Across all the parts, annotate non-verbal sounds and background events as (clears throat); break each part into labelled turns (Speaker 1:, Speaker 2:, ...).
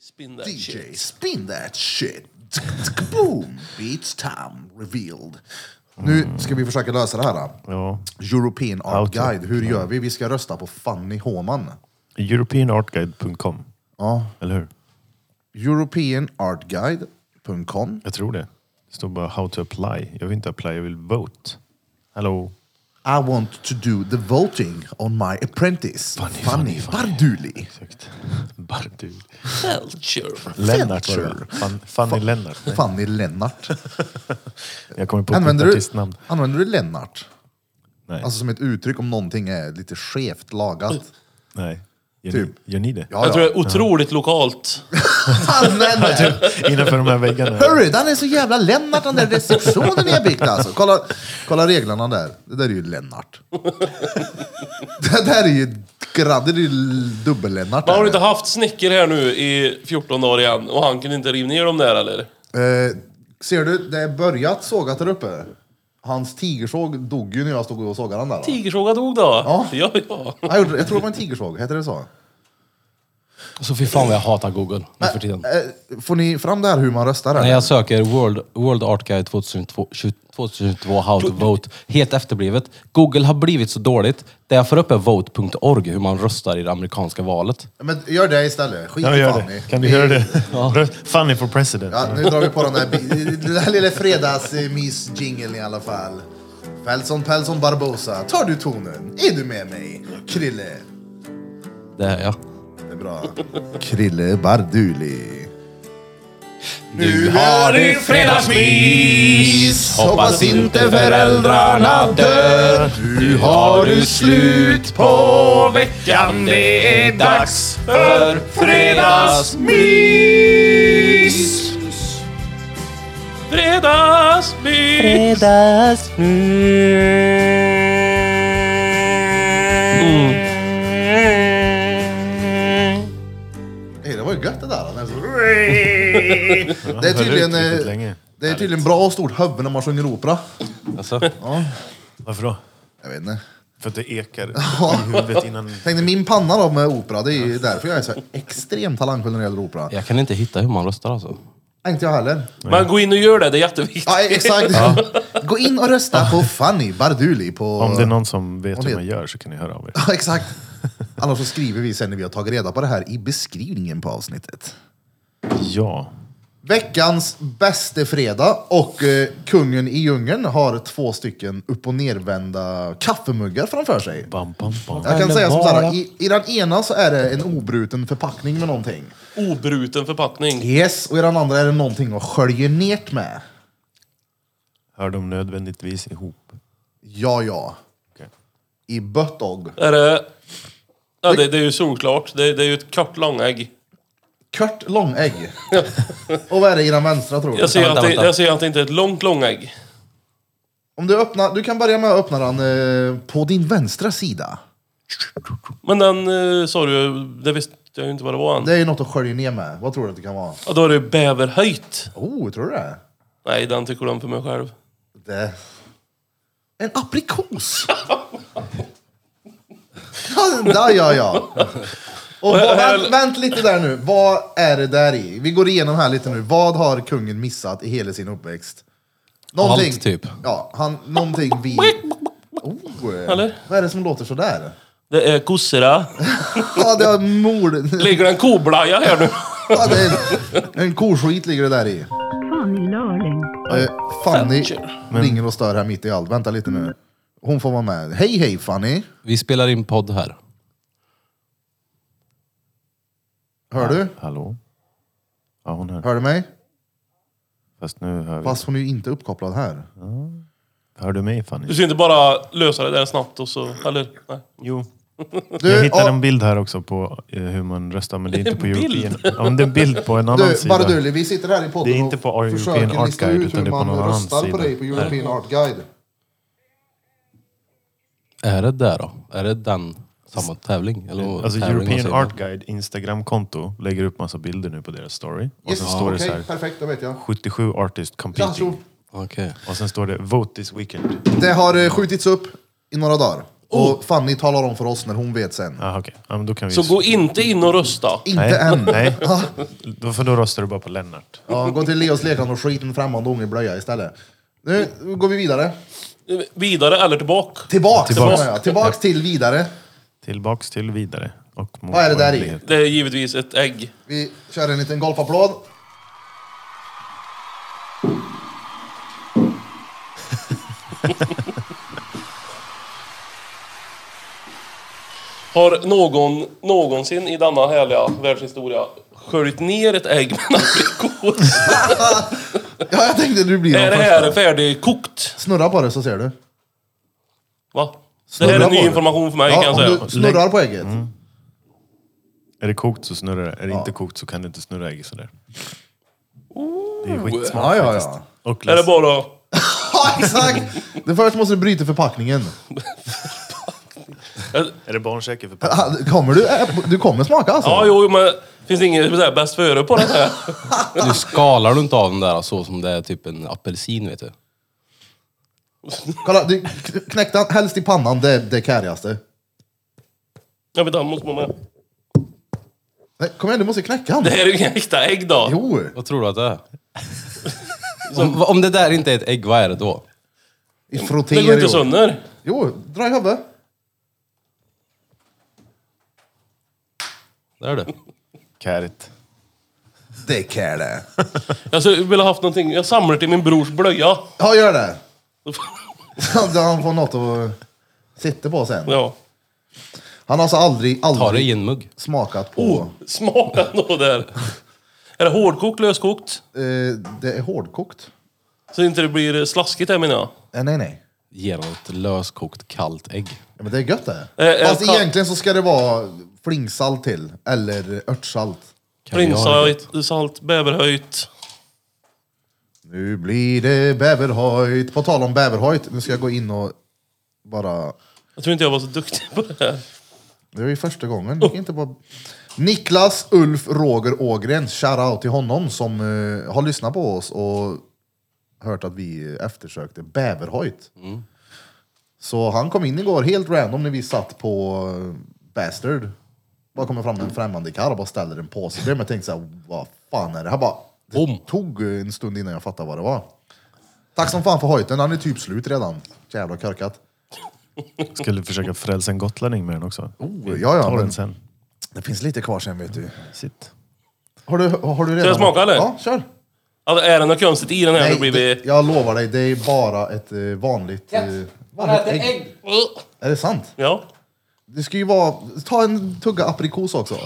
Speaker 1: spin that
Speaker 2: DJ,
Speaker 1: shit.
Speaker 2: spin that shit. Tsk, tsk, Boom! It's time revealed. Nu ska vi försöka lösa det här. Då.
Speaker 3: Ja.
Speaker 2: European Art
Speaker 3: Outlook.
Speaker 2: Guide. Hur gör vi? Vi ska rösta på Fanny Håman.
Speaker 3: Europeanartguide.com.
Speaker 2: Ja.
Speaker 3: Eller hur?
Speaker 2: Europeanartguide.com.
Speaker 3: Jag tror det. Det står bara how to apply. Jag vill inte apply, jag vill vote. Hello.
Speaker 2: I want to do the voting on my apprentice. Fanny, Barduli.
Speaker 3: Exakt. (laughs) Bartu.
Speaker 1: Culture.
Speaker 3: Lennart var det
Speaker 2: Fetcher.
Speaker 3: va? Fan, Fanny Lennart. Nej,
Speaker 2: Fanny Lennart.
Speaker 3: jag kommer på ett
Speaker 2: Använder du,
Speaker 3: artistnamn.
Speaker 2: använder du Lennart?
Speaker 3: Nej.
Speaker 2: Alltså som ett uttryck om någonting är lite skevt lagat.
Speaker 3: Nej. Gör,
Speaker 2: Typ.
Speaker 3: ni, gör ni det?
Speaker 2: Ja,
Speaker 1: Jag
Speaker 2: ja.
Speaker 1: tror det är otroligt lokalt.
Speaker 2: (laughs) Fan, den är.
Speaker 3: Innanför de här väggarna?
Speaker 2: Hörru, han är så jävla Lennart den där receptionen ni har byggt alltså. Kolla, kolla reglerna där. Det där är ju Lennart. Det där är ju grabb, det är ju dubbel-Lennart.
Speaker 1: Man har inte haft snicker här nu i 14 dagar igen och han kunde inte riva ner dem där eller?
Speaker 2: Eh, ser du, det är börjat sågat där uppe. Hans tigersåg dog ju när jag stod och sågade den där. va?
Speaker 1: Tigersåga dog då? Ja. ja, ja.
Speaker 2: Jag, gjorde, jag tror det var en tigersåg, heter det så?
Speaker 4: Så Alltså, fy fan vad jag hatar Google nu för tiden.
Speaker 2: Eh, får ni fram det här hur man röstar?
Speaker 4: När
Speaker 2: Eller?
Speaker 4: jag söker World, World Art Guide 2002, 2022 How to Vote, helt efterblivet. Google har blivit så dåligt. Det jag får upp är vote.org, hur man röstar i det amerikanska valet.
Speaker 2: Men gör det istället, skit
Speaker 3: Ja,
Speaker 2: i
Speaker 3: gör
Speaker 2: Fanny.
Speaker 3: det. Kan du göra det? Rö- Fanny for president.
Speaker 2: Ja, nu drar vi på den där, bi- den där lilla fredagsmys-jingeln i alla fall. Felson Pelson Barbosa, tar du tonen? Är du med mig? Krille.
Speaker 4: Det är jag.
Speaker 2: Det är bra. Krille Barduli.
Speaker 4: Nu har du fredagsmys! Hoppas inte föräldrarna dör.
Speaker 2: Du
Speaker 4: Har du slut på veckan? Det är dags för fredagsmys!
Speaker 1: Fredagsmys!
Speaker 2: Mm. Hey, det var ju gött det där. den är så-
Speaker 4: (laughs)
Speaker 2: Det är tydligen,
Speaker 3: riktigt
Speaker 2: eh,
Speaker 3: länge.
Speaker 2: det är tydligen bra och stort huvud när man sjunger opera.
Speaker 4: Alltså,
Speaker 3: Varför då?
Speaker 2: Jag vet inte.
Speaker 3: För att det ekar i huvudet innan...
Speaker 2: Tänk dig min panna då med opera. Det är ju därför jag är så extremt talangfull när det gäller opera.
Speaker 4: jag kan inte hitta hur man röstar alltså.
Speaker 2: Inte jag heller.
Speaker 1: Men gå in och gör det, det är jätteviktigt.
Speaker 2: Ja, e- exakt. Gå in och rösta på Fanny Barduli på...
Speaker 3: Om det är någon som vet hur
Speaker 2: vet.
Speaker 3: man gör så kan ni höra av er.
Speaker 2: Ja, exakt. Annars så skriver vi sen när vi har tagit reda på det här i beskrivningen på avsnittet.
Speaker 3: Ja.
Speaker 2: Veckans bäste fredag och eh, kungen i djungeln har två stycken upp och nervända kaffemuggar framför sig.
Speaker 3: Bam, bam, bam.
Speaker 2: Jag kan
Speaker 4: Eller
Speaker 2: säga som så här,
Speaker 4: bara.
Speaker 2: i, i den ena så är det en obruten förpackning med någonting.
Speaker 1: Obruten förpackning.
Speaker 2: Yes, och i den andra är det någonting att skölja nert med.
Speaker 3: Hör de nödvändigtvis ihop?
Speaker 2: Ja, ja.
Speaker 3: Okej.
Speaker 2: I böttog.
Speaker 1: Är det... Ja, det, det är ju solklart. Det, det är ju ett kort långägg.
Speaker 2: Kört långägg.
Speaker 1: (laughs)
Speaker 2: och vad är det i den vänstra tror du?
Speaker 1: Jag ser,
Speaker 4: Vänta,
Speaker 1: att det,
Speaker 4: vänta.
Speaker 1: jag ser att det inte är ett långt långägg.
Speaker 2: Om du öppnar, du kan börja med att öppna den eh, på din vänstra sida.
Speaker 1: Men den eh, sa du ju, det visste jag ju inte vad det var än.
Speaker 2: Det är ju något att skölja ner med. Vad tror du att det kan vara?
Speaker 1: Ja, då är det bäverhöjt.
Speaker 2: Oh, tror du det?
Speaker 1: Nej, den tycker om för mig själv.
Speaker 2: det... En aprikos! (laughs) ja, ja, ja, ja. Och vad, vänt, vänt lite där nu. Vad är det där i? Vi går igenom här lite nu. Vad har kungen missat i hela sin uppväxt? Någonting.
Speaker 4: Allt, typ.
Speaker 2: Ja, han, någonting vi... Oh,
Speaker 1: Eller?
Speaker 2: Vad är det som låter sådär?
Speaker 1: Det är kossorna.
Speaker 2: Ja, det är mord...
Speaker 1: Ligger det en koblaja här nu?
Speaker 2: Ja, det är en, en koskit ligger det där i.
Speaker 5: Fanny Lörling.
Speaker 2: Eh, Fanny
Speaker 1: Thatcher.
Speaker 2: ringer och stör här mitt i allt. Vänta lite nu. Hon får vara med. Hej hej Fanny!
Speaker 4: Vi spelar in podd här.
Speaker 2: Hör du?
Speaker 3: Hallå? Ja, hon hör.
Speaker 2: Hör du mig?
Speaker 3: Fast nu hör vi.
Speaker 2: Fast hon är ju inte uppkopplad här.
Speaker 3: Hör du mig
Speaker 1: Du
Speaker 3: Fanny?
Speaker 1: ska inte bara lösa det där snabbt och så... Eller? Nej.
Speaker 3: Jo.
Speaker 2: Du,
Speaker 3: (laughs) Jag hittade
Speaker 2: ja,
Speaker 3: en bild här också på eh, hur man röstar, men det är inte på
Speaker 1: En bild?
Speaker 3: European. Ja, men det är en bild på en annan
Speaker 2: (laughs) du
Speaker 3: sida.
Speaker 2: Barduli, vi sitter här i podden
Speaker 3: Det är inte på
Speaker 2: och
Speaker 3: European
Speaker 2: försöker
Speaker 3: Art
Speaker 2: lista
Speaker 3: Guide,
Speaker 2: ut
Speaker 3: utan
Speaker 2: hur
Speaker 3: det är på
Speaker 2: man
Speaker 3: någon annan
Speaker 2: röstar på
Speaker 3: sida.
Speaker 2: dig på European Art Guide.
Speaker 4: Är det där då? Är det den samma tävling? Eller vad-
Speaker 3: Alltså
Speaker 4: tävling, vad säger
Speaker 3: European
Speaker 4: man?
Speaker 3: Art Guide Instagramkonto lägger upp massa bilder nu på deras story. Och
Speaker 2: Yes,
Speaker 3: sen
Speaker 2: okej,
Speaker 3: står det så här,
Speaker 2: perfekt, då vet jag.
Speaker 3: 77 artists
Speaker 2: Jaså,
Speaker 3: competing.
Speaker 4: Okej.
Speaker 3: Och sen står det Vote this weekend.
Speaker 2: Det har eh, skjutits upp i några dagar. Och Fanny talar om för oss när hon vet sen.
Speaker 3: Ah, okej. Oh! Ja, men då kan vi...
Speaker 1: Så gå inte in och rösta.
Speaker 2: Inte
Speaker 3: Nej,
Speaker 2: än.
Speaker 3: nej.
Speaker 2: Ja.
Speaker 3: Då, för då röstar du bara på Lennart.
Speaker 2: (laughs) Ja, gå till Leos lekan och skit en främmande unge i blöja istället. Nu går vi vidare.
Speaker 1: Vidare eller tillbaka.
Speaker 2: Tillbaks,
Speaker 3: Tillbaks.
Speaker 2: menar jag. Tillbaks till vidare.
Speaker 3: Tillbaks till vidare. Och mot
Speaker 2: Vad är det där i?
Speaker 3: oändlighet.
Speaker 1: Det är givetvis ett ägg.
Speaker 2: Vi kör en liten golfapplåd.
Speaker 1: Har någon någonsin i denna härliga världshistoria sköljt ner ett ägg med en aprikos?
Speaker 2: (laughs) Ja, jag tänkte du blir
Speaker 1: är det
Speaker 2: den
Speaker 1: här
Speaker 2: första.
Speaker 1: färdigkokt?
Speaker 2: Snurra på det så ser du.
Speaker 1: Va? Det här
Speaker 2: Snurra
Speaker 1: är
Speaker 2: på
Speaker 1: ny
Speaker 2: det.
Speaker 1: information för mig kan
Speaker 2: Ja,
Speaker 1: jag
Speaker 2: om
Speaker 1: säga.
Speaker 2: du snurrar på ägget.
Speaker 3: Är det kokt så snurrar det. Är det inte kokt så kan du inte snurra ägg sådär. Det är skitsmart
Speaker 2: Ja, ja, ja.
Speaker 3: faktiskt. Och
Speaker 1: Är det
Speaker 3: läsk.
Speaker 1: bara...
Speaker 2: (laughs) Ja, exakt! Det först måste du bryta förpackningen.
Speaker 3: Är det barnsäker för pappa?
Speaker 2: Ah, Kommer du, äh, du kommer smaka alltså?
Speaker 1: Ja, jo, men finns det inget så här bäst före på den här?
Speaker 2: (laughs)
Speaker 4: Nu skalar du inte av den där så som det är typ en apelsin vet du.
Speaker 2: Kolla, du kn- knäck den helst i pannan, det är det kärigaste.
Speaker 1: Jag vet inte, måste man med.
Speaker 2: Nej, kom igen, du måste knäcka
Speaker 1: Det
Speaker 2: den.
Speaker 1: här är ju inga äkta ägg då.
Speaker 2: Jo!
Speaker 4: Vad tror du att det är? Om, om det där inte är ett ägg, vad är det då?
Speaker 2: I frottéer.
Speaker 1: Det går inte
Speaker 2: jo.
Speaker 1: sönder.
Speaker 2: Jo, dra i huvudet.
Speaker 4: Där är det.
Speaker 3: Kärit.
Speaker 2: Det kär det.
Speaker 1: Jag skulle vilja haft någonting. Jag samlar till min brors blöja. (laughs)
Speaker 2: Ja, gör det. (laughs) Så att han får något att sitta på sen.
Speaker 1: Ja.
Speaker 2: Han har alltså aldrig,
Speaker 4: Ta det i
Speaker 2: aldrig
Speaker 4: en mugg.
Speaker 2: smakat på...
Speaker 1: Oh, smaka då där. Är det hårdkokt, löskokt?
Speaker 2: Eh, det är hårdkokt.
Speaker 1: Så inte det blir slaskigt här menar jag.
Speaker 2: Eh, nej, nej.
Speaker 4: Genom ett löskokt kallt ägg.
Speaker 2: Ja, men det är gött det.
Speaker 1: Eh,
Speaker 2: Fast
Speaker 1: eh, ka-
Speaker 2: egentligen så ska det vara flingsalt till. Eller örtsalt.
Speaker 4: Kan vi ha det?
Speaker 1: Prinshöjt, salt, bäverhöjt.
Speaker 2: Nu blir det bäverhojt. På tal om bäverhojt, nu ska jag gå in och bara...
Speaker 1: Jag tror inte jag var så duktig på det här.
Speaker 2: Det var ju första gången.
Speaker 3: Oh.
Speaker 2: Det gick Inte bara... Niklas Ulf Roger Ågren, shoutout till honom som eh, har lyssnat på oss och hört att vi eftersökte bäverhojt.
Speaker 3: Mm.
Speaker 2: Så han kom in igår helt random när vi satt på eh, Bastard. Bara kommer fram en främmande karl och bara ställer en påse bredvid mig. Jag tänkte såhär, vad fan är det här? Bara, det
Speaker 4: Bom.
Speaker 2: tog eh, en stund innan jag fattade vad det var. Tack som fan för hojten, han är typ slut redan. Jävla korkat.
Speaker 3: Skulle försöka frälsa en gotlänning med den också.
Speaker 2: Oh, ja, ja,
Speaker 3: Ta
Speaker 2: men
Speaker 3: den sen.
Speaker 2: det finns lite kvar sen vet du.
Speaker 3: Sitt.
Speaker 2: Har du, har du redan...
Speaker 1: jag smaka, eller?
Speaker 2: Ja, kör.
Speaker 1: Alltså, är det något konstigt i den här då blir vi...
Speaker 2: det, jag lovar dig, det är bara ett eh, vanligt... eh, vanligt ägg. Är det sant?
Speaker 1: Ja.
Speaker 2: Det ska ju vara... Ta en tugga aprikos också.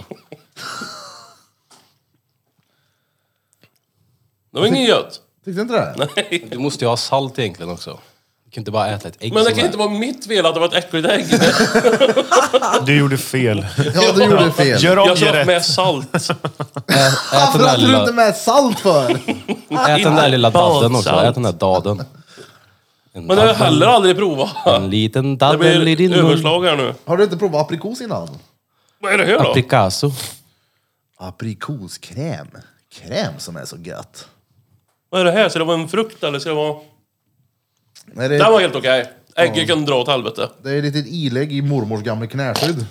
Speaker 1: Det var inget gött.
Speaker 2: Tyckte du inte det?
Speaker 1: (laughs) Nej.
Speaker 4: Du måste ju ha salt egentligen också. Du kan inte bara äta ett ägg
Speaker 1: Men det
Speaker 4: som
Speaker 1: kan
Speaker 4: är.
Speaker 1: inte vara mitt fel att det var ett äckligt ägg.
Speaker 3: Du gjorde fel.
Speaker 2: Ja, du gjorde fel.
Speaker 3: Gör om,
Speaker 1: Jag
Speaker 3: gör
Speaker 1: tror
Speaker 3: rätt.
Speaker 1: med salt.
Speaker 4: Ä- Ät
Speaker 2: Varför
Speaker 4: den där
Speaker 2: hade du
Speaker 4: lilla,
Speaker 2: inte med salt för?
Speaker 4: ät den där lilla dadden också.
Speaker 1: Badsalt.
Speaker 4: Ät den där daden. En,
Speaker 1: Men det har jag
Speaker 4: dadden,
Speaker 1: heller aldrig provat.
Speaker 4: en liten
Speaker 1: Det
Speaker 4: dadden i
Speaker 1: blir
Speaker 4: din mun.
Speaker 1: överslag här nu.
Speaker 2: Har du inte provat aprikos innan?
Speaker 1: Vad är det här då?
Speaker 4: Apricaso.
Speaker 2: Aprikoskräm. Kräm som är så gött.
Speaker 1: Vad är det här? Ska det vara en frukt eller ska det vara...
Speaker 2: Nej, det,
Speaker 1: Den var
Speaker 2: är,
Speaker 1: helt okej. Ägget kan dra åt helvete.
Speaker 2: det är ett litet ilägg i mormors gamla knäskydd.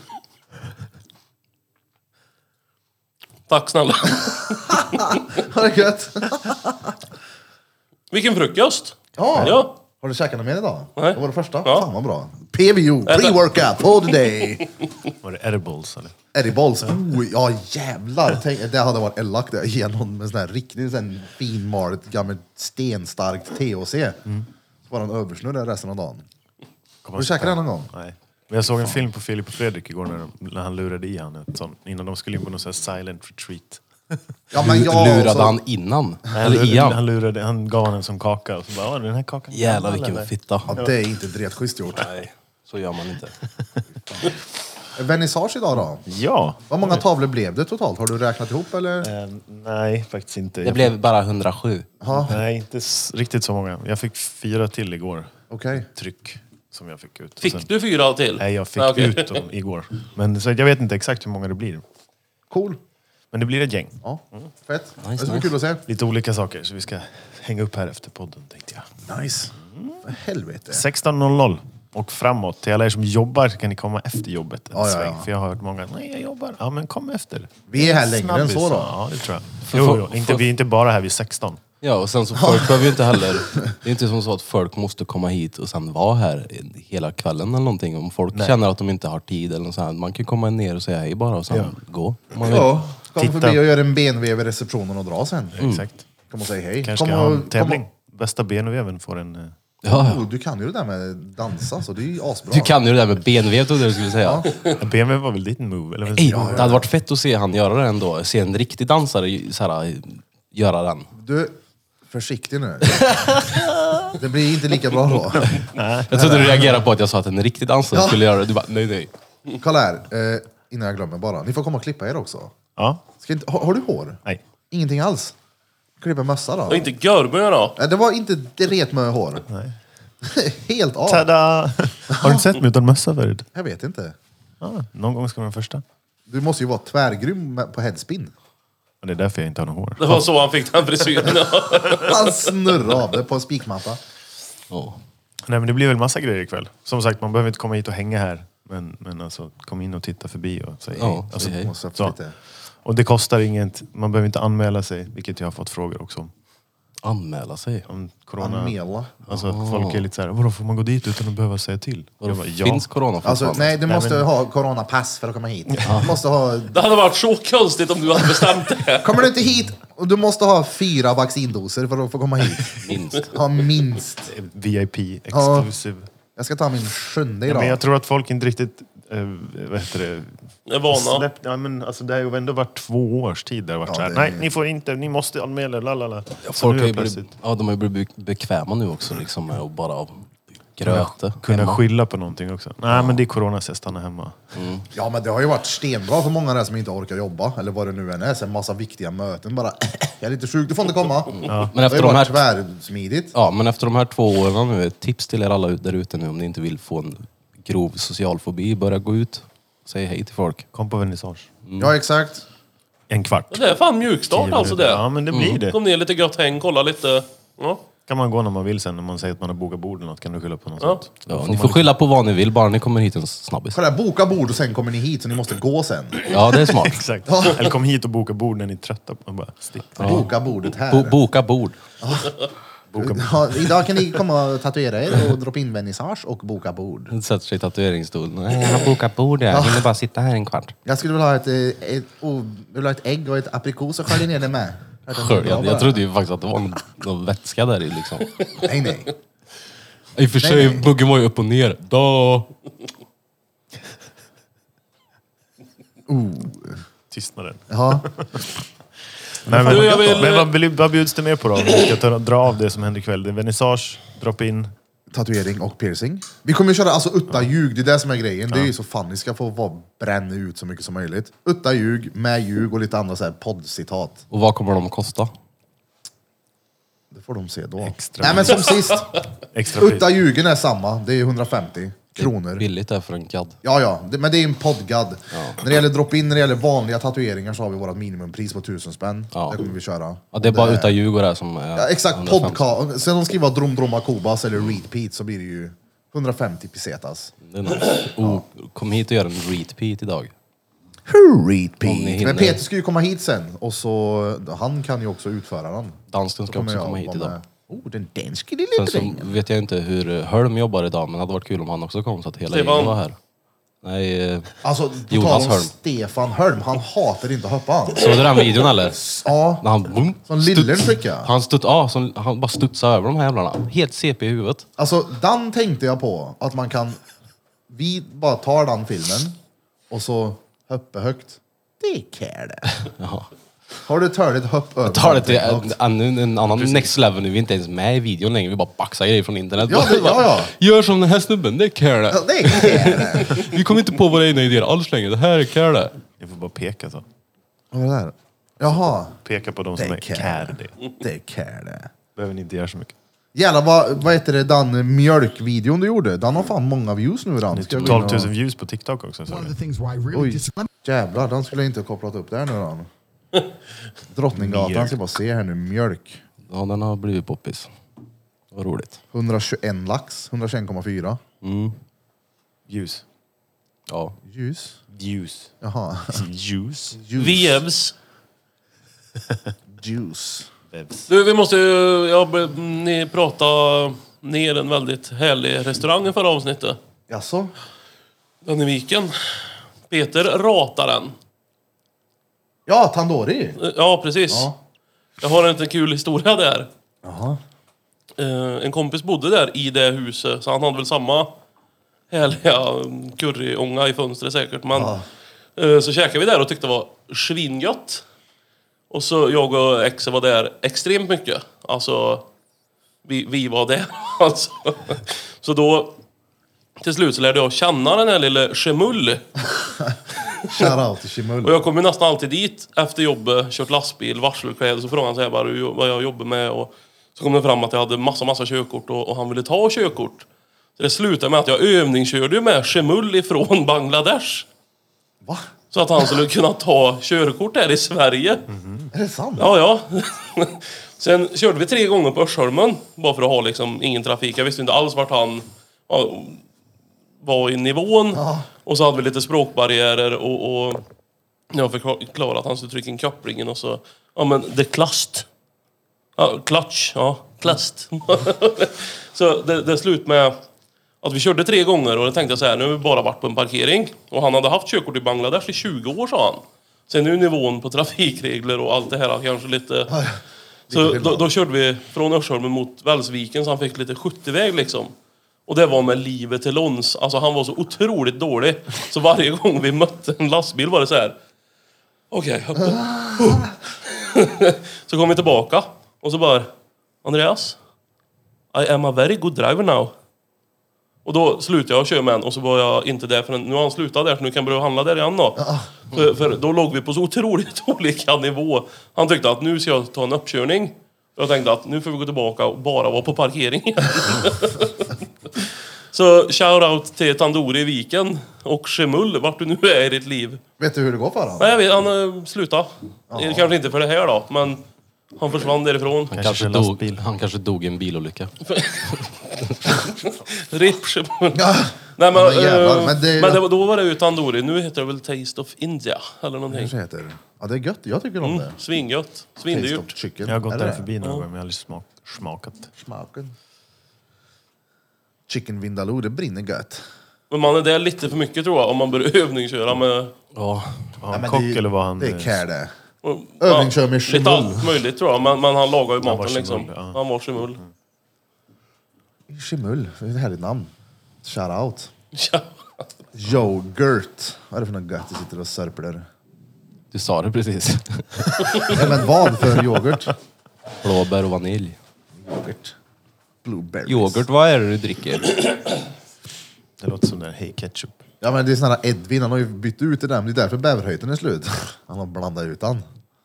Speaker 1: Tack snälla.
Speaker 2: Har det gött?
Speaker 1: Vilken frukost!
Speaker 2: Ja.
Speaker 1: Ja.
Speaker 2: Har du käkat något mer idag?
Speaker 1: Nej.
Speaker 2: Det var det första?
Speaker 1: Ja.
Speaker 2: Fan vad bra. PVO, pre-workout for the day.
Speaker 3: Var det edibles eller?
Speaker 2: Eddie Balls, oh, ja jävlar. Tänk, det hade varit elakt att ge någon med sån här riktigt sån finmalet gammalt stenstarkt THC. Så Bara en översnurra resten av dagen. Har du käkat det någon gång?
Speaker 3: Nej. Men jag såg en film på Filip och Fredrik igår när, de, när han lurade i han ett sånt, innan de skulle in på någon sån här silent retreat.
Speaker 2: Ja, men jag,
Speaker 4: Lurade
Speaker 2: alltså,
Speaker 4: han innan?
Speaker 3: Han,
Speaker 4: Eller
Speaker 3: lurade,
Speaker 4: Ian?
Speaker 3: han, lurade, han gav han en sån kaka och så bara, "Åh, den här kakan är
Speaker 4: Jävlar
Speaker 3: gammal,
Speaker 4: vilken
Speaker 3: eller?"
Speaker 4: fitta.
Speaker 2: Ja, det är inte dretschysst gjort.
Speaker 4: Nej, så gör man inte.
Speaker 2: Vernissage idag då?
Speaker 3: Ja.
Speaker 2: Vad många tavlor blev det totalt? Har du räknat ihop eller?
Speaker 3: Eh, nej, faktiskt inte.
Speaker 4: Det
Speaker 3: Jag
Speaker 4: blev bara 107.
Speaker 2: Ja,
Speaker 3: Nej, inte s- riktigt så många. Jag fick fyra till igår.
Speaker 2: okej.
Speaker 3: Tryck som jag fick ut. Och sen-
Speaker 1: Fick du fyra till?
Speaker 3: Nej, jag fick
Speaker 1: okej.
Speaker 3: ut dem igår. Men så att jag vet inte exakt hur många det blir.
Speaker 2: Cool.
Speaker 3: Men det blir ett gäng.
Speaker 2: Ja, fett. det
Speaker 4: Nice,
Speaker 2: ska bli
Speaker 4: nice.
Speaker 2: kul att se.
Speaker 3: Lite olika saker, så vi ska hänga upp här efter podden tänkte jag.
Speaker 2: Nice. För helvete.
Speaker 3: 16.00. och framåt. Till alla er som jobbar så kan ni komma efter jobbet en
Speaker 2: Ja, ja,
Speaker 3: sväng.
Speaker 2: ja.
Speaker 3: För jag har hört många, nej jag jobbar. Ja men kom efter.
Speaker 2: Vi är här längre än så då. Mm.
Speaker 3: Ja det tror jag.
Speaker 4: För-
Speaker 3: Jo,
Speaker 4: för-
Speaker 3: jo. Inte,
Speaker 4: för-
Speaker 3: vi är inte bara här vid 16.
Speaker 4: Ja, och sen så folk behöver ju inte heller... Det är inte som så att folk måste komma hit och sen vara här i- hela kvällen eller någonting. Om folk känner att de inte har tid eller något sånt. här. Man kan komma ner och säga hej bara och sen gå. om Man vill.
Speaker 2: Ja, kom
Speaker 3: Titta.
Speaker 2: förbi och gör en benvev i receptionen och dra sen.
Speaker 4: Mm.
Speaker 3: Exakt.
Speaker 2: Kom och säg hej.
Speaker 3: Kanske
Speaker 2: kom
Speaker 3: ska
Speaker 2: och,
Speaker 3: ha en tävling.
Speaker 2: Kom
Speaker 3: Bästa benveven får en... eh,
Speaker 4: Ja, ja.
Speaker 2: och, oh, du kan ju det där med dansa, så det är ju asbra.
Speaker 4: Du kan ju det där med benvev trodde jag du skulle säga.
Speaker 3: BMW var väl dit en move? Eller? vad
Speaker 4: Ey,
Speaker 3: säger du?
Speaker 4: det hade varit fett att se han göra det ändå. Se en riktig dansare ju- så här, göra den.
Speaker 2: Du, försiktig nu. (laughs) det blir inte lika bra då.
Speaker 4: Jag trodde du reagerade på att jag sa att en riktig dansare skulle göra det. Du bara, nej nej.
Speaker 2: Kolla här, eh, innan jag glömmer bara. Ni får komma och klippa er också.
Speaker 3: Ja.
Speaker 2: Ska inte, har, har du hår?
Speaker 3: Nej.
Speaker 2: Ingenting alls? Klippa mössa då?
Speaker 1: Och inte görmö då.
Speaker 2: Nej, Det var inte dret med hår. (laughs) Helt av.
Speaker 3: Tada! Har du inte sett mig utan mössa förut?
Speaker 2: Jag vet inte.
Speaker 3: Ja, någon gång ska man vara den första.
Speaker 2: Du måste ju vara tvärgrym med- på headspin.
Speaker 3: Och det är därför jag inte har något hår.
Speaker 1: Det var så han fick den frisyren.
Speaker 2: Han snurrar av det på en spikmatta.
Speaker 4: Ja.
Speaker 3: Nej, men det blir väl massa grejer ikväll. Som sagt, man behöver inte komma hit och hänga här. Men, men alltså, kom in och titta förbi och säg
Speaker 4: Ja,
Speaker 3: hej. Alltså,
Speaker 4: säg hej.
Speaker 2: Måste jag få
Speaker 3: så.
Speaker 2: lite-
Speaker 3: Och det kostar inget. Man behöver inte anmäla sig, vilket jag har fått frågor också om.
Speaker 4: Anmäla sig.
Speaker 3: om corona.
Speaker 2: Anmäla.
Speaker 3: Alltså, folk är lite så här, vadå får man gå dit utan att behöva säga till? Jag bara, ja.
Speaker 4: Finns corona
Speaker 2: Alltså,
Speaker 4: fortfarande?
Speaker 2: nej, du måste ha coronapass för att komma hit. Du måste ha...
Speaker 1: Det hade varit så konstigt om du hade bestämt det.
Speaker 2: Kommer du inte hit, och du måste ha fyra vaccindoser för att få komma hit.
Speaker 4: Minst.
Speaker 2: Ja, minst.
Speaker 3: VIP exclusive.
Speaker 2: Jag ska ta min sjunde idag.
Speaker 3: Men jag tror att folk inte riktigt, eh, vad heter det,
Speaker 1: Det är vana.
Speaker 3: Släpp, ja, men alltså, det har ju ändå varit två års tid där det har varit
Speaker 2: Ja,
Speaker 3: så här.
Speaker 2: det-
Speaker 3: Nej, ni får inte, ni måste anmäla er, lalala. Så
Speaker 4: Folk
Speaker 3: nu
Speaker 4: har ju
Speaker 3: plötsligt
Speaker 4: blivit, ja, de har ju blivit bekväma nu också liksom med att bara ha gröte.
Speaker 3: kunna
Speaker 4: hemma.
Speaker 3: skylla på någonting också. Nej, men det är corona så jag stannar hemma.
Speaker 2: Ja, men det har ju varit stenbra för många där som inte orkar jobba, eller vad det nu än är. Sen massa viktiga möten bara. (clears throat) Jag är lite sjuk, du får inte komma.
Speaker 4: Men efter
Speaker 2: det har
Speaker 4: de
Speaker 2: ju
Speaker 4: här-
Speaker 2: varit tvärsmidigt.
Speaker 4: Ja, men efter de här två åren nu, ett tips till er alla ut- där ute nu om ni inte vill få en grov social fobi, börja gå ut. Säg hej till folk.
Speaker 3: Kom på vernissage.
Speaker 4: Mm.
Speaker 2: Ja, exakt.
Speaker 3: En kvart.
Speaker 1: Det är fan mjukstart
Speaker 3: Tio
Speaker 1: alltså
Speaker 3: minuter. Ja,
Speaker 1: det.
Speaker 3: men det blir det.
Speaker 1: Kom ner lite gött häng, kolla lite. Ja.
Speaker 3: Kan man gå när man vill sen, när man säger att man har bokat bord eller något, kan du skylla på något
Speaker 1: Ja.
Speaker 3: sånt.
Speaker 4: Ja, ni får skylla på vad ni vill, bara ni kommer hit en snabbis.
Speaker 2: Kolla, här, boka bord och sen kommer ni hit, så ni måste gå sen.
Speaker 4: (laughs) Ja, det är (laughs) smart.
Speaker 3: Exakt. Eller kom hit och boka bord när ni är trötta. Och bara, stick.
Speaker 2: Boka bordet här.
Speaker 4: Bo boka bord.
Speaker 2: Ja, idag kan ni komma och tatuera er och droppa in vernissage och boka bord.
Speaker 4: Sätter sig i tatueringsstolen. Nej, jag har bokat bord här. Jag hinner bara sitta här en kvart.
Speaker 2: Jag skulle vilja ha ett, eh, ett, oh, vill ha ett ägg och ett aprikos och skölja ner det
Speaker 4: (laughs)
Speaker 2: med. Att det är
Speaker 4: Skölja.
Speaker 2: bra bara.
Speaker 4: Jag trodde ju faktiskt att det var någon, någon vätska där i liksom.
Speaker 2: Nej, nej.
Speaker 4: I och för
Speaker 2: sig,
Speaker 4: sig, buggen var ju upp och ner. Då.
Speaker 3: Tystnaden.
Speaker 2: Ja.
Speaker 3: Nej, men
Speaker 1: jag vill-
Speaker 3: men vad, blir- vad bjuds det mer på då? Om vi ska ta, dra av det som händer ikväll. Det är vernissage, drop in.
Speaker 2: Tatuering och piercing. Vi kommer ju köra alltså utta ljug, det är det som är grejen. Det är ju så fan ni ska få vara, bränna ut så mycket som möjligt. Utta ljug, med ljug och lite andra så här poddcitat.
Speaker 4: Och vad kommer de att kosta?
Speaker 2: Det får de se då.
Speaker 3: Extra.
Speaker 2: Nej men som sist,
Speaker 3: Extra pris.
Speaker 2: utta ljugen är samma. Det är 150 kronor.
Speaker 4: Billigt där för en gadd.
Speaker 2: Ja, ja, det, men det är ju en poddgad. När det gäller drop-in, när det gäller vanliga tatueringar så har vi vårt minimumpris på 1000 spänn.
Speaker 4: Ja.
Speaker 2: Det kommer vi köra.
Speaker 4: Ja, det är bara utan ljug och det här som är...
Speaker 2: Ja, exakt,
Speaker 4: 150.
Speaker 2: podcast. Sen de skriver Drom Droma Kobas eller Repeat så blir det ju 150 pesetas.
Speaker 4: Det är nice. oh, kom hit och gör en repeat idag. Om ni
Speaker 2: Repeat.
Speaker 4: hinner.
Speaker 2: Men Peter ska ju komma hit sen och så, han kan ju också utföra den.
Speaker 4: Dansken ska
Speaker 2: Kommer
Speaker 4: också
Speaker 2: jag
Speaker 4: komma hit
Speaker 2: vara
Speaker 4: idag.
Speaker 2: med. Oh, den danske
Speaker 4: Sen
Speaker 2: lille
Speaker 4: så
Speaker 2: drängen.
Speaker 4: vet jag inte hur Hölm jobbar idag, men det hade varit kul om han också kom så att hela
Speaker 1: Stefan.
Speaker 4: gänget var här. Nej, eh,
Speaker 2: Alltså, på
Speaker 4: Jonas
Speaker 2: tal om
Speaker 4: Hölm.
Speaker 2: Stefan Hölm, han hatar inte att hoppa. han.
Speaker 4: såg du den videon eller? När
Speaker 2: Ja,
Speaker 4: han boom,
Speaker 2: som lillen tycker jag.
Speaker 4: han, studs, ah, som, han bara studsade över de här jävlarna. Helt CP i huvudet.
Speaker 2: Alltså, den tänkte jag på. Att man kan... Vi bara tar den filmen och så hoppar högt. Det är kär det.
Speaker 4: Ja.
Speaker 2: Har du törligt hopp över?
Speaker 4: Tar det till en,
Speaker 2: någonting?
Speaker 4: en, en annan next level nu. Vi är inte ens med i videon längre. Vi bara baxar grejer från internet.
Speaker 2: Ja, det- ja, ja.
Speaker 4: Gör som den här snubben, det
Speaker 2: (laughs)
Speaker 4: är kärle.
Speaker 2: Ja, Det är kär det.
Speaker 4: Vi kommer inte på våra egna idéer alls längre. Det här är kärle.
Speaker 3: Ni får bara peka så.
Speaker 2: Vad var det där? Jaha.
Speaker 3: Peka på de som är
Speaker 2: Det är
Speaker 3: kär
Speaker 2: kär
Speaker 3: det.
Speaker 2: Det är kär det.
Speaker 3: Behöver ni inte göra så mycket.
Speaker 2: Jävlar, vad, vad heter det, den mjölkvideon du gjorde? Den har fan många views nu den. Ska jag gå in
Speaker 3: 12
Speaker 2: och-
Speaker 3: 000 views på TikTok också. Så.
Speaker 5: one of the things why I really
Speaker 2: Oj,
Speaker 5: dis- let
Speaker 2: jävlar. Den skulle jag inte ha kopplat upp där nu
Speaker 3: (laughs)
Speaker 2: den. Drottninggatan, ska bara se här nu. Mjölk.
Speaker 4: Ja, den har blivit poppis. Vad roligt.
Speaker 2: 121 lax, 121,4.
Speaker 3: Ljus.
Speaker 4: Ja.
Speaker 2: Ljus?
Speaker 3: Ljus.
Speaker 2: Jaha. (laughs)
Speaker 3: Ljus.
Speaker 2: Ljus.
Speaker 1: Vevs.
Speaker 2: Juice.
Speaker 1: Du, vi måste ju... Ja, b- ni pratade ner en väldigt härlig restaurang i förra avsnittet.
Speaker 2: Jaså?
Speaker 1: Den i viken. Peter ratar den.
Speaker 2: Ja, Tandoori!
Speaker 1: Eh, Ja, precis.
Speaker 2: Ja.
Speaker 1: Jag har en liten kul historia där.
Speaker 2: Jaha.
Speaker 1: Eh, en kompis bodde där i det huset, så han hade väl samma härliga mm, curryånga i fönstret säkert. Men, eh, så käkade vi där och tyckte det var svingött. Och så jag och exet var där extremt mycket. Alltså, vi, vi var där (laughs) alltså. Så då, till slut så lärde jag känna den här lille Chemull.
Speaker 2: Shoutout
Speaker 1: Och
Speaker 2: till
Speaker 3: (laughs)
Speaker 2: Kimull.
Speaker 1: jag kommer nästan alltid dit efter jobbet, kört lastbil, varselkläder, så frågade han så här bara, "Du, vad jag jobbar med och så kom det fram att jag hade massa, massa körkort och, och han ville ta körkort. Så det slutade med att jag övningskörde ju med Shemul ifrån Bangladesh.
Speaker 2: Va?
Speaker 1: Så att han skulle kunna ta körkort här i Sverige.
Speaker 2: Är det sant?
Speaker 1: Ja, ja. (laughs) Sen körde vi tre gånger på Örsholmen. Bara för att ha liksom ingen trafik. Jag visste inte alls vart han ja, var i nivån. Och så hade vi lite språkbarriärer och, och jag förklarade att han skulle trycka in kopplingen och så... Ja men, the klast. Ja, klatsch, ja. Klast. (laughs) så det, det är slut med att vi körde tre gånger och då tänkte jag så här, nu har vi bara varit på en parkering. Och han hade haft körkort i Bangladesh i 20 år sa han. Sen nu nivån på trafikregler och allt det här kanske lite... Så då, då körde vi från Örsholmen mot Välsviken så han fick lite 70-väg liksom. Och det var med livet till låns. Alltså han var så otroligt dålig. Så varje (laughs) gång vi mötte en lastbil var det så här. Okej, upp. (laughs) Så kom vi tillbaka och så bara Andreas, I am a very good driver now. Och då slutade jag köra med en och så var jag inte där förrän nu har han slutat där så nu kan jag börja handla där igen då. För, för då låg vi på så otroligt (laughs) olika nivå. Han tyckte att nu ska jag ta en uppkörning. Och jag tänkte att nu får vi gå tillbaka och bara vara på parkeringen. (laughs) så shoutout till Tandoori i Viken och Shemul, vart du nu är i ditt liv.
Speaker 2: Vet du hur det går för
Speaker 3: (laughs)
Speaker 2: honom?
Speaker 1: Nej, jag vet, han eh, slutade. Eh, Kanske inte för det här då, men han försvann därifrån.
Speaker 3: Kanske
Speaker 4: Han kanske,
Speaker 3: kör
Speaker 4: dog,
Speaker 3: lastbil.
Speaker 4: han kanske dog i en bilolycka.
Speaker 1: Ripp Shemul.
Speaker 2: Ja.
Speaker 1: Nej men,
Speaker 2: Ja, men jävlar,
Speaker 1: eh,
Speaker 2: men det-
Speaker 1: men det, var- då var det ju Tandoori, nu heter det väl Taste of India eller någonting.
Speaker 2: Kanske heter. det. Ja, det är gött. Jag tycker om
Speaker 1: Mm,
Speaker 2: det.
Speaker 1: svingött,
Speaker 2: Taste of
Speaker 1: svindyrt.
Speaker 2: chicken.
Speaker 3: Jag har gått
Speaker 2: Eller
Speaker 3: där
Speaker 2: det?
Speaker 3: förbi några gånger men jag har aldrig smak, smakat.
Speaker 2: Smaken. Chicken vindaloo, det brinner gött.
Speaker 1: Men man är där lite för mycket tror jag, om man börjar (laughs) övningsköra med...
Speaker 4: Ja.
Speaker 3: Var
Speaker 2: Ja,
Speaker 3: han
Speaker 2: men
Speaker 3: kock
Speaker 2: det är-
Speaker 3: eller var han...
Speaker 2: Det är
Speaker 3: eh,
Speaker 2: care det.
Speaker 1: och-
Speaker 2: Övningskör med
Speaker 1: Lite
Speaker 2: Shemul.
Speaker 1: allt möjligt tror jag, men, men han lagar ju
Speaker 3: var
Speaker 1: maten liksom.
Speaker 3: Shemul, ja.
Speaker 1: Han var Shemul.
Speaker 2: Chimull, det är ett härligt namn. Shoutout.
Speaker 1: (laughs) Ja.
Speaker 2: Yoghurt. Vad är det för något gött du sitter och sörper där?
Speaker 4: Du sa det precis. (laughs)
Speaker 2: Ja, men vad för yoghurt?
Speaker 4: Blåbär och vanilj.
Speaker 2: Yoghurt. Blueberries.
Speaker 4: Yoghurt, vad är det du dricker?
Speaker 3: Det låter som den här Hey Ketchup. (laughs)
Speaker 2: Ja men det är sån här Edvin, han har ju bytt ut det där. men Det är därför bäverhöjden är slut. Han har blandat ut han.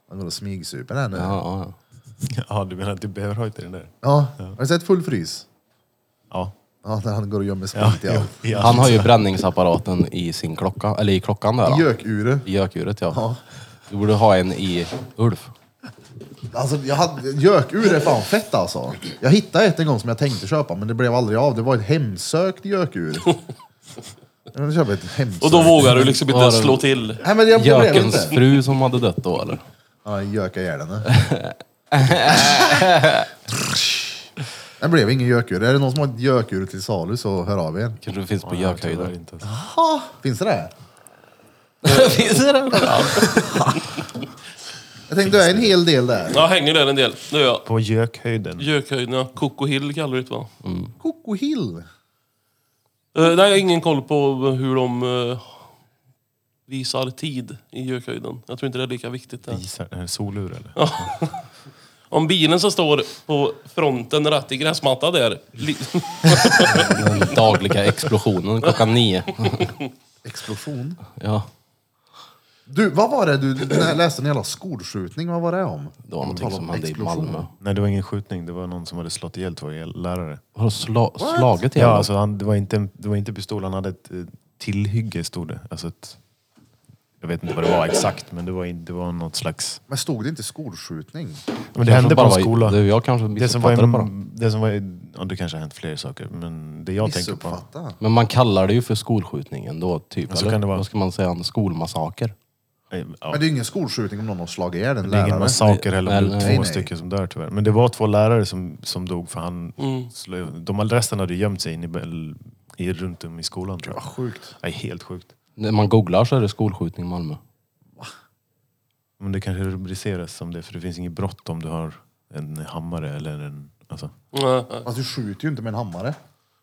Speaker 2: Han går och smygsuper här nu.
Speaker 4: Ja,
Speaker 2: Ja.
Speaker 4: ja. ja.
Speaker 3: Ja, du menar att du behöver ha inte den där?
Speaker 2: Har du sett Full frys?
Speaker 3: Ja.
Speaker 2: Ja, där han går och gömmer
Speaker 3: ja,
Speaker 2: sprit i
Speaker 3: ja,
Speaker 2: allt.
Speaker 3: ja.
Speaker 4: Han har ju bränningsapparaten i sin klocka, eller i klockan där.
Speaker 2: I
Speaker 4: då.
Speaker 2: Gökure.
Speaker 4: I gökuret ja. Du borde ha en i Ulf.
Speaker 2: Alltså, jag hade, gökur är fan fett alltså. Jag hittade ett en gång som jag tänkte köpa, men det blev aldrig av. Det var ett hemsökt gökur. Jag vill köpa ett hemsökt.
Speaker 1: Och då vågar du liksom
Speaker 4: Ja,
Speaker 1: inte
Speaker 4: det-
Speaker 1: slå till.
Speaker 2: Nej, men jag jag blev
Speaker 4: Gökens
Speaker 2: inte.
Speaker 4: fru som hade dött då eller?
Speaker 2: Ja, jag gökade ihjäl henne. Det blev ingen gökur. Är det någon som har ett gökur till salu så hör av er.
Speaker 4: Kanske det finns på
Speaker 3: Jag tror
Speaker 4: gökhöjden.
Speaker 3: inte.
Speaker 2: Finns det det?
Speaker 4: finns det det? (laughs)
Speaker 2: Jag tänkte det är en hel del där.
Speaker 1: Ja, hänger där en del. Det gör jag.
Speaker 3: På gökhöjden.
Speaker 1: Gökhöjden, ja. Coco Hill kallar du det va?
Speaker 2: Coco Hill.
Speaker 1: Eh, nej, jag har ingen koll på hur de eh, visar tid i gökhöjden. Jag tror inte det är lika viktigt där.
Speaker 3: Isar, är det solur eller?
Speaker 1: Om bilen som står på fronten rätt i gräsmattan där. Li- (laughs)
Speaker 4: Den dagliga explosionen klockan nio.
Speaker 2: Explosion.
Speaker 4: Ja,
Speaker 2: Du, vad var det du när jag läste? En jävla skolskjutning, vad var det om?
Speaker 4: det var någonting
Speaker 2: På tal om
Speaker 4: som hände i
Speaker 2: explosion.
Speaker 4: Malmö.
Speaker 3: Nej, det var ingen skjutning. Det var någon som hade slått ihjäl två lärare.
Speaker 4: Har du sla slagit
Speaker 3: Ja,
Speaker 4: ihjäl
Speaker 3: alltså han, det, var inte, en- det var inte pistol. Han hade ett eh, tillhygge, stod det. Alltså ett Alltså Jag vet inte vad det var exakt, men det var, in, det var något slags...
Speaker 2: Men stod det inte skolskjutning?
Speaker 3: Men det hände på en
Speaker 4: Kanske bara-
Speaker 3: skola.
Speaker 4: Det, jag kanske
Speaker 3: Det som var,
Speaker 4: missuppfattade det bara.
Speaker 3: en, det som var en, ja, det kanske har hänt fler saker, men det jag tänker på...
Speaker 2: Missuppfatta.
Speaker 4: Men man kallar det ju för skolskjutningen då, typ.
Speaker 3: Ja, så
Speaker 4: eller?
Speaker 3: kan det vara.
Speaker 4: Vad ska man säga? En skolmassaker?
Speaker 3: Nej, eh, Ja,
Speaker 2: Men det är ingen skolskjutning om någon har slagit ihjäl en
Speaker 3: det är ingen
Speaker 2: lärare.
Speaker 3: massaker heller, men det är
Speaker 4: Nej,
Speaker 3: två
Speaker 2: nej.
Speaker 3: stycken som dör tyvärr. Men det var två lärare som, som dog för han... slö- De, resten hade gömt sig in i, bel- i, runt om i skolan tror jag.
Speaker 2: Sjukt.
Speaker 3: Nej, helt sjukt.
Speaker 4: När man googlar så är det skolskjutning i Malmö.
Speaker 3: Men det kanske rubriceras som det, för det finns inget brott om du har en hammare eller en... Alltså,
Speaker 1: Nej, nej.
Speaker 2: Fast du skjuter ju inte med en hammare.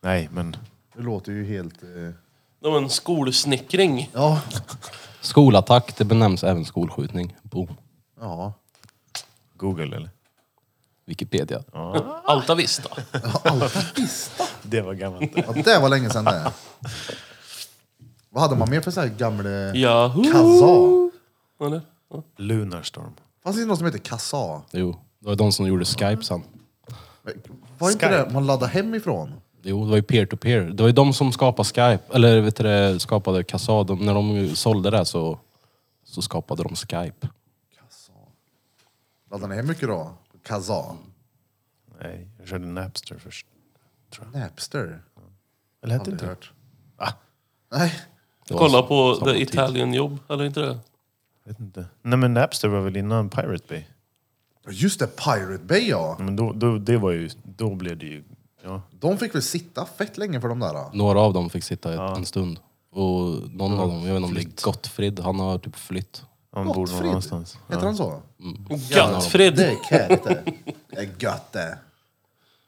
Speaker 3: nej, men...
Speaker 2: Det låter ju helt... Eh...
Speaker 1: Det var en skolsnickring.
Speaker 2: Ja.
Speaker 4: Skolattack, det benämns även skolskjutning. Boom.
Speaker 2: Ja.
Speaker 3: Google eller?
Speaker 4: Wikipedia.
Speaker 1: Alta Vista.
Speaker 3: Det var gammalt.
Speaker 2: ja, det var länge sedan det. Vad hade man mer för så här gamla...
Speaker 1: Yahoo!
Speaker 2: Kazaa?
Speaker 1: Eller? Ja.
Speaker 3: (laughs) Lunarstorm.
Speaker 2: Fanns det inte något som heter kassa?
Speaker 4: Jo, det var de som gjorde Skype sen.
Speaker 2: Var inte
Speaker 3: Skype.
Speaker 2: det man laddade hemifrån?
Speaker 4: Jo, det var ju peer-to-peer. Det var ju de som skapade Skype, eller vet du det, skapade Kassa. De, när de sålde det så, så skapade de Skype.
Speaker 2: Laddade ni hem mycket då? Kazaa?
Speaker 3: Nej, jag körde Napster först. Tror jag.
Speaker 2: Napster?
Speaker 3: Eller hette
Speaker 2: Aldrig
Speaker 3: inte det?
Speaker 2: hört. Nej.
Speaker 4: Det var
Speaker 1: Kolla
Speaker 4: så-
Speaker 1: på
Speaker 4: samma
Speaker 1: The
Speaker 4: tid.
Speaker 1: Italian Job, eller inte det?
Speaker 3: Vet inte. Nej men Napster var väl innan Pirate Bay?
Speaker 2: Just det, Pirate Bay ja.
Speaker 3: Men då, då, det var ju, då blev det ju... Ja.
Speaker 2: De fick väl sitta fett länge för de där. då.
Speaker 4: Några av dem fick sitta ett, en stund. Och någon av dem, jag vet inte om det är Gottfrid, han har typ flytt.
Speaker 3: Han bor någon
Speaker 2: Gottfrid?
Speaker 3: annanstans.
Speaker 2: Heter han så?
Speaker 1: Gottfrid!
Speaker 2: Det är kärligt det. Det är gött det.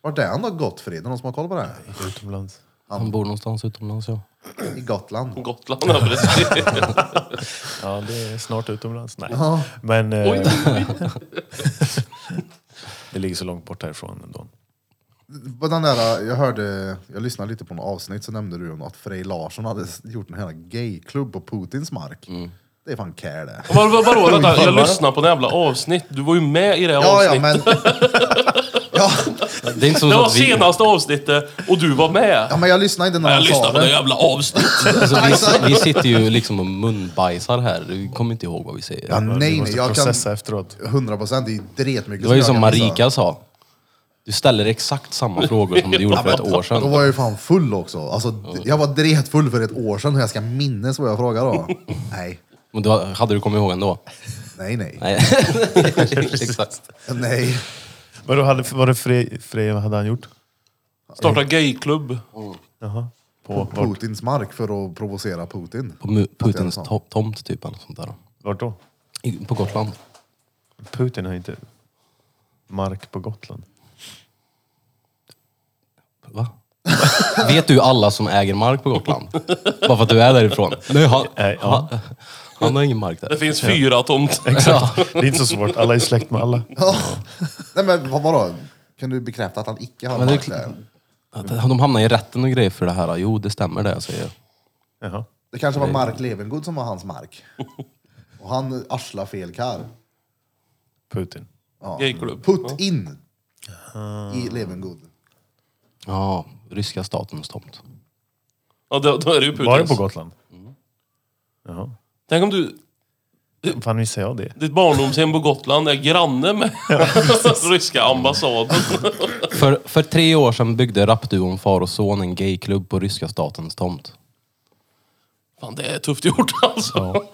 Speaker 2: Vart är han då Gottfrid? Är det någon som har koll på det?
Speaker 3: Utomlands.
Speaker 4: Han bor någonstans utomlands ja.
Speaker 2: I Gotland.
Speaker 1: Gotland, ja precis.
Speaker 3: Ja, det är snart utomlands. Nej. Men... eh, (laughs) det ligger så långt bort härifrån ändå.
Speaker 2: På den där, jag hörde, jag lyssnade lite på något avsnitt så nämnde du om att Frej Larsson hade gjort en hel gayklubb på Putins mark.
Speaker 1: Mm.
Speaker 2: Det är fan care det.
Speaker 1: Var, var, vadå, vänta, jag lyssnade på det jävla avsnitt. Du var ju med i det
Speaker 2: Ja, ja,
Speaker 1: avsnittet. (laughs)
Speaker 2: men, ja,
Speaker 4: Det är inte som
Speaker 1: Det
Speaker 4: så
Speaker 1: var
Speaker 4: att vi,
Speaker 1: senaste avsnittet och du var med.
Speaker 2: ja, men jag lyssnade inte när
Speaker 1: Jag
Speaker 2: han sa
Speaker 1: lyssnade på det
Speaker 2: det.
Speaker 1: jävla avsnittet.
Speaker 4: alltså, vi, vi sitter ju liksom och munbajsar här. Vi kommer inte ihåg vad vi säger.
Speaker 2: Ja,
Speaker 3: Vi
Speaker 2: nej, nej,
Speaker 3: måste
Speaker 2: jag kan
Speaker 3: processa efteråt.
Speaker 2: 100 procent, det är ju dretmycket
Speaker 4: Det var ju som
Speaker 2: jag kan missa.
Speaker 4: Marika sa. Du ställer exakt samma frågor som du gjorde för ett år
Speaker 2: Då
Speaker 4: sedan.
Speaker 2: var jag ju fan full också. Alltså, d- jag var dretfull för ett år sedan och jag ska minnas vad jag frågade då. Nej,
Speaker 4: Men då hade du kommit ihåg ändå?
Speaker 2: nej, nej. (laughs)
Speaker 4: Nej. exakt.
Speaker 2: nej.
Speaker 3: Vadå, hade, var det Frej, Frej, vad hade han gjort?
Speaker 1: Starta gayklubb.
Speaker 3: Jaha. På,
Speaker 2: På
Speaker 3: vart,
Speaker 2: Putins mark för att provocera Putin.
Speaker 4: På Mu- Putins
Speaker 2: sa.
Speaker 4: to- tomt typ eller något sånt där.
Speaker 3: vart då?
Speaker 4: I- På Gotland.
Speaker 3: Putin har inte mark på Gotland.
Speaker 4: Va? Vet du alla som äger mark på Gotland? Bara för att du är därifrån? Nej, han,
Speaker 3: Nej, Eh, ja.
Speaker 4: han, han har ingen mark
Speaker 1: Det
Speaker 4: där.
Speaker 1: finns fyra tomter.
Speaker 4: Ja.
Speaker 3: Det är inte så svårt, alla är släkt med alla.
Speaker 2: (laughs) Nej men vad, vadå? Kan du bekräfta att han icke har
Speaker 4: Men det är
Speaker 2: mark
Speaker 4: klart.
Speaker 2: där?
Speaker 4: Att De hamnar i rätten och grejer för det här. Jo, det stämmer det jag säger.
Speaker 3: Jaha.
Speaker 2: Det kanske var Mark Levengood som var hans
Speaker 3: (laughs)
Speaker 2: mark. Och han arsla fel karl.
Speaker 3: Putin.
Speaker 1: Gayklubb.
Speaker 2: Put in
Speaker 3: Ah.
Speaker 2: i Levengood.
Speaker 4: Ja, ryska statens tomt.
Speaker 1: Ja, då, då är det ju
Speaker 3: Var det på
Speaker 1: Putins.
Speaker 3: Gotland?
Speaker 4: Mm.
Speaker 3: Jaha.
Speaker 1: Tänk om du...
Speaker 3: Hur fan visste jag det?
Speaker 1: Ditt barndomshem på Gotland är granne med (laughs) ryska ambassaden.
Speaker 4: För, för tre år sedan byggde rapduon Far och Son en gayklubb på ryska statens tomt.
Speaker 1: Fan, det är tufft gjort alltså.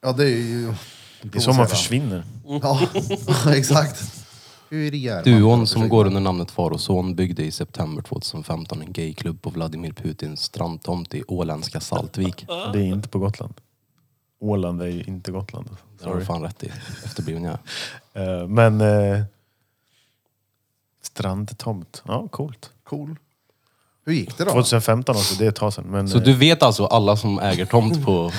Speaker 2: Ja det är ju...
Speaker 3: Det är så man försvinner.
Speaker 2: Ja, (laughs) exakt. Hur gör man?
Speaker 4: Duon som går under namnet Far och Son byggde i september 2015 en gayklubb på Vladimir Putins strandtomt i åländska Saltvik.
Speaker 3: Det är inte på Gotland. Åland är ju inte Gotland.
Speaker 4: Det har
Speaker 3: Sorry.
Speaker 4: du fan rätt i. Efterbliven jag är.
Speaker 3: Eh, Men... Eh, strandtomt. Ja, coolt.
Speaker 2: Cool. Hur gick det då?
Speaker 3: 2015 alltså, det är ett tag sedan. Men,
Speaker 4: Så
Speaker 3: eh,
Speaker 4: du vet alltså alla som äger tomt på,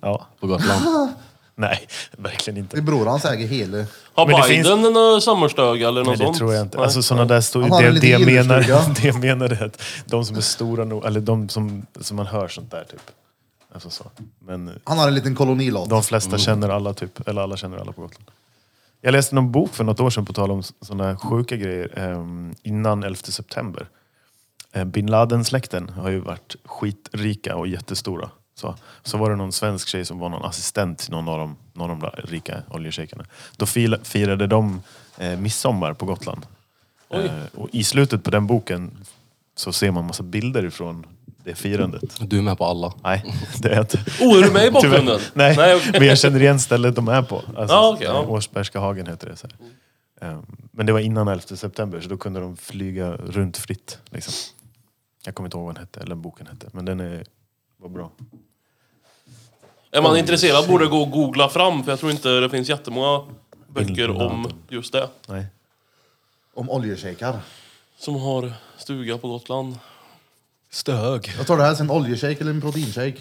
Speaker 3: ja.
Speaker 4: på Gotland?
Speaker 3: Nej, verkligen inte.
Speaker 2: Det är bror hans äger hela...
Speaker 1: Har
Speaker 3: Men det
Speaker 1: Biden en sommarstuga eller något
Speaker 3: Nej, det
Speaker 1: sånt?
Speaker 3: tror jag inte.
Speaker 1: Nej.
Speaker 3: Alltså sådana där står
Speaker 2: Han har en
Speaker 3: det, det,
Speaker 2: liten
Speaker 3: jag menar,
Speaker 2: gillestuga.
Speaker 3: (laughs) det jag menar är att de som är stora nog, eller de som, som man hör sånt där typ. Alltså så. Men eh,
Speaker 2: Han har en liten kolonilott.
Speaker 3: de flesta känner alla typ, eller alla känner alla på Gotland. Jag läste någon bok för något år sedan på tal om sådana sjuka grejer ehm, innan 11 september. Eh, Bin Laden-släkten har ju varit skitrika och jättestora. Så, så var det någon svensk tjej som var någon assistent till någon av de, någon av de rika oljeshejkerna. Då fila- firade de eh, midsommar på Gotland. Eh, och i slutet på den boken så ser man massa bilder ifrån det firandet.
Speaker 4: Du är med på alla.
Speaker 3: Nej, det är jag inte.
Speaker 1: Oh, är du med i bakgrunden?
Speaker 3: Tyvärr. Nej,
Speaker 1: Nej, okej.
Speaker 3: men jag känner igen stället de är på. Alltså,
Speaker 1: Ja, okej, ja.
Speaker 3: Årsbergska hagen heter det. Så här. Ehm, Men det var innan 11 september, så då kunde de flyga runt fritt. Liksom. Jag kommer inte ihåg vad den hette, eller boken hette, men den är, var bra.
Speaker 1: Är man intresserad borde gå och googla fram, för jag tror inte det finns jättemånga böcker om just det.
Speaker 3: Nej.
Speaker 2: Om oljeshejkar.
Speaker 1: Som har stuga på Gotland.
Speaker 4: Stög.
Speaker 2: Jag tar det här som en oljeshejk eller en proteinshejk.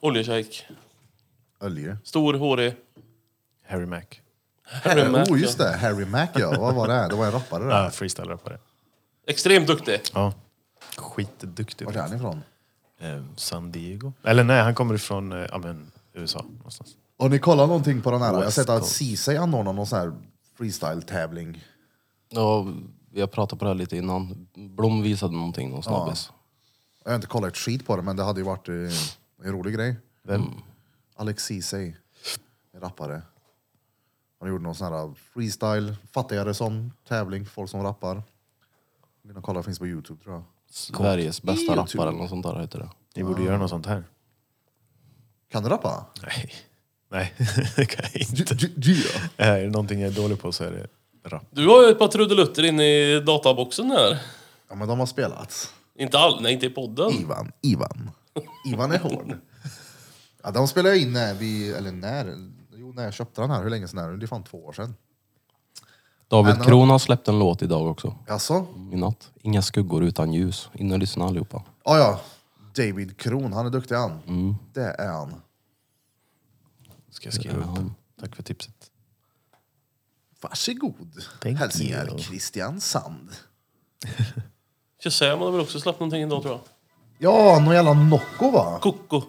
Speaker 1: Oljeshejk.
Speaker 2: Olje.
Speaker 1: Stor, hårig.
Speaker 3: Harry Mac. Äh,
Speaker 1: Harry Mack,
Speaker 2: Oh, just det. Harry Mac, ja. Vad var det? Det var en rappare där.
Speaker 3: Ah, freestyle på det.
Speaker 1: ja. Extremt duktig.
Speaker 3: Ja. Skitduktig.
Speaker 2: Vart är han ifrån?
Speaker 3: Ehm, San Diego? Eller nej, han kommer ifrån eh, ja, men, USA. Någonstans.
Speaker 2: Har ni kollat någonting på den här? Jag har sett att
Speaker 3: West
Speaker 2: Ceesay anordnar någon sån här freestyle-tävling.
Speaker 4: Ja, jag pratade på det här lite innan. Blom visade någonting, någon snabbis.
Speaker 2: Jag har inte kollat ett skit på det, men det hade ju varit eh, en rolig grej. Mm.
Speaker 3: Vem?
Speaker 2: Alex Ceesay, en rappare. Han gjorde någon sån här freestyle, fattigare som tävling, folk som rappar. Vill ni kolla, finns på Youtube tror jag.
Speaker 4: Sveriges bästa
Speaker 2: YouTube.
Speaker 4: rappare eller något sånt där heter det.
Speaker 3: Ni
Speaker 2: Ah.
Speaker 3: borde göra något sånt här.
Speaker 2: Kan du rappa?
Speaker 3: Nej. (laughs) Nej, det kan jag inte.
Speaker 2: Ja.
Speaker 3: Eh, Är det någonting jag är dålig på så är det rap.
Speaker 1: Du har ju ett par trudelutter inne i databoxen här.
Speaker 2: Ja men de har spelat.
Speaker 1: Inte all, nej inte i podden.
Speaker 2: (laughs) Ivan, Ivan. Ivan är hård. Ja, de spelade jag in när vi, eller när, jo när jag köpte den här, hur länge sedan är det? Det är fan två år sedan.
Speaker 4: David
Speaker 2: Men-
Speaker 4: Kron har släppt en låt idag också.
Speaker 2: Jaså?
Speaker 4: I natt. Inga skuggor utan ljus. In och lyssna allihopa.
Speaker 2: Ja, ja. David Kron, han är duktig han. Det är han.
Speaker 3: Ska jag skriva upp. Tack för tipset.
Speaker 2: Varsågod.
Speaker 3: Thank
Speaker 2: Hälsningar
Speaker 3: you.
Speaker 2: Christian Sand.
Speaker 1: Shazam har väl också släppt någonting idag tror jag.
Speaker 2: Ja, någon jävla Nocco va?
Speaker 1: Koko.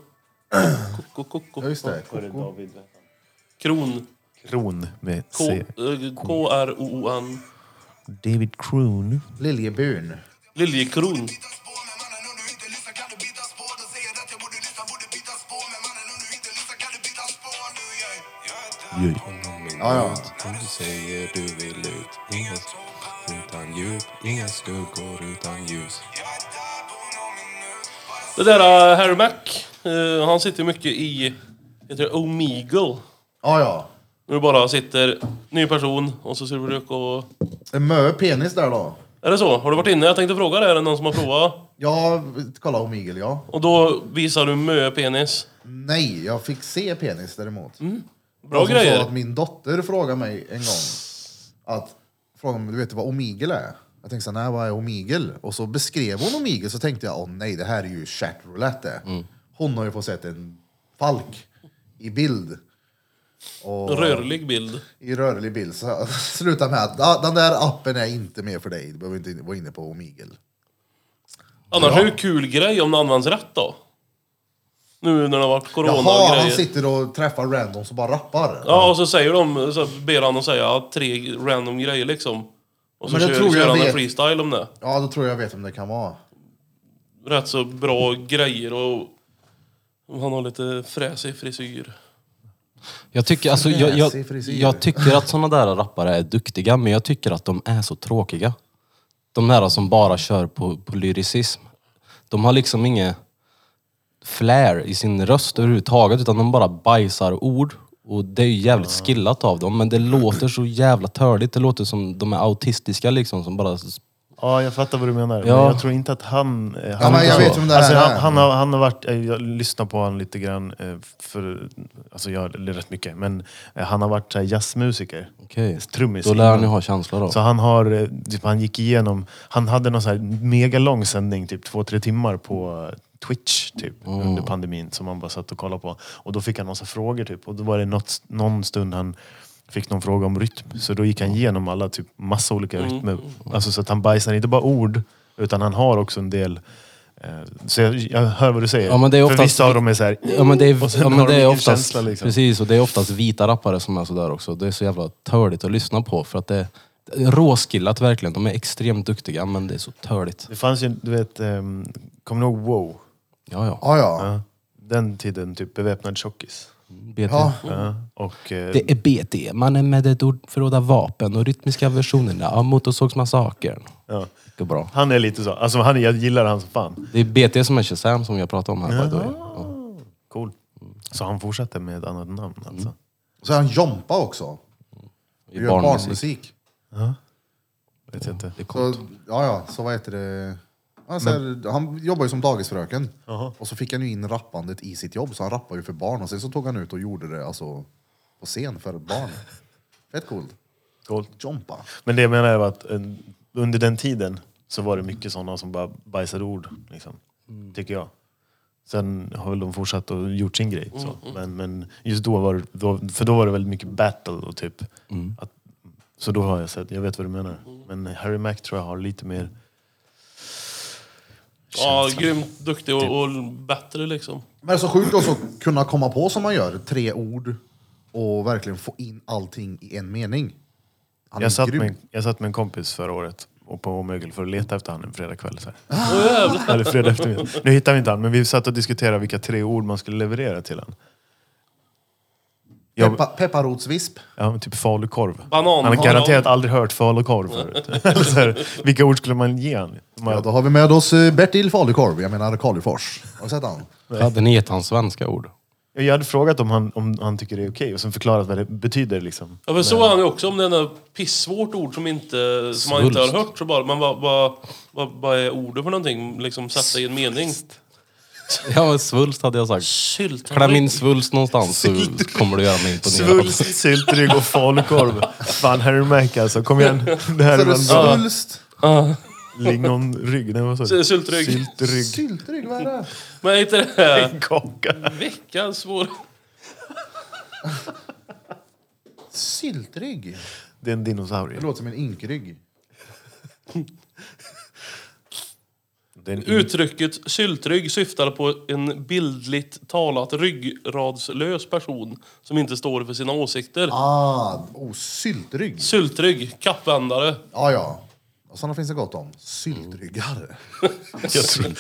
Speaker 1: Koko, koko.
Speaker 2: Ja, just det. Coco.
Speaker 1: Kron.
Speaker 3: Kron med
Speaker 1: K-
Speaker 3: C.
Speaker 1: eh, K-R-O-O-N.
Speaker 3: David Kron.
Speaker 2: Liljebyn.
Speaker 1: Liljekron.
Speaker 2: Ja, ja.
Speaker 4: Du säger du vill ut. Inga utan djup. Inga skuggor utan ljus.
Speaker 1: Det där eh, Harry Mack, eh, han sitter mycket i, heter det Omegle?
Speaker 2: Ja, ja.
Speaker 1: Nu du bara sitter, ny person, och så ser du rök och...
Speaker 2: En mö penis där då.
Speaker 1: Är det så? Har du varit inne? Jag tänkte fråga det, är det någon som har provat?
Speaker 2: Ja, kolla Omigel ja.
Speaker 1: Och då visar du mö-penis.
Speaker 2: Nej, jag fick se penis däremot.
Speaker 1: Bra
Speaker 2: Och som Alltså, sa
Speaker 1: grejer!
Speaker 2: att min dotter frågade mig en gång att frågade om du vet vad omigel är. Jag tänkte så här, nej vad är omigel? Och så beskrev hon omigel så tänkte jag, åh nej det här är ju chat roulette. det.
Speaker 1: Mm.
Speaker 2: Hon har ju fått sett en falk i bild. Och
Speaker 1: Rörlig bild.
Speaker 2: I rörlig bild. Så (laughs) sluta med att "Ah, den där appen är inte med för dig. Du behöver inte vara inne på omigel.
Speaker 1: Annars är det ju kul grej om det används rätt då. Nu när det har varit corona och
Speaker 2: Jaha, han
Speaker 1: grejer.
Speaker 2: sitter och träffar randoms och bara rappar.
Speaker 1: Ja, och så säger de, så ber han att säga tre random grejer liksom. Och så
Speaker 2: Men det
Speaker 1: kör,
Speaker 2: tror jag
Speaker 1: kör han en
Speaker 2: vet.
Speaker 1: freestyle om det.
Speaker 2: Ja, då tror jag jag vet vem det kan vara.
Speaker 1: Rätt så bra grejer och... Han har lite fräsig frisyr.
Speaker 4: Jag tycker, alltså, jag, jag,
Speaker 2: Fräsig frisyr.
Speaker 4: jag tycker att såna där rappare är duktiga, men jag tycker att de är så tråkiga. De där som bara kör på, på lyricism. De har liksom inget flair i sin röst överhuvudtaget, utan de bara bajsar ord. Och det är ju jävligt skillat av dem, men det låter så jävla törligt. Det låter som de är autistiska liksom, som bara...
Speaker 3: Ja, jag fattar vad du menar. Men
Speaker 4: Ja.
Speaker 3: jag tror inte att han... eh, han
Speaker 2: men jag
Speaker 3: så.
Speaker 2: vet vem det
Speaker 3: alltså,
Speaker 2: här
Speaker 3: han,
Speaker 2: är.
Speaker 3: han, har, han har varit... eh, Jag lyssnar på honom lite grann. eh, För, alltså jag eller rätt mycket. Men eh, han har varit så här jazzmusiker.
Speaker 4: Okej,
Speaker 3: Trummis.
Speaker 4: då lär
Speaker 3: innan.
Speaker 4: ni ha känslor då.
Speaker 3: Så han har, eh, typ, han gick igenom, han hade någon så här mega lång sändning, typ två, tre timmar på eh, Twitch typ,
Speaker 4: Mm.
Speaker 3: under pandemin som han bara satt och kollade på. Och då fick han massa frågor typ. Och då var det något, någon stund han fick någon fråga om rytm. Så då gick han igenom alla, typ massa olika
Speaker 4: Mm.
Speaker 3: rytmer. Alltså så att han bajsar inte bara ord, utan han har också en del eh, så jag, jag hör vad du säger.
Speaker 4: Ja, men det är
Speaker 3: För
Speaker 4: oftast-
Speaker 3: vissa av dem är så här...
Speaker 4: Ja men det
Speaker 3: och
Speaker 4: är,
Speaker 3: sen
Speaker 4: ja, men
Speaker 3: har de
Speaker 4: det är
Speaker 3: ingen
Speaker 4: oftast,
Speaker 3: känsla, liksom.
Speaker 4: precis, och det är oftast vita rappare som är sådär också. Det är så jävla törligt att lyssna på för att det det är råskillat verkligen. De är extremt duktiga men det är så törligt.
Speaker 3: ehm, Det fanns ju, du vet, um, kommer du ihåg Wow?
Speaker 4: Ja, ja.
Speaker 2: Ja, ja.
Speaker 3: den tiden typ beväpnad tjockis.
Speaker 4: BT.
Speaker 2: Ja.
Speaker 3: Ja, och, eh,
Speaker 4: Det är BT, mannen med det ordförråda vapen och rytmiska versionerna av Motorsågsmassakern.
Speaker 3: ja.
Speaker 4: Det är bra.
Speaker 3: Han är lite så. Alltså, han, jag gillar han som fan.
Speaker 4: Det är BT som är Shazam som jag pratade om här. by the way.
Speaker 3: Cool. Så han fortsätter med ett annat namn alltså.
Speaker 2: Så är han Jompa också.
Speaker 4: Ja, i
Speaker 2: Gör barnmusik.
Speaker 3: Vet jag inte.
Speaker 2: Så, ja, ja, så vad heter det? Han, så här, han jobbar ju som dagisfröken. Och så fick han ju in rappandet i sitt jobb, så han rappade ju för barn. Och sen så tog han ut och gjorde det alltså, på scen för
Speaker 3: (laughs)
Speaker 2: barn. Fett coolt.
Speaker 3: Coolt.
Speaker 2: Jompa.
Speaker 3: Men det jag menar är att eh, under den tiden så var det mycket sådana som bara bajsade ord. Liksom, Tycker jag. Sen har väl de fortsatt och gjort sin grej. Så. Men, men just då var det, då, för då var det väldigt mycket battle och typ. Att, så då har jag sett, jag vet vad du menar. Men Harry Mack tror jag har lite mer...
Speaker 1: Ja,
Speaker 3: känsla.
Speaker 1: grymt duktig och, och bättre liksom.
Speaker 2: Men det är så sjukt också att kunna komma på som man gör, tre ord och verkligen få in allting i en mening. Han
Speaker 3: Jag
Speaker 2: är
Speaker 3: satt,
Speaker 2: grym.
Speaker 3: med, jag satt med en kompis förra året och på Åmögel för att leta efter han en fredagkväll. Så här.
Speaker 1: Åh jävlar!
Speaker 3: Eller fredag eftermiddag. Nu hittar vi inte han, men vi satt och diskuterade vilka tre ord man skulle leverera till han. Jag,
Speaker 2: Peppa, pepparrotsvisp.
Speaker 3: ja, men typ falukorv.
Speaker 1: Banan.
Speaker 3: Han har garanterat aldrig hört falukorv förut.
Speaker 1: (laughs)
Speaker 3: Eller så här, vilka ord skulle man ge han? Man,
Speaker 2: Ja, då har vi med oss eh, Bertil Falukorv, jag menar Kalifors. Har du sett han?
Speaker 4: Hade ni gett hans svenska ord?
Speaker 3: Jag hade frågat om han, om han tycker det är okej och sen förklarat vad det betyder. Liksom.
Speaker 1: Ja, för så är han ju också om det är något pissvårt ord som, inte, som man inte har
Speaker 4: Svulst.
Speaker 1: hört. Så bara, men vad, vad, vad, vad är ordet för någonting? Liksom sätta i en mening.
Speaker 4: Ja, men svulst hade jag sagt.
Speaker 1: Sylt.
Speaker 4: Kläm in svulst någonstans så kommer du göra mig imponerad.
Speaker 3: Svulst, (laughs) syltrygg och falukorv. Fan, Harry Mack alltså. Kom igen. Det här
Speaker 2: Så
Speaker 3: är
Speaker 2: är Alltså, det
Speaker 3: väl bra.
Speaker 2: svulst,
Speaker 3: Lingonrygg. Nej, vad sa du?
Speaker 1: S- syltrygg.
Speaker 3: Syltrygg.
Speaker 2: syltrygg, vad är det?
Speaker 1: Men är inte det här
Speaker 3: Kaka.
Speaker 1: veckans svår...
Speaker 2: Syltrygg?
Speaker 3: Det är en
Speaker 2: Det
Speaker 3: dinosaurie.
Speaker 2: låter som en inkrygg.
Speaker 3: Det är en
Speaker 1: Uttrycket syltrygg syftar på en bildligt talat ryggradslös person som inte står för sina åsikter.
Speaker 2: Ah, oh, syltrygg.
Speaker 1: Syltrygg, kappvändare.
Speaker 2: Ja, ja. Och sådana finns det gott om. Syltryggar.
Speaker 3: jag tror,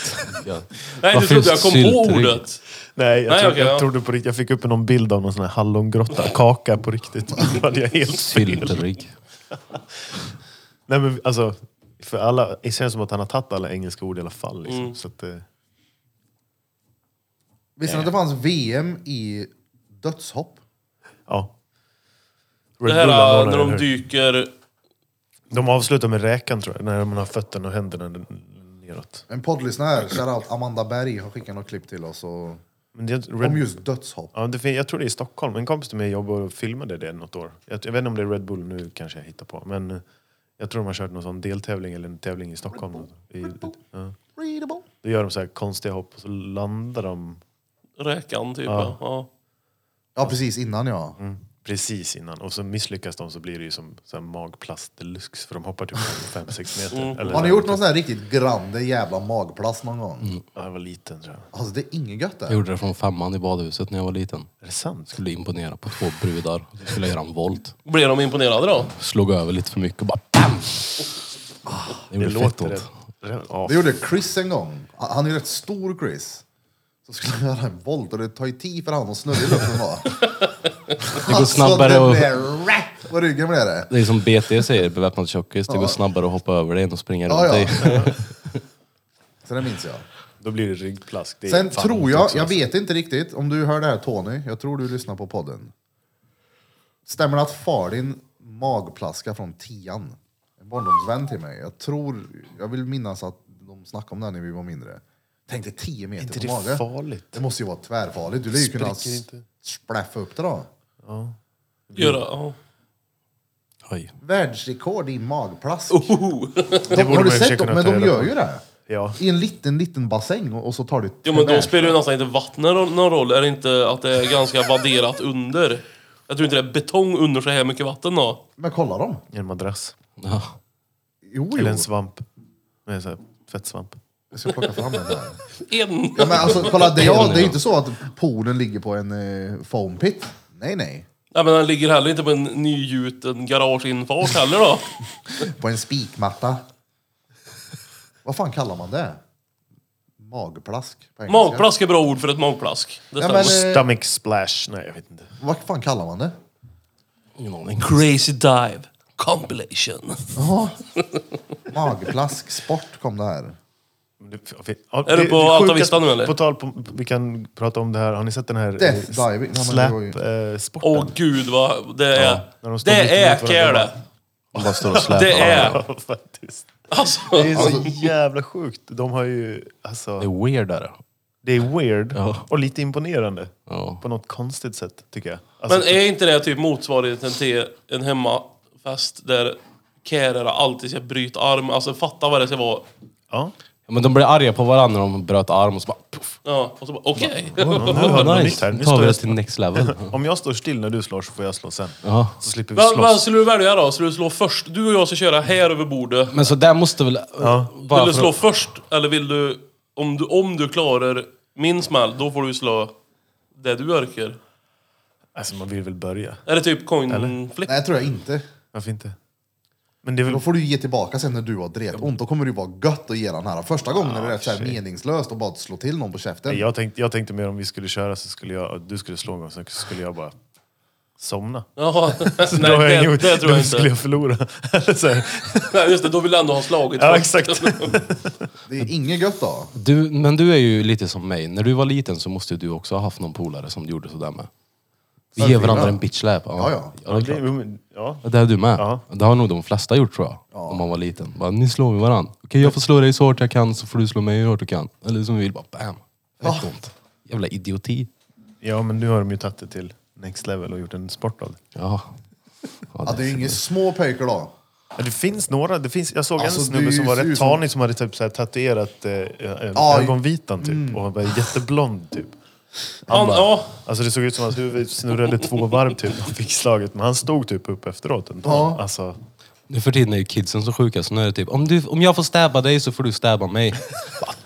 Speaker 4: Ja.
Speaker 1: Nej,
Speaker 4: Vad
Speaker 1: du trodde jag
Speaker 4: finns
Speaker 1: kom på
Speaker 4: syltrygg?
Speaker 1: ordet.
Speaker 3: nej, jag,
Speaker 1: Nej,
Speaker 3: tror,
Speaker 1: okej,
Speaker 3: jag
Speaker 1: ja.
Speaker 3: trodde på riktigt. Jag fick upp någon bild av någon sån här hallongrotta. Kaka på riktigt. (laughs) Då hade jag helt fel.
Speaker 4: Syltrygg.
Speaker 3: Nej, men alltså, för alla, det känns som att han har tagit alla engelska ord i alla fall. Liksom.
Speaker 1: Mm.
Speaker 3: Så att, eh,
Speaker 2: Visste ni att det fanns VM i dödshopp?
Speaker 3: ja. Red
Speaker 1: Det här eh,
Speaker 3: Bull anordnar
Speaker 1: när
Speaker 3: den
Speaker 1: de
Speaker 3: här.
Speaker 1: dyker...
Speaker 3: de avslutar med räkan tror jag, när man har fötterna och händerna neråt.
Speaker 2: En poddlyssnare, shoutout Amanda Berg, har skickat något klipp till oss. Och...
Speaker 3: Men det, Red,
Speaker 2: Om just dödshopp.
Speaker 3: ja, det, fin- jag tror det är i Stockholm. En kompis till mig jobbade och filmade det något år. Jag, jag vet inte om det är Red Bull nu, kanske jag hittar på. Men eh, jag tror de har kört någon sån deltävling eller en tävling i Stockholm. I, ja.
Speaker 2: Readable.
Speaker 3: Då gör de så här konstiga hopp och så landar de
Speaker 1: Räkan, typ.
Speaker 3: Ja.
Speaker 1: Ja. Ja.
Speaker 2: Ja, precis innan ja.
Speaker 3: precis innan. Och så misslyckas de så blir det ju som så här magplast deluxe för de hoppar typ 5-6 meter.
Speaker 1: Mm.
Speaker 3: Eller,
Speaker 2: Har ni gjort någon sån här riktigt grande jävla magplast någon gång?
Speaker 3: Ja, jag var liten tror jag.
Speaker 2: Alltså det är inget gött
Speaker 4: Jag
Speaker 2: det.
Speaker 4: gjorde det från femman i badhuset när jag var liten.
Speaker 3: Är det sant?
Speaker 4: Skulle imponera på två brudar. Så skulle jag göra en volt.
Speaker 1: Blir de imponerade då?
Speaker 4: Slog över lite för mycket och bara BAM! Det
Speaker 3: Det
Speaker 4: gjorde fett
Speaker 3: låter
Speaker 4: ont.
Speaker 3: rätt. rätt- Ja,
Speaker 2: Det gjorde Chris en gång. Han är ju rätt stor Chris. Så skulle han göra en volt och det tar ju tid för han att snurra i luften bara. Alltså,
Speaker 4: Det går snabbare
Speaker 2: och...
Speaker 4: och...
Speaker 2: rap på ryggen blev det.
Speaker 4: Det är som BT säger, beväpnad tjockis. Det går snabbare att hoppa över dig än att springa runt
Speaker 2: Ja,
Speaker 4: dig.
Speaker 2: ja. Så det minns jag.
Speaker 3: Då blir det ryggplask. Det är
Speaker 2: Sen
Speaker 3: fan
Speaker 2: tror
Speaker 3: ont
Speaker 2: jag,
Speaker 3: också,
Speaker 2: jag
Speaker 3: alltså.
Speaker 2: vet inte riktigt, om du hör det här Tony, jag tror du lyssnar på podden. Stämmer det att far din magplaska från tian? En barndomsvän till mig. Jag tror, jag vill minnas att de snackade om det här när vi var mindre. Tänkte 10 meter
Speaker 3: inte
Speaker 2: på
Speaker 3: det
Speaker 2: magen.
Speaker 3: farligt?
Speaker 2: Det måste ju vara tvärfarligt. Du lär ju kunna
Speaker 3: Spricker
Speaker 2: s-
Speaker 3: inte.
Speaker 2: splaffa upp det då.
Speaker 1: Göra...
Speaker 2: (laughs)
Speaker 1: Ja.
Speaker 4: Oj.
Speaker 2: Världsrekord i magplask.
Speaker 1: Oho.
Speaker 2: de,
Speaker 3: borde
Speaker 2: har du
Speaker 3: man i och för sig
Speaker 2: sett dem?
Speaker 3: kunna
Speaker 2: Men
Speaker 3: ta
Speaker 2: de
Speaker 3: reda
Speaker 2: gör
Speaker 3: på.
Speaker 2: ju det.
Speaker 3: Ja.
Speaker 2: I en liten, liten bassäng och, och så tar det
Speaker 1: Jo men då
Speaker 2: tyvärr.
Speaker 1: spelar ju nästan inte vattnet någon någon roll. Är det inte att det är ganska vadderat under? Jag tror inte det är betong under så här mycket vatten då.
Speaker 2: Men kolla dem.
Speaker 3: En madrass.
Speaker 4: (laughs) Ja.
Speaker 2: Jo, jo.
Speaker 3: Eller en svamp. Med så här, tvättsvamp.
Speaker 2: Jag ska plocka fram den där.
Speaker 1: En!
Speaker 2: Ja, men alltså, kolla, det, ja, det är
Speaker 4: Ja.
Speaker 2: inte så att poolen ligger på en eh, foam pit. Nej, nej.
Speaker 1: Nej men den ligger heller inte på en nygjuten garageinfart heller då.
Speaker 2: På en spikmatta. Vad fan kallar man det? Magplask på engelska.
Speaker 1: Magplask är bra ord för ett magplask. Det
Speaker 2: Liksom. Ja,
Speaker 1: stämmer.
Speaker 2: men, eh,
Speaker 3: Stomach splash. Nej, jag vet inte.
Speaker 2: Vad fan kallar man det?
Speaker 4: Ingen aning.
Speaker 1: Crazy Dive Compilation.
Speaker 2: Ja. Magplask sport kom det här.
Speaker 1: Är du på Alta Vista nu, eller?
Speaker 3: På tal på, vi kan prata om det här. Har ni sett den här
Speaker 2: Death
Speaker 3: eh, s-
Speaker 2: diving. Ja, men det var ju-
Speaker 3: slap-sporten?
Speaker 1: Åh gud vad det är.
Speaker 3: när de står mitt
Speaker 1: det är
Speaker 3: emot varandra.
Speaker 1: kärle.
Speaker 4: De bara står och släpar.
Speaker 1: Det är.
Speaker 3: (laughs) Ja, faktiskt.
Speaker 1: Alltså,
Speaker 3: Det är så jävla sjukt. De har ju...
Speaker 4: Det
Speaker 3: Alltså,
Speaker 4: är weirdare.
Speaker 3: det är weird
Speaker 4: Ja.
Speaker 3: och lite imponerande.
Speaker 4: Ja.
Speaker 3: På något konstigt sätt, tycker jag. Alltså,
Speaker 1: men är inte det typ motsvarigheten till en hemmafest där kärare alltid ska bryta arm? Alltså fatta vad det ska vara.
Speaker 3: ja.
Speaker 4: Ja, Men de blev arga på varandra när de bröt arm och så bara... Puff.
Speaker 1: Ja, och så bara okej.
Speaker 3: nu har vi nytt
Speaker 4: nice.
Speaker 3: här.
Speaker 4: Nu
Speaker 3: Nu
Speaker 4: tar
Speaker 3: står
Speaker 4: vi det
Speaker 3: jag
Speaker 4: till next level.
Speaker 3: Om jag står still när du slår så får jag slå sen.
Speaker 4: Ja.
Speaker 3: Så slipper vi
Speaker 1: Vad vad
Speaker 3: slåss.
Speaker 1: skulle du välja då? Skulle du slå först? Du och jag ska köra här över bordet.
Speaker 4: (laughs) Men så där måste väl...
Speaker 3: Ja.
Speaker 4: Bara
Speaker 1: vill du
Speaker 4: för
Speaker 1: slå
Speaker 4: att-
Speaker 1: först eller vill du om, du... om du klarar min smäll, då får du slå det du orkar.
Speaker 3: Alltså man vill väl börja?
Speaker 1: Är det typ coin flip?
Speaker 2: Nej, tror jag inte.
Speaker 3: Varför inte? Men det är väl...
Speaker 2: Då får du ge tillbaka sen när du har dret ont. Då kommer det ju vara gött att ge den här. Första gången är det rätt så här meningslöst att bara slå till någon på käften.
Speaker 3: Nej, Jag tänkte, jag tänkte mer om vi skulle köra så skulle jag... Du skulle slå en gång, sen skulle jag bara somna.
Speaker 1: Jaha.
Speaker 3: (laughs) Då har jag
Speaker 1: Nej, det,
Speaker 3: ingen-
Speaker 1: det tror jag
Speaker 3: då skulle
Speaker 1: inte.
Speaker 3: jag förlora. (laughs) Eller så här.
Speaker 1: Nej, just det, då vill jag ändå ha slagit
Speaker 3: Ja,
Speaker 1: först. (laughs)
Speaker 3: exakt.
Speaker 2: Det är inget gött då.
Speaker 4: Du, men du är ju lite som mig. När du var liten så måste du också ha haft någon polare som du gjorde sådär med. Vi ger
Speaker 2: Verkligen.
Speaker 4: varandra en bitch slap. Ja,
Speaker 2: Ja, ja.
Speaker 4: det, är
Speaker 3: Det-
Speaker 4: klart.
Speaker 3: men- ja.
Speaker 4: det är du med.
Speaker 3: Ja.
Speaker 4: Det har nog de flesta gjort tror jag. Om man var liten. Bara, ni slår vi varandra. Okej, jag får slå dig så hårt jag kan så får du slå mig hur hårt du kan. Eller som vi vill, bara bam. Fett ont. Jävla idioti.
Speaker 3: ja, men nu har de ju tagit det till next level och gjort en sport av det.
Speaker 4: Ja. Ja,
Speaker 2: Ja, det är ju inga små pojkar då.
Speaker 3: Ja, det finns några. Det finns, jag såg
Speaker 2: Alltså,
Speaker 3: en
Speaker 2: det
Speaker 3: snubbe som var
Speaker 2: ser ju
Speaker 3: rätt
Speaker 2: som-
Speaker 3: tanig som hade typ så här tatuerat eh, ö-
Speaker 2: Ja, mm.
Speaker 3: ögonvitan typ. Och han var jätteblond typ.
Speaker 1: Han, ja,
Speaker 3: Alltså det såg ut som att hans huvud snurrade två varv typ och fick slaget. Men han stod typ upp efteråt ändå.
Speaker 2: Ja.
Speaker 3: Alltså,
Speaker 4: Nu för tiden är ju kidsen så sjuka så nu är det typ, om, du, om jag får stäba dig så får du stäba mig.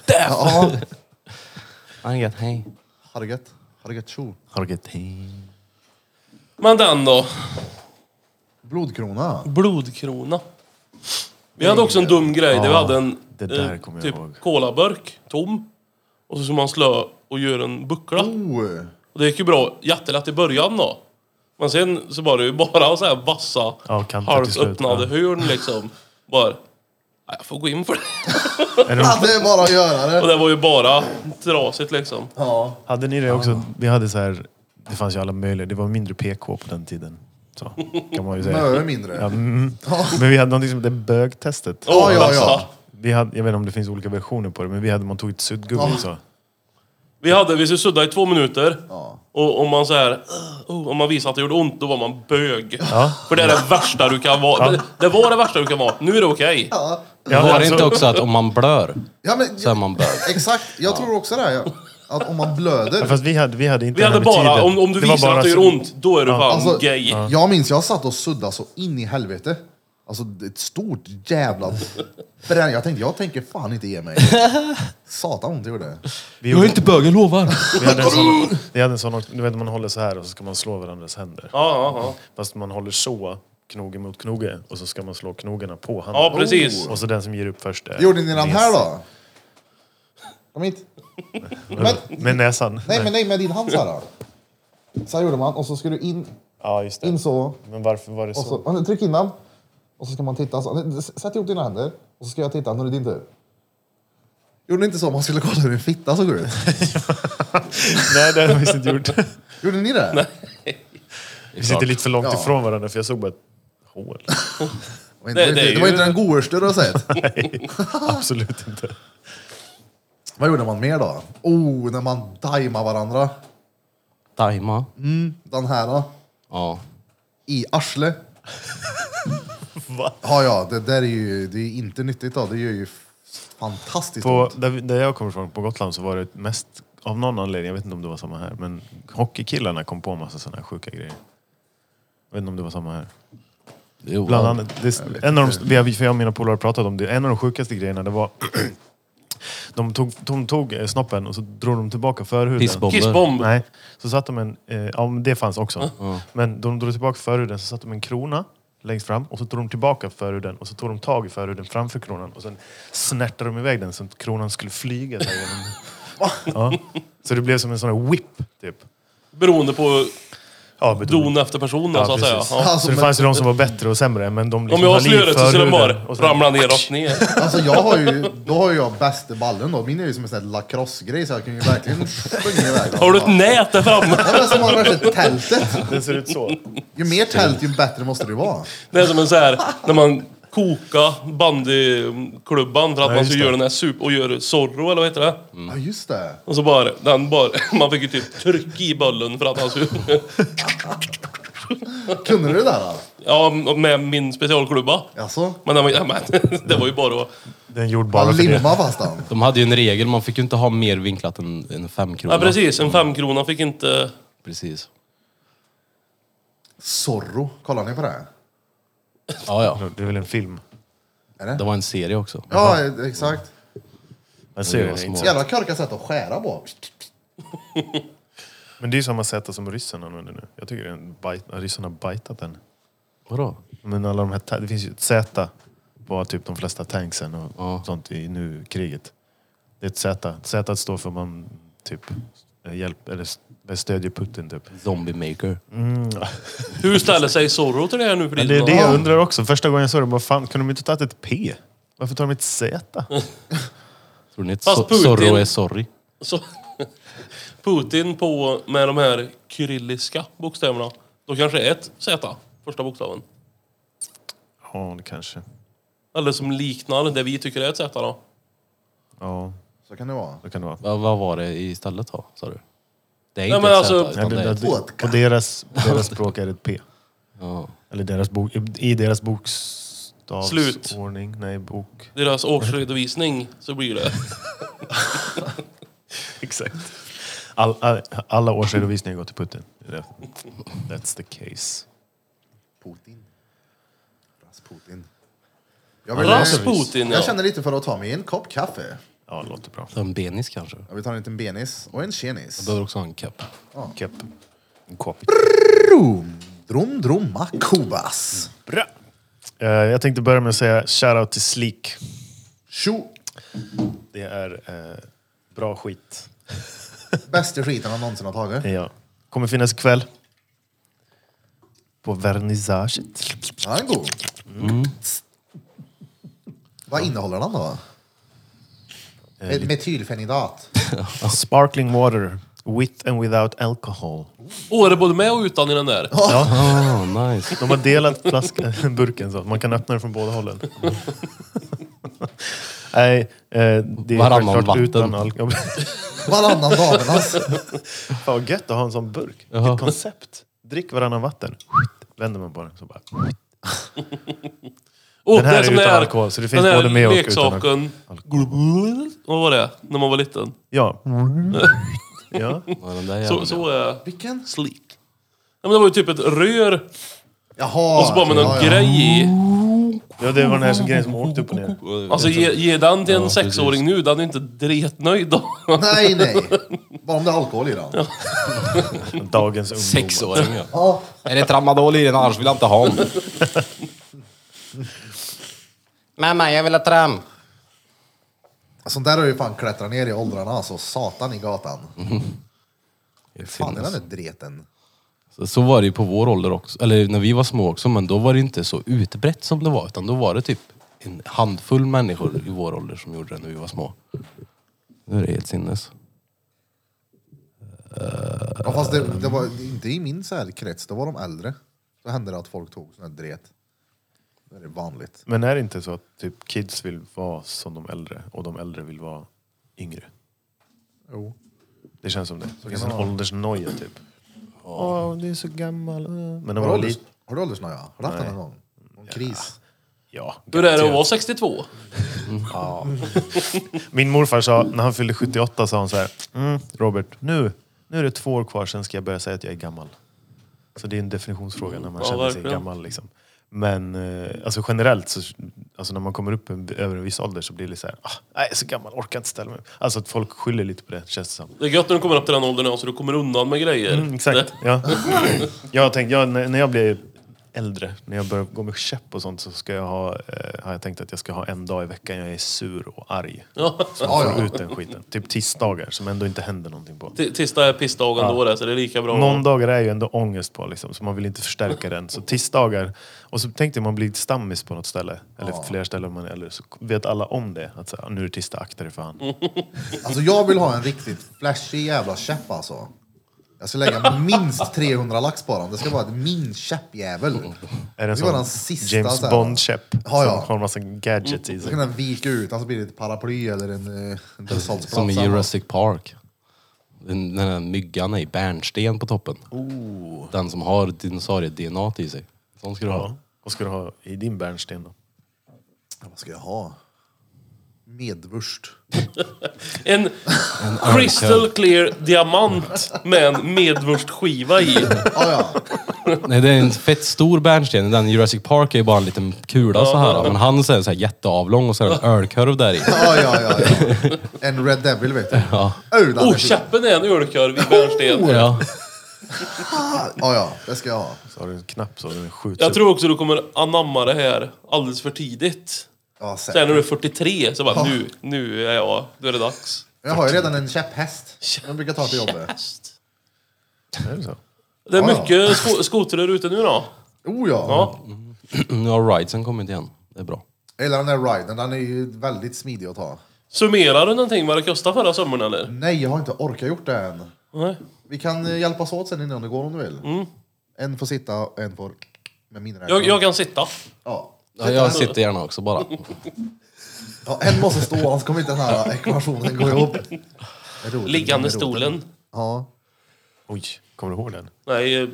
Speaker 2: Ja,
Speaker 4: Han är hej.
Speaker 2: har det gött. Har det gött tjo.
Speaker 3: har du getting?
Speaker 1: men den då.
Speaker 2: Blodkrona.
Speaker 1: Blodkrona. Vi hade också en dum grej där vi hade en
Speaker 3: Mm. det där
Speaker 1: eh,
Speaker 3: kommer jag
Speaker 1: typ
Speaker 3: ihåg.
Speaker 1: colaburk tom. Och så skulle man slå och göra en buckla.
Speaker 2: Oh.
Speaker 1: Och det gick ju bra jättelätt i början då. Men sen så var det ju bara så här vassa,
Speaker 3: Ja, kanter till
Speaker 1: halvt
Speaker 3: slut,
Speaker 1: öppnade
Speaker 3: ja.
Speaker 1: hörn liksom. Bara, "Nej, jag får gå in för det.
Speaker 3: Är det-
Speaker 2: Ja, det är bara att göra
Speaker 1: Och
Speaker 2: det.
Speaker 1: det var ju bara trasigt liksom.
Speaker 2: Ja.
Speaker 3: Hade ni det också? Vi hade så här, det fanns ju alla möjliga, det var mindre PK på den tiden. Så, kan man ju säga.
Speaker 2: Möre mindre.
Speaker 3: Ja, mm. Men vi hade någonting som hette bögtestet.
Speaker 1: Åh,
Speaker 2: ja, ja.
Speaker 1: vassa.
Speaker 3: Vi hade, jag vet inte om det finns olika versioner på det, men vi hade, man tog ett suddgummi
Speaker 2: Ja.
Speaker 3: så.
Speaker 1: Vi hade, vi skulle sudda i två minuter.
Speaker 2: Ja.
Speaker 1: Och om man så här, "Åh", om man visade att det gjorde ont, då var man bög.
Speaker 3: Ja.
Speaker 1: För det är det värsta du kan vara. Det, det var det värsta du kan vara. Nu är det okej.
Speaker 2: Ja.
Speaker 3: Ja,
Speaker 4: var det
Speaker 3: alltså-
Speaker 4: inte också att om man blör
Speaker 2: Ja, men,
Speaker 4: så är man bög?
Speaker 2: Exakt, jag tror också det. Här, ja. att om man blöder.
Speaker 3: (laughs) Ja, Fast vi hade, vi hade inte
Speaker 1: Vi hade
Speaker 3: den här
Speaker 1: bara,
Speaker 3: tiden.
Speaker 1: om, om du
Speaker 3: Det var
Speaker 1: visar
Speaker 3: bara
Speaker 1: att det gör
Speaker 3: så-
Speaker 1: ont, då är du fan
Speaker 2: Alltså,
Speaker 1: gay.
Speaker 2: Jag minns, jag satt och suddade så in i helvete. Alltså det är ett stort jävla bränn. Jag tänkte, jag tänker fan inte ge mig. Satan ont det gjorde.
Speaker 3: Vi, gjorde,
Speaker 4: inte bög, jag lovar.
Speaker 3: vi hade en sån, vi hade en sån också, du vet man håller så här och så ska man slå varandras händer.
Speaker 1: Ja, ja, ja.
Speaker 3: Fast man håller så, knoge mot knoge, och så ska man slå knogarna på handen.
Speaker 1: ja precis.
Speaker 2: Oh.
Speaker 3: Och så den som ger upp först är...
Speaker 2: Gjorde ni den här då? Kom hit. Men,
Speaker 3: Med näsan.
Speaker 2: nej men nej, med din hand så här. då. Så här gjorde man och så ska du in,
Speaker 3: Ja, just det.
Speaker 2: in så.
Speaker 3: Men varför var det
Speaker 2: Och
Speaker 3: så?
Speaker 2: så, ja, nu, tryck in den. Och så ska man titta. Så, sätt ihop dina händer. Och så ska jag titta. Nu är det din tur. Gjorde ni inte så? Man skulle kolla hur en fitta såg ut.
Speaker 3: Nej, det har vi visst inte gjort.
Speaker 2: (laughs) Gjorde ni det? Nej.
Speaker 3: Vi sitter lite för långt
Speaker 2: Ja.
Speaker 3: ifrån varandra för jag såg bara ett
Speaker 2: (laughs)
Speaker 3: hål.
Speaker 2: Det, var inte-
Speaker 1: Det- det är
Speaker 2: det var
Speaker 1: ju-
Speaker 2: inte den godaste du har (laughs) sett.
Speaker 3: Absolut inte.
Speaker 2: Vad gjorde man mer då? Oh, när man daimar varandra.
Speaker 4: Daima.
Speaker 2: Den här då,
Speaker 4: Ja.
Speaker 2: i (laughs) arsle.
Speaker 3: Va?
Speaker 2: Ja, ja, det där är ju det är ju inte nyttigt då. Det gör ju fantastiskt
Speaker 3: På,
Speaker 2: ont.
Speaker 3: där, vi- där jag kommer ifrån, på Gotland, så var det mest av någon anledning, jag vet inte om det var samma här, men hockeykillarna kom på en massa sådana här sjuka grejer. Jag vet inte om det var samma här.
Speaker 4: Jo,
Speaker 3: Bland
Speaker 4: ja.
Speaker 3: annat, det, en av de, vi har- för jag och mina polare har pratat om det, en av de sjukaste grejerna det var (clears throat) de tog, de tog eh, snoppen och så drog de tillbaka förhuden.
Speaker 4: Pissbomber.
Speaker 1: Kissbomb.
Speaker 3: Nej, så satt de en, eh, ja men det fanns också. Men de drog tillbaka förhuden så satt de en krona längst fram och så tog de tillbaka förhuden och så tog de tag i förhuden framför kronan och sen snärtade de iväg den så att kronan skulle flyga. Där genom.
Speaker 1: (laughs)
Speaker 3: ja. Så det blev som en sån här whip, typ.
Speaker 1: Beroende på
Speaker 3: Ja, men-
Speaker 1: don efter person då,
Speaker 3: Ja,
Speaker 1: så att säga.
Speaker 3: precis.
Speaker 1: Ja.
Speaker 2: Alltså,
Speaker 3: så det
Speaker 2: men-
Speaker 3: fanns ju de som var bättre och sämre, men de
Speaker 1: Om
Speaker 3: liksom
Speaker 1: jag
Speaker 3: höll i
Speaker 1: avslöjar så skulle de bara
Speaker 3: förhuden och sen-
Speaker 1: ramla ner rakt ner.
Speaker 2: Alltså jag har ju, då har ju jag bästa ballen då. Min är ju som en sån här lacrosse-grej så jag kan ju verkligen (laughs) springa iväg.
Speaker 1: Har du ett nät där framme?
Speaker 2: Ja, men alltså, som har värsta tältet.
Speaker 3: Den ser ut så.
Speaker 2: Ju mer tält ju bättre måste det vara.
Speaker 1: Det är som en så här, när man kokar bandyklubban för att man
Speaker 3: just
Speaker 1: så
Speaker 3: det.
Speaker 1: gör den här super... Och gör Zorro, eller vad heter det?
Speaker 2: Ja just det.
Speaker 1: Och så bara, den bara... (laughs) Man fick ju typ tryck i bollen för att han skulle... (laughs)
Speaker 2: Kunde du det där då?
Speaker 1: Ja, med min specialklubba.
Speaker 2: Alltså?
Speaker 1: Men den var, ja, men, (laughs) det var ju bara att...
Speaker 3: Den gjorde bara
Speaker 2: Han
Speaker 3: för det.
Speaker 2: limmade fast den.
Speaker 4: De hade ju en regel, man fick ju inte ha mer vinklat än en femkrona.
Speaker 1: Ja, precis. En femkrona fick inte...
Speaker 4: precis.
Speaker 2: Zorro, kollar ni på det?
Speaker 4: Ja, ja.
Speaker 3: Det är väl en film?
Speaker 4: Det var en serie också.
Speaker 2: Ja, exakt.
Speaker 3: Jag ser
Speaker 4: var
Speaker 3: det
Speaker 4: små.
Speaker 3: inte.
Speaker 2: Jävla korkat sätt att skära på.
Speaker 3: Men det är ju samma sätt som ryssen använder nu. Jag tycker det är en bajt, ryssen har bajtat den.
Speaker 4: Vadå?
Speaker 3: Men alla de här, ta- det finns ju ett Z på typ de flesta tanksen och
Speaker 4: Ja.
Speaker 3: sånt i nu kriget. Det är ett Z. Z står för man typ eh, hjälp, eller s- stödjer Putin typ.
Speaker 4: Zombie maker.
Speaker 1: Hur ställer sig Zorro till det här nu för
Speaker 3: Men det är
Speaker 1: tiden?
Speaker 3: det jag undrar också. Första gången jag såg det, bara fan, kunde de inte tagit ett P? Varför tar de ett Z?
Speaker 4: Tror ni att
Speaker 1: Fast
Speaker 4: so-
Speaker 1: Putin-
Speaker 4: Zorro är sorry?
Speaker 1: Så, Putin på med de här kyrilliska bokstäverna. Då kanske det är ett Z, första bokstaven.
Speaker 3: Ja, det kanske.
Speaker 1: Eller som liknar det vi tycker är ett Z då.
Speaker 3: Ja,
Speaker 2: Så kan det vara.
Speaker 3: det kan det vara.
Speaker 4: Va, vad var det istället då, sa du? Det är
Speaker 1: Nej,
Speaker 4: inte
Speaker 1: men
Speaker 4: ett
Speaker 1: alltså-
Speaker 4: Z,
Speaker 3: Nej,
Speaker 4: utan
Speaker 3: det,
Speaker 4: det är
Speaker 3: det,
Speaker 4: ett...
Speaker 2: ett-
Speaker 3: på deras, på deras språk är det ett P.
Speaker 4: Ja.
Speaker 3: Eller deras bok, i deras bokstavsordning. Nej, bok.
Speaker 1: Deras årsredovisning så blir det.
Speaker 3: (laughs) Exakt. All, all, alla årsredovisningar går till Putin. Det- That's the case.
Speaker 2: Putin. Rasputin. Jag,
Speaker 1: Rasputin
Speaker 2: jag
Speaker 1: ja.
Speaker 2: känner lite för att ta mig en kopp kaffe.
Speaker 3: Ja, det låter bra.
Speaker 4: En benis kanske?
Speaker 2: Jag vill ta en liten benis och en tjenis.
Speaker 4: Behöver också ha en kepp.
Speaker 3: Kepp. En kopi.
Speaker 2: Drum, drum, drumma, kubas.
Speaker 3: Bra. Eh, jag tänkte börja med att säga shoutout till Sleek.
Speaker 2: Tjo!
Speaker 3: Det är eh, bra skit.
Speaker 2: Bästa skiten han någonsin har tagit.
Speaker 3: Ja. Kommer finnas ikväll. På vernissaget.
Speaker 2: Ja, den är god.
Speaker 4: Mm.
Speaker 2: Vad innehåller den
Speaker 1: Eh,
Speaker 2: då? Ett metylfenidat.
Speaker 3: Sparkling water. With and without alcohol.
Speaker 1: Åh, är det både med och utan i den där?
Speaker 4: Ah, (laughs) nice.
Speaker 3: De har delat flask- (laughs) burken så att man kan öppna den från båda
Speaker 4: (laughs)
Speaker 3: hållen. Nej, eh, det är
Speaker 4: Varannan
Speaker 3: självklart
Speaker 4: vatten.
Speaker 3: utan alkohol.
Speaker 2: Varannan damernas.
Speaker 3: (laughs) Fan vad gött att ha en sån burk.
Speaker 4: Jaha.
Speaker 3: Vilket koncept. Drick varannan vatten. Vänder man på den så bara...
Speaker 1: Åh,
Speaker 3: Den här
Speaker 1: det
Speaker 3: är
Speaker 1: som
Speaker 3: utan alkohol, så det finns
Speaker 1: den här
Speaker 3: både med och utan
Speaker 1: leksaken. Vad var det? När man var liten.
Speaker 3: Ja. ja.
Speaker 4: Ja, den där
Speaker 1: Så,
Speaker 4: jäveln.
Speaker 1: så är
Speaker 2: Vilken?
Speaker 1: sleek. Ja, men det var ju typ ett rör
Speaker 2: Jaha.
Speaker 1: och så bara med någon
Speaker 2: ja, ja.
Speaker 1: grej i.
Speaker 3: ja, det var den här som grejen som åkte upp och ner.
Speaker 1: Alltså ge, ge den till en
Speaker 4: Ja,
Speaker 1: sexåring nu, den är inte dretnöjd
Speaker 3: (laughs)
Speaker 1: då.
Speaker 2: Nej, nej. Bara om det är alkohol i den.
Speaker 3: Dagens ungdomar.
Speaker 4: Sexåring (laughs) ja.
Speaker 2: Ja.
Speaker 4: Är det tramadol i den? Annars vill jag inte ha den. Mamma, jag vill ha tram.
Speaker 2: Sånt där har ju fan klättrat ner i åldrarna alltså. Satan i gatan.
Speaker 4: Mm.
Speaker 2: Fan är den där dreten.
Speaker 4: Så, så var det ju på vår ålder också, eller när vi var små också, men då var det inte så utbrett som det var, utan då var det typ en handfull människor i vår ålder som gjorde det när vi var små. Nu är det helt sinnes.
Speaker 2: Ja, fast det, det var inte i min så här krets, det var de äldre. Då hände det att folk tog sån här dret. Det är vanligt.
Speaker 3: Men är det inte så att typ kids vill vara som de äldre och de äldre vill vara yngre?
Speaker 2: Jo.
Speaker 3: Det känns som det. Det finns en åldersnoja typ. Åh, du är så gammal. eh. Men när man
Speaker 2: Har du,
Speaker 3: var
Speaker 2: ålders,
Speaker 3: liten...
Speaker 2: har du åldersnoja? Har du haft den någon gång? Någon kris?
Speaker 3: Ja,
Speaker 1: Hur är det att
Speaker 3: garanterat.
Speaker 1: vara 62?
Speaker 3: Min morfar sa, när han fyllde 78, sa han så här. Mm, Robert, nu, nu är det två år kvar, sen ska jag börja säga att jag är gammal. Så det är en definitionsfråga när man
Speaker 1: Ja,
Speaker 3: känner sig
Speaker 1: verkligen.
Speaker 3: gammal. Liksom. Men eh, alltså generellt, så, alltså när man kommer upp en, över en viss ålder så blir det lite så här, ah, nej, jag är så gammal, orkar inte ställa mig upp." Alltså att folk skyller lite på det, känns det som.
Speaker 1: Det är gött när du kommer upp (laughs) till den åldern också, du kommer undan med grejer.
Speaker 3: Mm, exakt. Ja. Jag tänkte, jag, när när jag blir äldre, när jag börjar gå med käpp och sånt så ska jag ha, eh, har jag tänkt att jag ska ha en dag i veckan jag är sur och arg.
Speaker 1: Ja.
Speaker 3: Så jag får ut den skiten. Typ tisdagar som ändå inte händer någonting på.
Speaker 1: T- Tisdag är pissdagen
Speaker 3: Ja.
Speaker 1: då det, så det är lika bra.
Speaker 3: Måndagar är ju ändå ångest på liksom, så man vill inte förstärka den. Så tisdagar, och så tänkte jag man blir stammis på något ställe, eller flera ställen om man är äldre, så vet alla om det. Att så här, "Ah, nu är det tisdag, akta dig för han.
Speaker 2: Alltså jag vill ha en riktigt flashig jävla käpp alltså. Jag ska lägga minst 300 lax på den. Det ska vara ett min käppjävel.
Speaker 3: Är det
Speaker 2: Det
Speaker 3: en
Speaker 2: var
Speaker 3: sån
Speaker 2: den sista,
Speaker 3: James
Speaker 2: så här.
Speaker 3: Bond-käpp
Speaker 2: Ja, ja. Mm.
Speaker 3: som har en massa gadgets i
Speaker 2: Så
Speaker 3: sig?
Speaker 2: kan den vika ut, alltså blir det ett paraply eller en, eh, en dresshalsplats.
Speaker 4: Som i Jurassic Park. Den, den där myggan är i bärnsten på toppen. Den som har dinosaurie-DNA i sig. Sån ska du ha.
Speaker 3: Ja. Vad ska du ha i din bärnsten då?
Speaker 2: Ja, Vad ska jag ha? Medvurst.
Speaker 1: En crystal clear diamant med en medvurstskiva i.
Speaker 2: Ja, ja.
Speaker 4: Nej, det är en fett stor bärnsten. Den i Jurassic Park är ju bara en liten kula så här. Men han är så här jätteavlång och så är det en ölkorv där i.
Speaker 2: Ja, ja, ja, ja. En Red Devil vet du. Ja. Öland,
Speaker 1: Oh, käppen är en ölkorv i bärnsten.
Speaker 4: (laughs) Ja.
Speaker 2: Ja, ja, det ska jag ha.
Speaker 3: Så har du en knapp så den skjuts
Speaker 1: Jag
Speaker 3: upp.
Speaker 1: tror också du kommer anamma det här alldeles för tidigt.
Speaker 2: Ja, säkert.
Speaker 1: Sen när du är 43 så bara nu, nu är jag, då är det dags.
Speaker 2: Jag har ju redan en käpphäst. Jag brukar ta till jobbet.
Speaker 1: Häst.
Speaker 3: Är det så?
Speaker 1: Det är
Speaker 2: Ja, ja.
Speaker 1: mycket sko- skotrar ute nu då.
Speaker 2: Oh ja.
Speaker 1: Ja.
Speaker 4: Nu har ridesen kommit igen. Det är bra.
Speaker 2: Jag gillar den där riden, den är ju väldigt smidig att ta.
Speaker 1: Summerar du någonting vad det kostade förra sommaren eller?
Speaker 2: Nej, jag har inte orkat gjort det än.
Speaker 1: Nej.
Speaker 2: Vi kan eh, hjälpas åt sen innan du går om du vill. En får sitta och en får med min räkning.
Speaker 1: Mm. Jag, jag kan sitta.
Speaker 2: Ja.
Speaker 4: Ja, jag sitter gärna också bara.
Speaker 2: Ja, en måste stå, annars kommer inte den här ekvationen gå ihop.
Speaker 1: (laughs)
Speaker 2: Roten,
Speaker 1: Liggande
Speaker 2: roten.
Speaker 1: stolen.
Speaker 2: Ja.
Speaker 3: Oj, kommer du ihåg den?
Speaker 1: Nej, eh,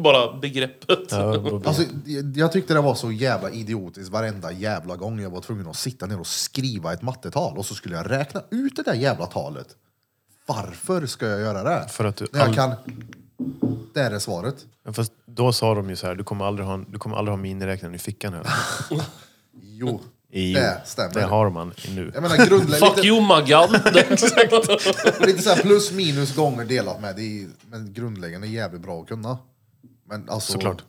Speaker 1: (laughs) bara begreppet.
Speaker 3: Ja, vad-
Speaker 2: Alltså, jag- jag tyckte det var så jävla idiotiskt varenda jävla gång jag var tvungen att sitta ner och skriva ett mattetal och så skulle jag räkna ut det där jävla talet. Varför ska jag göra det?
Speaker 3: För att du
Speaker 2: När jag
Speaker 3: all-
Speaker 2: kan... Där är svaret.
Speaker 3: Fast då sa de ju så här, du kommer aldrig ha, en- du kommer aldrig ha miniräknaren i fickan här.
Speaker 2: Jo,
Speaker 3: I,
Speaker 2: det stämmer.
Speaker 3: Det har man nu.
Speaker 2: Jag menar grundläggande...
Speaker 1: Fuck you Maggan!
Speaker 2: Lite så här plus minus gånger delat med. Det är, men grundläggande är jävligt bra att kunna. Men alltså...
Speaker 3: Såklart.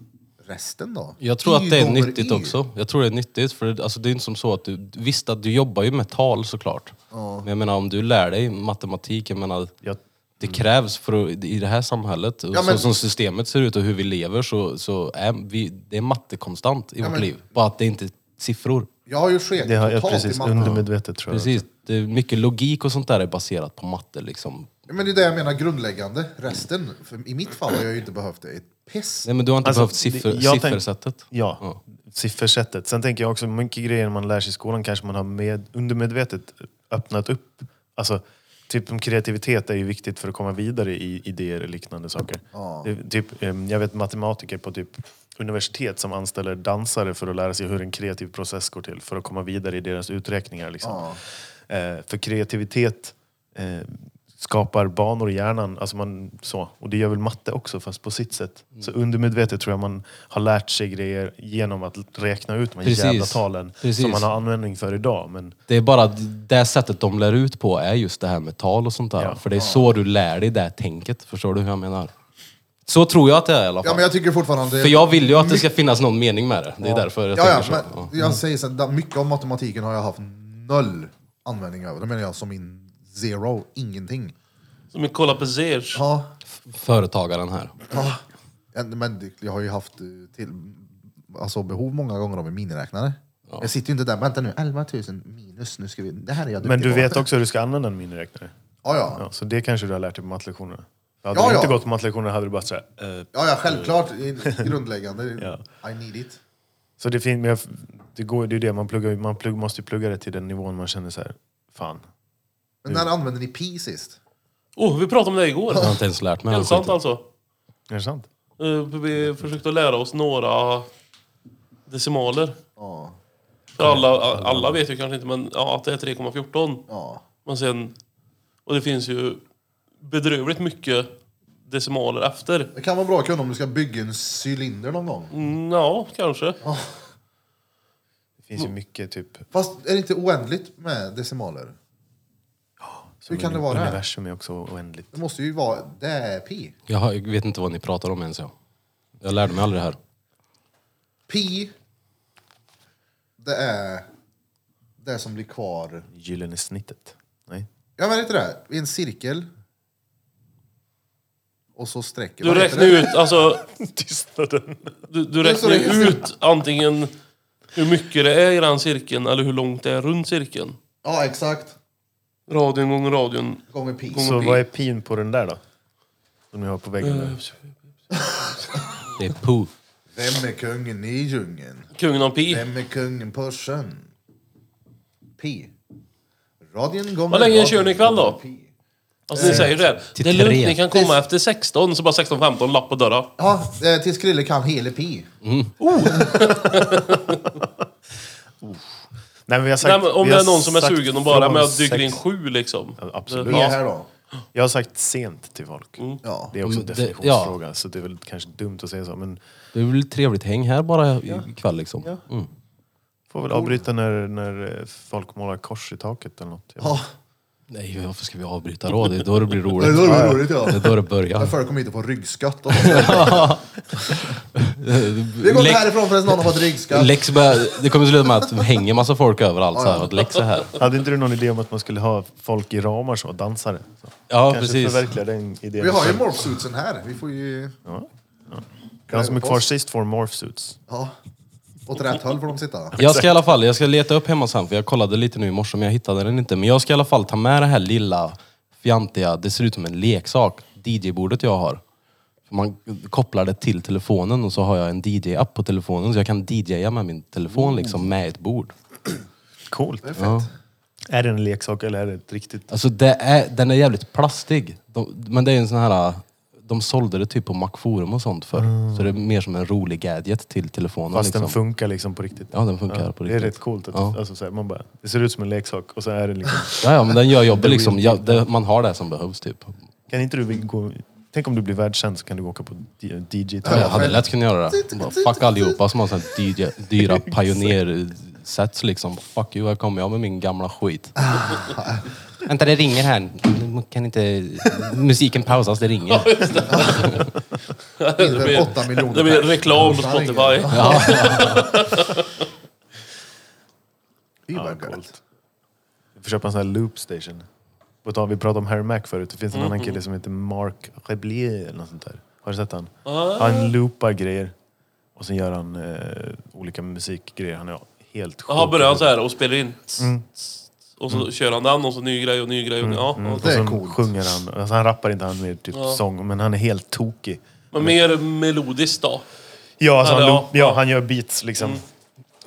Speaker 2: Resten då?
Speaker 4: Jag tror att det är
Speaker 2: gånger
Speaker 4: nyttigt också. Jag tror det är nyttigt. För det, alltså, det är inte som så att du... Visst att du jobbar ju med tal såklart. Men jag menar om du lär dig matematik, jag menar...
Speaker 3: Jag,
Speaker 4: Det krävs för att, i det här samhället, och
Speaker 2: Ja, men-
Speaker 4: så som systemet ser ut och hur vi lever, så, så är vi, det är matte konstant i vårt
Speaker 2: men-
Speaker 4: liv. Bara att det inte är siffror.
Speaker 2: Jag har ju
Speaker 3: det har
Speaker 2: skekat
Speaker 3: jag
Speaker 2: totalt i
Speaker 3: precis
Speaker 2: matte.
Speaker 3: undermedvetet tror jag.
Speaker 4: Precis. Det är mycket logik och sånt där är baserat på matte. Liksom.
Speaker 2: Men det är det jag menar, grundläggande. Resten, för i mitt fall har jag ju inte behövt det ett piss.
Speaker 4: Nej, men du har inte
Speaker 3: Alltså,
Speaker 4: behövt siffror,
Speaker 3: det- jag tänk-
Speaker 4: siffersättet.
Speaker 3: Ja, siffersättet. Sen tänker jag också, mycket grejer man lär sig i skolan kanske man har med, undermedvetet öppnat upp. Alltså, typ om kreativitet är ju viktigt för att komma vidare i idéer och liknande saker. Det, typ, em, jag vet matematiker på typ universitet som anställer dansare för att lära sig hur en kreativ process går till, för att komma vidare i deras uträkningar. Liksom. Eh, för kreativitet eh, skapar banor i hjärnan. Alltså man, så. Och det gör väl matte också, fast på sitt sätt.
Speaker 2: Mm.
Speaker 3: Så undermedvetet tror jag man har lärt sig grejer genom att räkna ut de här
Speaker 4: Precis.
Speaker 3: jävla talen
Speaker 4: Precis.
Speaker 3: som man har användning för idag. Men
Speaker 4: Det är bara att det sättet de lär ut på är just det här med tal och sånt där.
Speaker 3: Ja.
Speaker 4: För det är så du lär dig det här tänket. Förstår du hur jag menar? Så tror jag att det är i alla fall.
Speaker 2: Ja, men jag tycker fortfarande...
Speaker 4: För jag vill ju att det ska finnas någon mening med det. Det är därför jag
Speaker 2: ja,
Speaker 4: tänker
Speaker 2: ja,
Speaker 4: så.
Speaker 2: men
Speaker 4: Ja.
Speaker 2: jag säger så här, mycket av matematiken har jag haft noll användning av. Det menar jag som min zero, ingenting.
Speaker 1: Som vi kollar på Zers.
Speaker 2: Ja,
Speaker 4: Företagaren här.
Speaker 2: ja. Men det- jag har ju haft eh, till, alltså, behov många gånger av en miniräknare. Jag sitter ju inte där, vänta nu, 11 000 minus, nu ska vi, det här är jag
Speaker 3: Men
Speaker 2: duktig på.
Speaker 3: du vet också hur du ska använda en miniräknare.
Speaker 2: Ja, ja.
Speaker 3: Ja, så det kanske du har lärt dig på mattelektionerna. Hade
Speaker 2: Ja,
Speaker 3: du inte
Speaker 2: ja.
Speaker 3: gått på mattelektionerna hade du bara såhär... Eh.
Speaker 2: Ja, ja, självklart. Det är Grundläggande. I need it.
Speaker 3: Så det, fin- men jag, det, går, det är ju det, man, pluggar, man plugg, måste ju plugga det till den nivån man känner så här. fan.
Speaker 2: Men
Speaker 3: Mm.
Speaker 2: när använde ni pi sist?
Speaker 1: Oh, vi pratade om det igår.
Speaker 4: Jag har inte ens lärt mig
Speaker 1: Helt
Speaker 4: den
Speaker 1: sant
Speaker 4: skiten.
Speaker 1: alltså.
Speaker 3: Är det sant?
Speaker 1: Eh, Vi försökte lära oss några decimaler.
Speaker 2: Ja.
Speaker 1: För alla, alla vet ju kanske inte men, ja, att det är 3,14.
Speaker 2: Ja.
Speaker 1: Men sen, och det finns ju bedrövligt mycket decimaler efter.
Speaker 2: Det kan vara bra att kunna om du ska bygga en cylinder någon gång.
Speaker 1: Mm, ja, kanske.
Speaker 3: Det finns
Speaker 2: Mm.
Speaker 3: ju mycket typ...
Speaker 2: Fast är det inte oändligt med decimaler?
Speaker 3: som
Speaker 2: kan det
Speaker 3: uni-
Speaker 2: vara?
Speaker 3: Universum är också oändligt.
Speaker 2: Det måste ju vara... Det är pi.
Speaker 4: Jag har- jag vet inte vad ni pratar om ens jag. Jag lärde mig aldrig det här.
Speaker 2: Pi, det är det som blir kvar.
Speaker 3: Gyllene snittet. Nej.
Speaker 2: Jag vet inte det, i en cirkel. Och så sträcker
Speaker 1: Du
Speaker 2: vad heter
Speaker 1: räknar
Speaker 2: det?
Speaker 1: ut,
Speaker 2: (laughs)
Speaker 1: alltså,
Speaker 3: Tystnaden.
Speaker 1: du, du
Speaker 2: är så
Speaker 1: räknar
Speaker 2: det är.
Speaker 1: ut antingen hur mycket det är i den cirkeln eller hur långt det är runt cirkeln.
Speaker 2: Ja, exakt.
Speaker 1: Radion gånger radion.
Speaker 2: Gånger pi.
Speaker 3: Så vad är pin på den där då? Som ni har på väggen
Speaker 1: Eh.
Speaker 3: nu.
Speaker 4: Det är po.
Speaker 2: Vem är kungen i djungeln?
Speaker 1: Kungen av pi.
Speaker 2: Vem är kungen på sjön? Pi. Radion gånger
Speaker 1: Vad länge
Speaker 2: radion
Speaker 1: kör ni ikväll då?
Speaker 2: gånger pi.
Speaker 1: Alltså ni
Speaker 2: Eh,
Speaker 1: säger det. Det är
Speaker 4: tre.
Speaker 1: lugnt, ni kan komma efter 16, så bara 16-15, lapp på dörren.
Speaker 2: Ja, eh, tills Krille kan hela pi.
Speaker 3: Nej, men vi har sagt,
Speaker 1: Nej, men om
Speaker 3: vi
Speaker 1: det
Speaker 3: har
Speaker 1: är någon som är
Speaker 3: sagt
Speaker 1: sugen och bara,
Speaker 3: från
Speaker 1: men jag dyker
Speaker 3: sex-
Speaker 1: in sju liksom.
Speaker 3: Ja, absolut.
Speaker 2: Pi
Speaker 1: Ja. Mm.
Speaker 2: är här då.
Speaker 3: Jag har sagt sent till folk.
Speaker 2: Ja.
Speaker 3: Det är också en
Speaker 4: Men det-
Speaker 3: definitionsfråga, så det är väl kanske dumt att säga så. Men
Speaker 4: Det är väl ett trevligt häng här bara ikväll liksom. Mm.
Speaker 3: får
Speaker 1: Mm.
Speaker 3: väl avbryta när, när eh, folk målar kors i taket eller något. Jag vet
Speaker 2: Ja,
Speaker 4: Nej, varför ska vi avbryta då? Det är då det
Speaker 2: (laughs)
Speaker 4: blir
Speaker 2: det är
Speaker 4: roligt.
Speaker 2: roligt, roligt ja.
Speaker 4: Det är då det börjar.
Speaker 2: Jag förekom inte på ryggskatt. och sånt. Vi går
Speaker 4: Läck-
Speaker 2: inte härifrån förrän någon har fått ryggskatt.
Speaker 4: Lex bör, det kommer sluta med att det hänger massa folk överallt så här, och att Lex är här.
Speaker 3: Hade inte du någon idé om att man skulle ha folk i ramar så, dansare? Så.
Speaker 4: Ja,
Speaker 3: Kanske
Speaker 4: precis.
Speaker 3: förverkliga den idén.
Speaker 2: Vi har ju morphsuitsen här. Vi får ju...
Speaker 3: Den som är kvar sist får morphsuits.
Speaker 2: Ja. Åt rätt håll får de sitta.
Speaker 4: Jag ska i alla fall, jag ska leta upp hemma sen för jag kollade lite nu i morse men jag hittade den inte. Men jag ska i alla fall ta med det här lilla fjantiga, det ser ut som en leksak, DJ-bordet jag har. Man kopplar det till telefonen och så har jag en DJ-app på telefonen så jag kan DJa med min telefon liksom med ett bord.
Speaker 3: Coolt.
Speaker 4: Ja.
Speaker 3: Är det en leksak eller är det ett riktigt...
Speaker 4: Alltså det är, den är jävligt plastig. De, men det är en sån här, de sålde det typ på Macforum och sånt för. Så det är mer som en rolig gadget till telefonen.
Speaker 3: Mm. Fast den
Speaker 4: liksom.
Speaker 3: funkar liksom på riktigt.
Speaker 4: Ja, den funkar på riktigt.
Speaker 3: Det är rätt coolt. Att,
Speaker 4: Ja.
Speaker 3: alltså, så här, man bara, det ser ut som en leksak och så är det liksom...
Speaker 4: Ja, ja, men den gör jobbet liksom. Ja, det, man har det som behövs typ.
Speaker 3: Kan inte du gå... Tänk om du blir världskänd så kan du åka på DJ
Speaker 4: Ja, jag hade
Speaker 2: själv.
Speaker 4: lätt kunnat göra det. Bara, fuck allihopa som har såna här dyra,
Speaker 3: (laughs)
Speaker 4: dyra pionersets liksom. Fuck you, här kommer jag med min gamla skit.
Speaker 3: Ah.
Speaker 4: Vänta, det ringer här. Kan inte... Musiken pausas, det ringer.
Speaker 1: Det blir,
Speaker 2: åtta miljoner
Speaker 1: det blir
Speaker 2: pers.
Speaker 1: reklam på
Speaker 2: Ja, det är
Speaker 1: Spotify.
Speaker 2: Det är ju
Speaker 3: Ja,
Speaker 2: bara gött.
Speaker 3: coolt. Vi får köpa en sån här loop station. På tal, vi pratade om Harry Mac förut. Det finns en
Speaker 2: Mm-hmm.
Speaker 3: annan kille som heter Mark Reblier eller något sånt där. Har du sett han?
Speaker 2: Ah.
Speaker 3: Han loopar grejer. Och sen gör han eh, olika musikgrejer. Han är helt sjuk.
Speaker 2: Ah,
Speaker 1: Jaha, börjar han så här och spelar in.
Speaker 2: Mm.
Speaker 1: Och så kör han den och så ny grej och ny grej. Och, ny- ja, ja.
Speaker 3: Och
Speaker 2: Det är
Speaker 3: sen
Speaker 2: coolt. Ah.
Speaker 3: sjunger han. Alltså, han rappar inte, han är mer typ sång. Men han är helt tokig.
Speaker 1: Men mer melodiskt då.
Speaker 3: Ja, alltså,
Speaker 1: Ja, Mm.
Speaker 3: han,
Speaker 1: det-
Speaker 3: loop, ja, han gör beats liksom.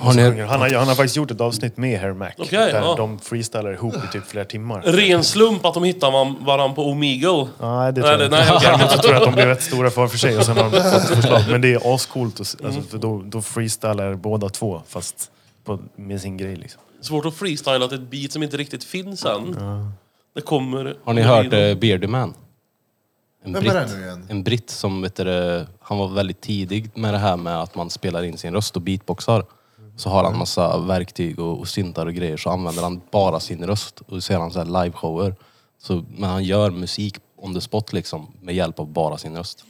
Speaker 4: Har
Speaker 3: Så
Speaker 4: ni,
Speaker 3: sjunger. Han, har, han har faktiskt gjort ett avsnitt med Harry Mac.
Speaker 1: Okej,
Speaker 3: där
Speaker 1: ja.
Speaker 3: de freestylar ihop i typ flera timmar.
Speaker 1: Ren slump att de hittar man- varann på Omegle.
Speaker 3: Nej, det tror jag
Speaker 1: Nej,
Speaker 3: inte.
Speaker 1: nej, okej.
Speaker 3: Däremot så tror (laughs) jag att de blev rätt stora för, för sig och sen har de fått förslag. Men det är ascoolt, och, s- alltså,
Speaker 1: Mm.
Speaker 3: för då, då freestylar båda två fast på, med sin grej liksom.
Speaker 1: Svårt att freestyla till ett beat som inte riktigt finns än. Det kommer...
Speaker 4: har ni hört eh, Beardy Man? En
Speaker 2: Vem är det nu igen?
Speaker 4: en britt som vet du, det, han var väldigt tidig med det här med att man spelar in sin röst och beatboxar. Så har han
Speaker 3: Mm.
Speaker 4: massa verktyg och, och syntar och grejer så använder han bara sin röst och så gör han så här liveshower. Så, men han gör musik on the spot liksom med hjälp av bara sin röst.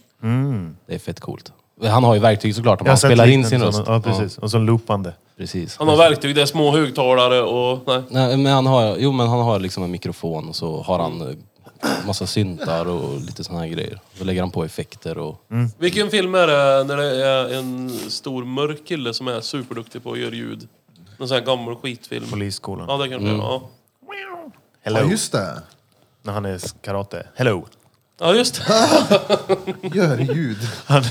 Speaker 4: Det är fett coolt. Han har ju verktyg såklart
Speaker 3: Mm.
Speaker 4: om
Speaker 3: Jag har
Speaker 4: han
Speaker 3: sett
Speaker 4: spelar in
Speaker 3: liknande
Speaker 4: sin röst.
Speaker 3: sådana- Ja, precis. Och så loopande.
Speaker 4: Ja, precis.
Speaker 1: Han har verktyg, det är små högtalare och... Nej.
Speaker 4: Nej, men han har, jo men han har liksom en mikrofon och så har han eh, massa syntar och lite såna här grejer. Så lägger han på effekter och...
Speaker 1: Vilken film är det när det är en stor mörk kille som är superduktig på att göra ljud? Någon sån här gammal skitfilm.
Speaker 3: Polisskolan.
Speaker 1: Ja, det kanske
Speaker 4: Mm.
Speaker 1: det är. Ja.
Speaker 3: Hello.
Speaker 2: Ja, just det.
Speaker 3: När han är karate. Hello.
Speaker 1: ja, just det.
Speaker 2: Gör ljud.
Speaker 3: Han,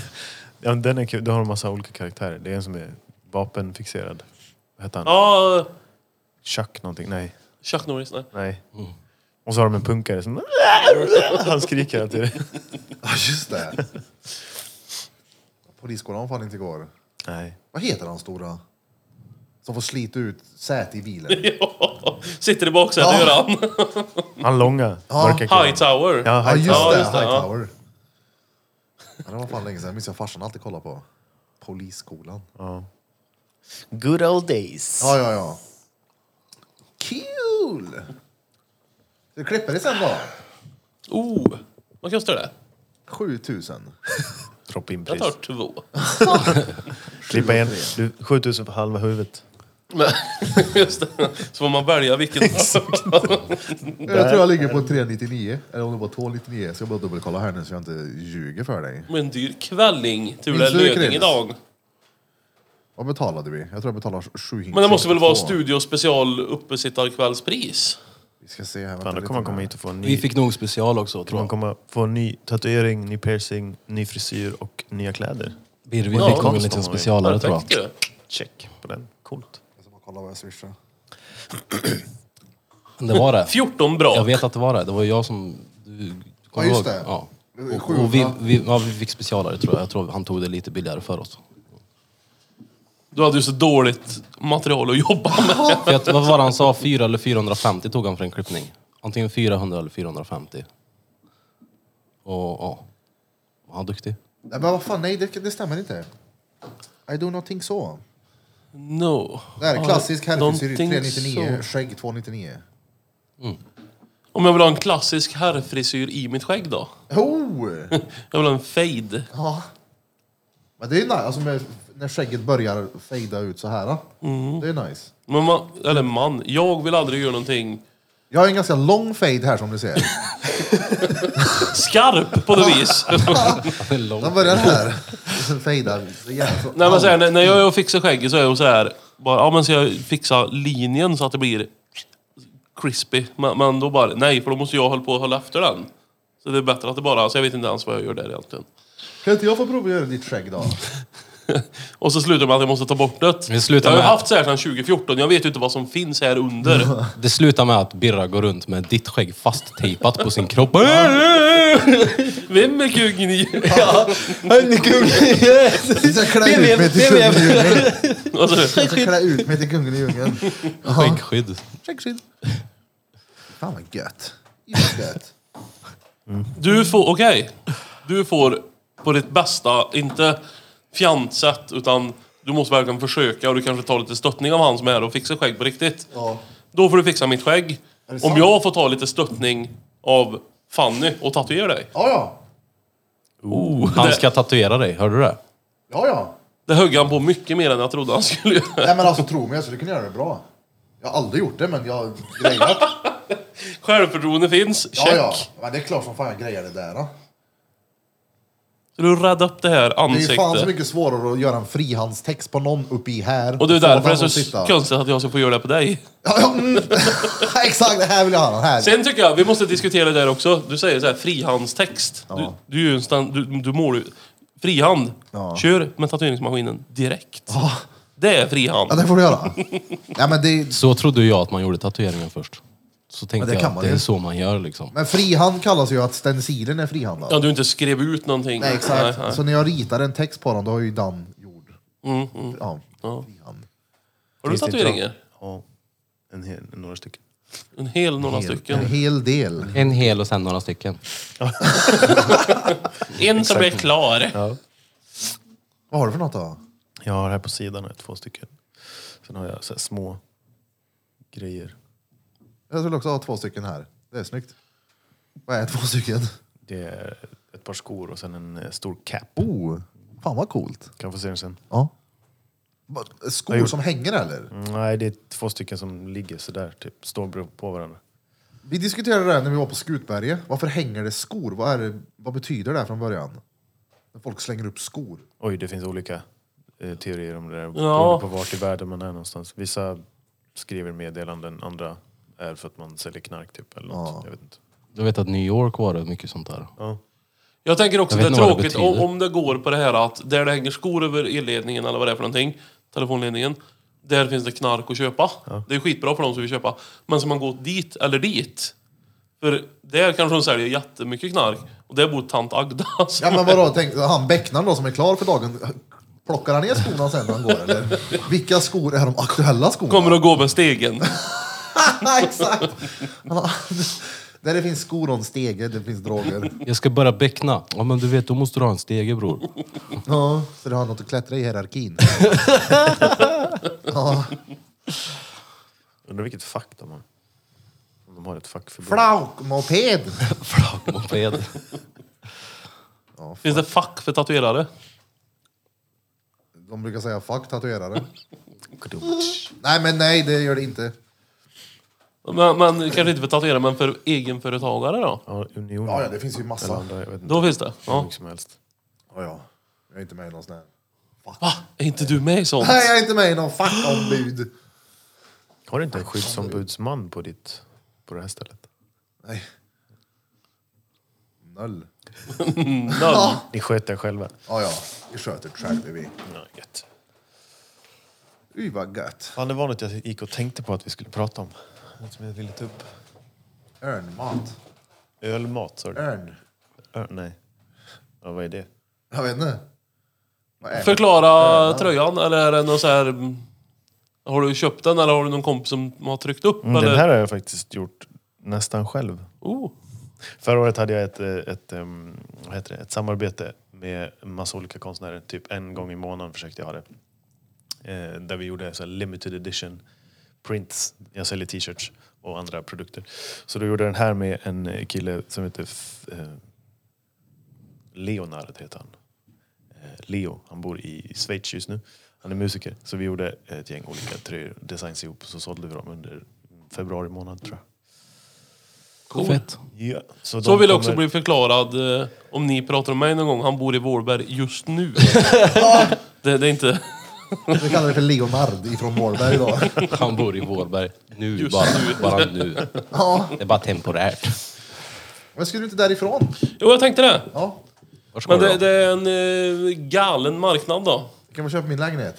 Speaker 3: ja, men den är kul. Då har de massa olika karaktärer. Det är en som är vapenfixerad. Vad heter han?
Speaker 1: Ja,
Speaker 3: Chuck någonting? Nej.
Speaker 1: Chuck Norris, nej. (laughs)
Speaker 3: Nej.
Speaker 1: Mm.
Speaker 3: Och så har de en punkare som... Han skriker hela tiden.
Speaker 2: Ja, just det. Polisskolan var fan inte igår.
Speaker 3: Nej.
Speaker 2: Vad heter han stora? Som får slita ut säte i bilen.
Speaker 1: Ja, sitter i baksätet gör han.
Speaker 3: Han långa,
Speaker 2: Ja.
Speaker 3: mörka killen.
Speaker 1: High Tower.
Speaker 3: Ja,
Speaker 2: Ja, just
Speaker 3: Hightower.
Speaker 1: Ja,
Speaker 2: det.
Speaker 1: just det, ja.
Speaker 2: Hightower. Ja, det var fan länge sedan. Jag minns jag farsan alltid kollade på. Polisskolan.
Speaker 3: Good old days.
Speaker 2: Ja, ja, ja. Kul! Du klipper det sen då?
Speaker 1: Oh, vad kostar det?
Speaker 2: 7000.
Speaker 3: Droppa in
Speaker 1: Jag
Speaker 3: pris.
Speaker 1: tar två.
Speaker 3: Klippa igen. Du, 7000 för halva huvudet.
Speaker 1: Men, (laughs) Just det. Så får man välja vilken.
Speaker 2: Jag tror jag ligger på 399, eller om det var 299. Ska jag bara dubbelkolla här nu så jag inte ljuger för dig.
Speaker 1: Men en dyr kvälling. Tur det är
Speaker 2: Minns du
Speaker 1: löning
Speaker 2: Krillis?
Speaker 1: idag.
Speaker 2: Vad betalade vi? Jag tror jag betalade sju hinkar.
Speaker 1: Men det måste väl vara
Speaker 2: Två.
Speaker 1: studio special uppesittarkvällspris?
Speaker 2: Vi ska se här. vänta
Speaker 3: Fan, då
Speaker 2: lite
Speaker 3: kommer man komma
Speaker 2: nu.
Speaker 3: hit och få en
Speaker 4: Vi
Speaker 3: ny...
Speaker 4: fick nog special också tror
Speaker 3: Man
Speaker 4: jag.
Speaker 3: kommer få en ny tatuering, ny piercing, ny frisyr och nya kläder.
Speaker 4: Birvin
Speaker 1: Ja,
Speaker 4: fick nog en
Speaker 3: konst
Speaker 4: liten
Speaker 3: har vi.
Speaker 4: specialare tror jag.
Speaker 1: Perfekt ju.
Speaker 3: Check på den. Coolt.
Speaker 2: Jag ska bara kolla vad jag swishar.
Speaker 4: Men Det var det.
Speaker 1: 14 bra.
Speaker 4: Jag vet att det var det. Det var ju jag som... Du, du
Speaker 2: Ja,
Speaker 4: kommer
Speaker 2: just
Speaker 4: ihåg?
Speaker 2: det.
Speaker 4: Ja.
Speaker 2: Det var ju
Speaker 4: Och, och vi,
Speaker 2: sjuhundra.
Speaker 4: vi, ja, vi fick specialare tror jag. Jag tror han tog det lite billigare för oss.
Speaker 1: Du hade ju så dåligt material att jobba med.
Speaker 4: För att, vad var det han sa? 4 eller 450 tog han för en klippning. Antingen 400 eller 450. Och ja, han var duktig.
Speaker 2: Nej, men vad fan, nej det, det stämmer inte. I do not think so.
Speaker 1: No.
Speaker 2: Det här är klassisk herrfrisyr,
Speaker 1: Någonting
Speaker 2: 399,
Speaker 1: så.
Speaker 2: skägg 299.
Speaker 1: Om jag vill ha en klassisk herrfrisyr i mitt skägg då?
Speaker 2: Oh!
Speaker 1: Jag vill ha en fade.
Speaker 2: Ja. Men det är nice, alltså med, när skägget börjar fejda ut så här.
Speaker 1: Mm.
Speaker 2: Det är nice.
Speaker 1: Men man, eller man, jag vill aldrig göra någonting
Speaker 2: Jag har en ganska lång fade här som du ser.
Speaker 1: skarp på något
Speaker 2: (laughs)
Speaker 1: vis. (laughs)
Speaker 2: Den börjar här. Sen fejdar. Det är jävla så-
Speaker 1: Nej, men så här, när när jag är och fixar skägget så är jag så här, bara, ja men ska jag fixa linjen så att det blir crispy? Men, men då bara, nej för då måste jag hålla på och hålla efter den. Så det är bättre att det bara, alltså jag vet inte ens vad jag gör där egentligen.
Speaker 2: Kan inte jag få prova att göra ditt skägg då?
Speaker 1: Och så slutar det med att jag måste ta bort det.
Speaker 4: Vi slutar
Speaker 1: jag har ju
Speaker 4: med-
Speaker 1: haft så här sedan 2014, jag vet ju inte vad som finns här under.
Speaker 4: (laughs) Det slutar med att Birra går runt med ditt skägg fasttejpat på
Speaker 1: (laughs)
Speaker 4: sin kropp.
Speaker 1: Vem är kungen i? (laughs)
Speaker 2: Jag ska klä ut mig till kungen i
Speaker 1: (laughs)
Speaker 2: djungeln.
Speaker 1: Och så-
Speaker 2: Jag ska klä ut mig till kungen i djungeln.
Speaker 4: Skäggskydd.
Speaker 2: Skäggskydd. Fan vad gött. Just gött.
Speaker 1: Du får, okej. Du får på ditt bästa, inte fjantsätt, utan du måste verkligen försöka och du kanske tar lite stöttning av han som är här och fixar skägg på riktigt.
Speaker 2: Ja.
Speaker 1: Då får du fixa mitt skägg. Om
Speaker 2: sant?
Speaker 1: jag får ta lite stöttning av Fanny och tatuera dig.
Speaker 2: Ja, ja.
Speaker 4: Han
Speaker 1: Oh. det-
Speaker 4: ska tatuera dig, hörde du det?
Speaker 2: Ja, ja.
Speaker 1: Det högg han på mycket mer än jag trodde han skulle göra.
Speaker 2: Nej men alltså tro mig, jag skulle kunna göra det bra. Jag har aldrig gjort det men jag har grejat.
Speaker 1: Självförtroende finns,
Speaker 2: Ja,
Speaker 1: check.
Speaker 2: ja. Men det är klart som fan jag grejar det där. Då.
Speaker 1: Så du rädda upp det här
Speaker 2: Det är ju fan så
Speaker 1: ansiktet.
Speaker 2: mycket svårare att göra en frihandstext på någon uppe i här.
Speaker 1: Och det är
Speaker 2: Få
Speaker 1: därför det
Speaker 2: den
Speaker 1: är
Speaker 2: att
Speaker 1: så
Speaker 2: sitta.
Speaker 1: konstigt att jag ska få göra det på dig.
Speaker 2: Ja, ja, mm. (laughs) Exakt, det här vill jag ha. Den här.
Speaker 1: Sen tycker jag, vi måste diskutera det där också. Du säger så här, frihandstext.
Speaker 2: Ja.
Speaker 1: Du, du är ju en stan, du, du mår ju... Frihand.
Speaker 2: Ja.
Speaker 1: Kör med tatueringsmaskinen direkt. Det är frihand.
Speaker 2: Ja, det får du göra. Ja, men, det,
Speaker 4: Så trodde jag att man gjorde tatueringen först. Så tänkte
Speaker 2: det
Speaker 4: jag
Speaker 2: kan
Speaker 4: att
Speaker 2: man
Speaker 4: det
Speaker 2: ju.
Speaker 4: är så man gör liksom.
Speaker 2: men frihand kallas ju att stencilen är frihandad.
Speaker 1: Ja, du inte skrev ut någonting.
Speaker 2: Nej, exakt.
Speaker 1: Nej, nej. Mm,
Speaker 2: Så när jag ritar en text på den, då har ju Dan gjord. Ja, frihand.
Speaker 1: Har du
Speaker 3: Finns det inte
Speaker 1: tatueringar?
Speaker 3: Ja. En hel, några stycken.
Speaker 1: En hel, några stycken.
Speaker 2: En hel del.
Speaker 4: En hel och sen några stycken.
Speaker 1: En som är klar.
Speaker 2: Vad har du för något då?
Speaker 3: Jag har här på sidan här, två stycken. Sen har jag så här små grejer.
Speaker 2: Jag skulle också ha två stycken här. Det är snyggt. Vad är två stycken?
Speaker 3: Det är ett par skor och sen en eh, stor cap.
Speaker 2: Oh, fan vad coolt.
Speaker 3: Kan få se den sen.
Speaker 2: Ja. Va, Skor som hänger eller?
Speaker 3: Mm, Nej, det är två stycken som ligger sådär, typ. Står bro- på varandra.
Speaker 2: Vi diskuterade det här när vi var på Skutberget. Varför hänger det skor? Vad, är det, vad betyder det här från början? När folk slänger upp skor.
Speaker 3: Oj, det finns olika eh, teorier om det där.
Speaker 1: Ja.
Speaker 3: Beroende på vart i världen man är någonstans. Vissa skriver meddelanden, andra är för att man säljer knark typ. Eller något. Jag vet inte.
Speaker 4: Jag vet att New York var det mycket sånt där.
Speaker 1: Jag tänker också
Speaker 4: Jag
Speaker 1: att
Speaker 4: vet
Speaker 1: det är
Speaker 4: inte vad det
Speaker 1: tråkigt om,
Speaker 4: betyder.
Speaker 1: om det går på det här att där det hänger skor över elledningen eller vad det är för någonting, telefonledningen, där finns det knark att köpa. Det är skitbra för de som vill köpa. Men ska man gå dit eller dit? För där kanske de säljer jättemycket knark och där bor tant Agda. (laughs)
Speaker 2: Ja men vadå, tänk, han becknaren då som är klar för dagen, plockar han ner skorna sen när han går eller? Vilka skor är de aktuella skorna?
Speaker 1: Kommer att gå med stegen.
Speaker 2: (laughs) Exakt! Han har, där det finns skor och en stege, det finns droger.
Speaker 4: Jag ska börja beckna. Ja men du vet, då måste du ha en
Speaker 1: (laughs)
Speaker 4: stege bror.
Speaker 2: Ja, så du har något att klättra i hierarkin. Ja.
Speaker 3: Undrar vilket fack de har. Om de har ett fackförbund.
Speaker 2: Flaukmoped!
Speaker 4: Moped.
Speaker 1: Finns det fack för tatuerare?
Speaker 2: De brukar säga fuck tatuerare. nej men nej, det gör det inte.
Speaker 1: Men, men kanske inte för tatuerare, men för egenföretagare då?
Speaker 3: Ja, Unionen.
Speaker 2: Ja, ja, det finns ju massa.
Speaker 3: Eller andra, jag vet inte.
Speaker 1: Då finns det?
Speaker 3: Hur
Speaker 1: Ja.
Speaker 3: mycket som helst.
Speaker 2: Ja, ja. Jag är inte med i någon sån här.
Speaker 1: Va? Är inte du med i
Speaker 4: (laughs)
Speaker 1: sånt?
Speaker 2: (laughs) Nej, jag är inte med i någon fackombud.
Speaker 3: Har du inte en skyddsombudsman på, ditt, på det här stället?
Speaker 2: Nej. Noll.
Speaker 1: Noll.
Speaker 3: Ni sköter er själva?
Speaker 2: Ja, ja. Vi sköter det själva vi.
Speaker 3: Ja, gött.
Speaker 2: Uy, vad gött.
Speaker 3: Fan, det var något jag gick och tänkte på att vi skulle prata om. Något som jag ville ta upp.
Speaker 2: Örnmat.
Speaker 3: Ölmat, sa du?
Speaker 2: Örn.
Speaker 3: Ö- nej. Ja, vad är det?
Speaker 2: Jag vet inte. Vad är det?
Speaker 1: Förklara tröjan, eller är det någon så här... mm, Har du köpt den eller har du någon kompis som har tryckt upp?
Speaker 3: Mm,
Speaker 1: eller?
Speaker 3: den här har jag faktiskt gjort nästan själv.
Speaker 1: Oh.
Speaker 3: Förra året hade jag ett, eh, ett, ehm, vad heter det, ett samarbete med en massa olika konstnärer. Typ en gång i månaden försökte jag ha det. Eh, där vi gjorde så här limited edition prints. Jag säljer t-shirts och andra produkter. Så då gjorde jag den här med en eh, kille som heter F- eh, Leonard. Heter han. Eh, Leo, han bor i Schweiz just nu. Han är musiker. Så vi gjorde ett gäng olika tröjor, designs ihop. Så sålde vi dem under februari månad tror jag.
Speaker 4: Fett.
Speaker 3: Ja, så
Speaker 1: Så
Speaker 3: de
Speaker 1: vill jag också
Speaker 3: kommer-
Speaker 1: bli förklarad eh, om ni pratar om mig någon gång. Han bor i Vårberg just
Speaker 3: (laughs)
Speaker 1: nu. det, det är inte...
Speaker 2: (laughs) Vi kallar det för Leonard ifrån Målberg idag. (laughs)
Speaker 4: Han bor i Vårberg. Nu
Speaker 1: Just
Speaker 4: bara.
Speaker 1: nu.
Speaker 4: Bara nu.
Speaker 2: Ja.
Speaker 4: Det är bara temporärt.
Speaker 2: Men skulle du inte därifrån?
Speaker 1: Jo, jag tänkte det.
Speaker 2: Ja.
Speaker 4: Var ska
Speaker 1: Men
Speaker 4: du
Speaker 1: det,
Speaker 4: då?
Speaker 1: det är en eh, galen marknad då.
Speaker 2: Kan man köpa min lägenhet?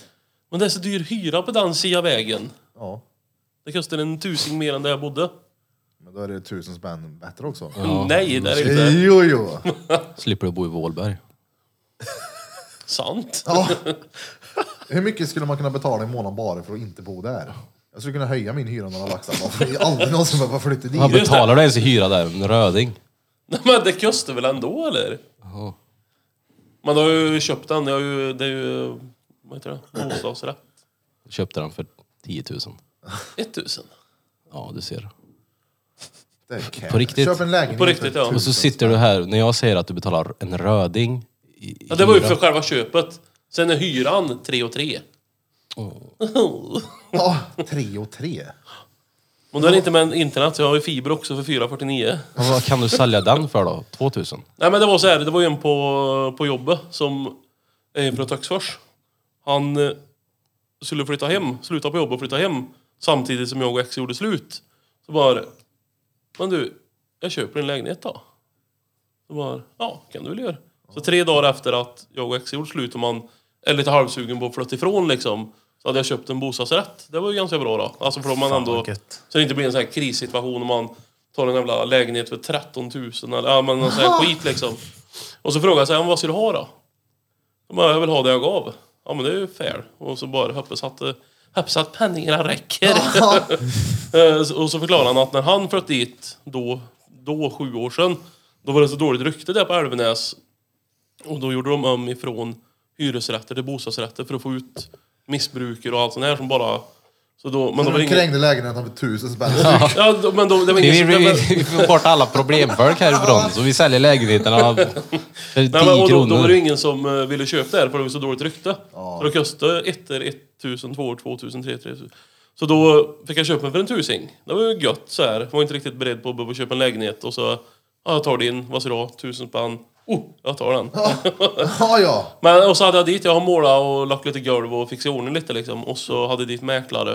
Speaker 1: Men det är så dyr hyra på den sidan vägen.
Speaker 2: Ja.
Speaker 1: Det kostar en tusing mer än där jag bodde.
Speaker 2: Men då är det tusen spänn bättre också.
Speaker 1: Nej, det är
Speaker 3: Mm.
Speaker 1: det inte.
Speaker 2: Jo, jo.
Speaker 4: Slipper du bo i Vålberg.
Speaker 1: Sant.
Speaker 2: Ja. (laughs) Hur mycket skulle man kunna betala i månaden bara för att inte bo där? Jag skulle kunna höja min hyra några laxar. bara för att Jag aldrig någonsin behöva flytta
Speaker 4: Han
Speaker 2: dit.
Speaker 1: det.
Speaker 4: betalar du ens i hyra där? En röding?
Speaker 1: (laughs) Nej, men det kostar väl ändå, eller?
Speaker 4: Jaha.
Speaker 1: Men då har jag ju köpt den. Jag har ju, det är ju... Vad heter det? Bostadsrätt.
Speaker 4: Köpte den för 10 000.
Speaker 1: 1000.
Speaker 4: Ja, du ser.
Speaker 2: Det är cap.
Speaker 4: På riktigt?
Speaker 2: Köp en lägenhet.
Speaker 1: På riktigt, ja.
Speaker 4: Och så sitter du här, när jag säger att du betalar en röding i i
Speaker 1: Ja, det var ju
Speaker 4: hyra.
Speaker 1: för själva köpet. Sen är hyran 3 och 3.
Speaker 2: Ja, tre och tre.
Speaker 1: Och då är det inte med internet, så jag har ju fiber också för 449.
Speaker 4: Men Vad kan du sälja den för då? 2000?
Speaker 1: Nej men det var så här, det var ju en på, på jobbet som är från Töcksfors. Han eh, skulle flytta hem, sluta på jobbet och flytta hem samtidigt som jag och ex gjorde slut. Så bara, men du, jag köper en lägenhet då. Så bara, ja kan du väl göra. Så tre dagar efter att jag och ex gjorde slut och man är lite halvsugen på att flytta ifrån liksom. Så hade jag köpt en bostadsrätt. Det var ju ganska bra då. Alltså för om man
Speaker 3: Fan,
Speaker 1: ändå...
Speaker 3: vad gött.
Speaker 1: Så det inte blir en sån här krissituation om man tar en jävla lägenhet för 13 000 eller ja, men någon sån här skit liksom. Och så frågar jag så här, "Men vad ska du ha då? Jag bara, jag vill ha det jag gav. Ja men det är ju fair. Och så bara hoppas att, eh, hoppas att pengarna räcker. Eh, och så förklarar han att när han flöt dit, då, då sju år sedan, då var det så dåligt rykte där på Älvenäs. Och då gjorde de om ifrån hyresrätter till bostadsrätter för att få ut missbrukare och allt sånt här som bara... Så då, men då var
Speaker 2: De
Speaker 1: det ingen,
Speaker 2: krängde lägenheten för tusen spänn styck.
Speaker 1: Ja, då- men då, det var ingen
Speaker 4: Vi,
Speaker 1: som...
Speaker 4: vi,
Speaker 1: Nej, men-
Speaker 4: vi, vi får bort alla problemfolk härifrån, så vi säljer lägenheterna för 10
Speaker 1: Nej, men, och då, då var det
Speaker 4: kronor.
Speaker 1: ju ingen som eh, ville köpa det här för det var så dåligt rykte. Så det kostade ettor 1000, 2 2000, 3 3000. Så då fick jag köpa den för en tusing. Det var ju gött så här. Var inte riktigt beredd på att behöva köpa en lägenhet och så... Ja, jag tar din. Vad ska du ha? Tusen spänn. Oh, jag tar den.
Speaker 2: Ja, ja.
Speaker 1: Men och så hade jag dit, jag har målat och lagt lite golv och fixat i ordning lite liksom. Och så hade jag dit mäklare.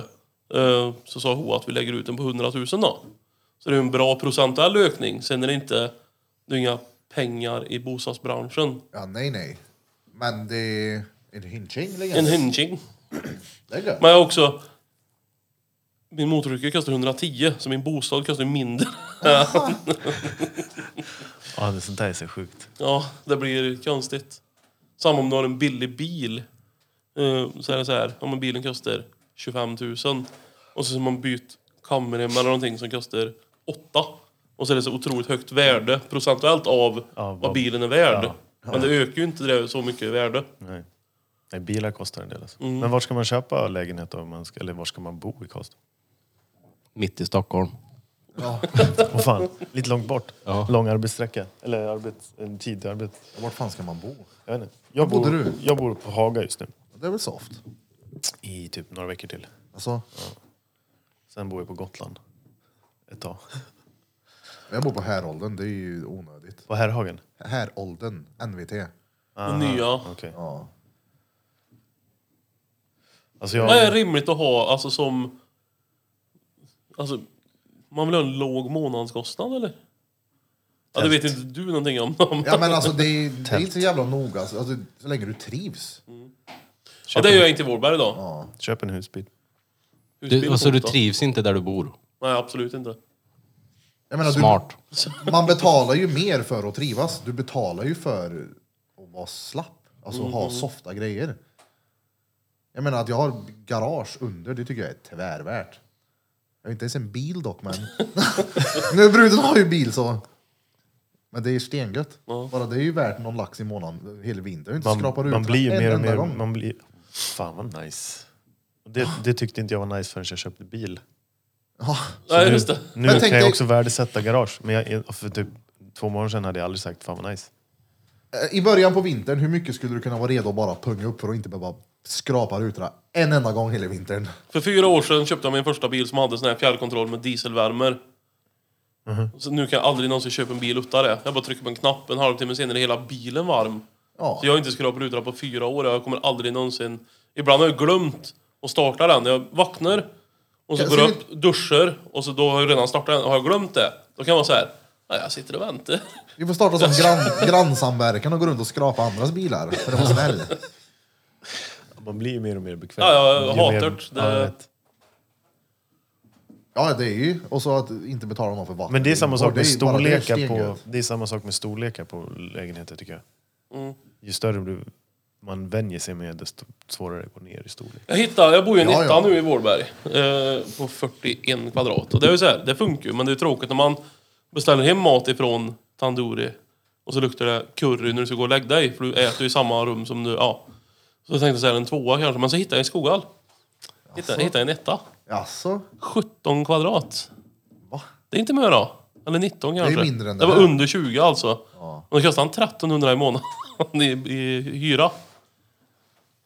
Speaker 1: Eh, Så sa hon att vi lägger ut den på 100 000 då. Så det är en bra procentuell ökning. Sen är det inte, det är inga pengar i bostadsbranschen.
Speaker 2: Ja, nej, nej. Men det är en hinching
Speaker 1: En
Speaker 2: lägenhet.
Speaker 1: hynching.
Speaker 2: Det är gött.
Speaker 1: Men jag har också... Min motorcykel kostar 110, så min bostad kostar mindre. (laughs)
Speaker 3: Ja, det sånt där är så sjukt.
Speaker 1: Ja, det blir konstigt. Samma om du har en billig bil. Eh, Så är det så här, om bilen kostar 25 000 och så har man bytt kamera eller någonting som kostar 8. Och så är det så otroligt högt värde procentuellt av
Speaker 3: vad-
Speaker 1: vad bilen är värd.
Speaker 3: Ja.
Speaker 1: Men det ökar ju inte det så mycket i värde.
Speaker 3: Nej. Nej, bilar kostar en del. Alltså. Men var ska man köpa lägenhet då? om Man ska, eller var ska man bo i Karlstad?
Speaker 4: Mitt i Stockholm.
Speaker 2: Ja,
Speaker 3: Vad fan, lite långt bort.
Speaker 4: Ja.
Speaker 3: Lång arbetssträcka. Eller arbets, en tid till arbete.
Speaker 2: vart fan ska man bo?
Speaker 3: Jag vet inte. Jag
Speaker 2: Var
Speaker 3: bor,
Speaker 2: bodde du?
Speaker 3: jag bor på Haga just nu.
Speaker 2: Det är väl soft?
Speaker 3: I typ några veckor till.
Speaker 2: Alltså,
Speaker 3: Sen bor jag på Gotland. Ett tag.
Speaker 2: jag bor på Härålden, det är ju onödigt.
Speaker 3: På Herrhagen?
Speaker 2: Härålden, NVT.
Speaker 1: Den nya.
Speaker 3: Okej.
Speaker 2: Ja.
Speaker 3: Alltså
Speaker 1: Vad är
Speaker 3: jag...
Speaker 1: rimligt att ha alltså som... Alltså, man vill ha en låg månadskostnad eller? Ja, det vet inte du någonting om.
Speaker 2: ja men alltså det är, det är inte så jävla noga, alltså, alltså, så länge du trivs.
Speaker 1: Ja, det gör jag inte i Vårberg idag.
Speaker 3: Köp en husbil.
Speaker 4: Du,
Speaker 1: Utbildning
Speaker 4: alltså, du
Speaker 1: på onsdag.
Speaker 4: trivs inte där du bor.
Speaker 1: Nej, absolut inte.
Speaker 2: Jag menar,
Speaker 4: Smart.
Speaker 2: Du, man betalar ju mer för att trivas. Du betalar ju för att vara slapp, alltså ha softa grejer. Jag menar att jag har garage under, det tycker jag är tvärvärt. Jag har inte ens en bil dock men... nu bruden har ju bil så... Men det är stengött. Bara det är ju värt någon lax i månaden hela vintern. Inte
Speaker 3: Man,
Speaker 2: skrapar ut
Speaker 3: man blir ju
Speaker 2: en
Speaker 3: mer och
Speaker 2: enda
Speaker 3: mer...
Speaker 2: gång.
Speaker 3: Man blir... Fan vad nice. Det, det tyckte inte jag var nice förrän jag köpte bil.
Speaker 2: Ja,
Speaker 1: Nej, just det.
Speaker 3: Nu
Speaker 2: Men
Speaker 3: kan
Speaker 2: tänk
Speaker 3: jag
Speaker 2: dig-
Speaker 3: också värdesätta garage. Men jag, för typ två månader sedan hade jag aldrig sagt fan vad nice.
Speaker 2: Eh, I början på vintern, hur mycket skulle du kunna vara redo att bara punga upp för att inte behöva skrapa rutorna en enda gång hela vintern?
Speaker 1: För fyra år sedan köpte jag min första bil som hade sån här fjärrkontroll med dieselvärmer.
Speaker 2: Mhm.
Speaker 1: Så nu kan jag aldrig någonsin köpa en bil utan det. Jag bara trycker på en knapp, en halvtimme senare är hela bilen varm.
Speaker 2: Ja.
Speaker 1: Så jag har inte skrapat rutorna på fyra år, jag kommer aldrig någonsin... Ibland har jag glömt att starta den. Jag vaknar, och så
Speaker 2: Ja,
Speaker 1: går
Speaker 2: så
Speaker 1: jag upp, duschar, och så då har jag redan startat den. Har jag glömt det, då kan man säga Nej, jag sitter och väntar. (laughs)
Speaker 2: Vi får starta som grann, grannsamverkan och gå runt och skrapa andras bilar för att vara snäll.
Speaker 3: Man blir ju mer och mer bekväm.
Speaker 1: Ja, ja,
Speaker 3: Ju mer-
Speaker 1: hatört, det-
Speaker 3: Ja, jag vet.
Speaker 2: Ja, det är ju. Och så att inte betala någon för vatten.
Speaker 3: Men det är samma sak
Speaker 2: Och det
Speaker 3: med
Speaker 2: är ju bara det
Speaker 3: storlekar på,
Speaker 2: stengött.
Speaker 3: det är samma sak med storlekar på lägenheter tycker jag.
Speaker 1: Mm.
Speaker 3: Ju större du, man vänjer sig med desto svårare det går ner i storlek.
Speaker 1: Jag hittade, jag bor ju i en
Speaker 2: Ja,
Speaker 1: etta
Speaker 2: ja.
Speaker 1: nu i Vårberg. Eh, på 41 kvadrat. Och det är ju så här, det funkar ju, men det är tråkigt när man beställer hem mat ifrån tandoori och så luktar det curry när du ska gå och lägga dig, för du äter ju i samma rum som du, ja. Så jag tänkte så här, en tvåa kanske, men så hittade jag i Skoghall. Hittade, hittade en etta.
Speaker 2: Jaså?
Speaker 1: 17 kvadrat.
Speaker 2: Va?
Speaker 1: Det är inte mer då. Eller 19
Speaker 2: är
Speaker 1: kanske.
Speaker 2: mindre än
Speaker 1: det
Speaker 2: det
Speaker 1: var
Speaker 2: här.
Speaker 1: under 20 alltså. Och då kostade han 1300 i månaden (laughs) i, i hyra.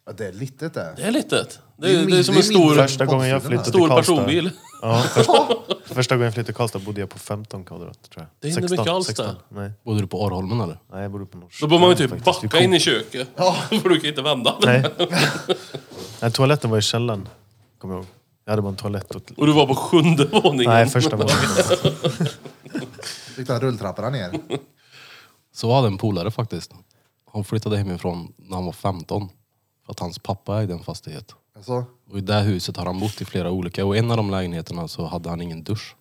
Speaker 2: Ja, det är litet det.
Speaker 1: Det är litet. Det
Speaker 2: Det är
Speaker 1: är, det är som en
Speaker 2: mindre- det
Speaker 1: stor,
Speaker 2: är mindre.
Speaker 3: Första gången jag flyttade till
Speaker 1: stor
Speaker 3: Karlstad.
Speaker 1: personbil.
Speaker 3: Ja, första, första gången jag flyttade till Karlstad bodde jag på 15 kvadrat tror jag.
Speaker 1: Det är inte mycket alls det.
Speaker 3: Nej,
Speaker 4: Bodde du på Arholmen eller?
Speaker 3: nej, jag bodde på Norrköping.
Speaker 1: Då bör man ju typ
Speaker 3: faktiskt. Vi
Speaker 1: backa
Speaker 3: kom-
Speaker 1: in i köket. (laughs) För du kan inte vända.
Speaker 3: (laughs) Nej. nej, toaletten var i källaren. Kommer jag ihåg. Jag hade bara en toalett och...
Speaker 1: Och du var på sjunde våningen.
Speaker 3: Nej,
Speaker 1: (laughs)
Speaker 3: första våningen.
Speaker 2: Fick den rulltrapporna ner.
Speaker 4: Så hade en polare faktiskt. Han flyttade hemifrån när han var 15. För att hans pappa ägde en fastighet.
Speaker 2: Alltså,
Speaker 4: Och i det huset har han bott i flera olika. Och i en av de lägenheterna så hade han ingen dusch.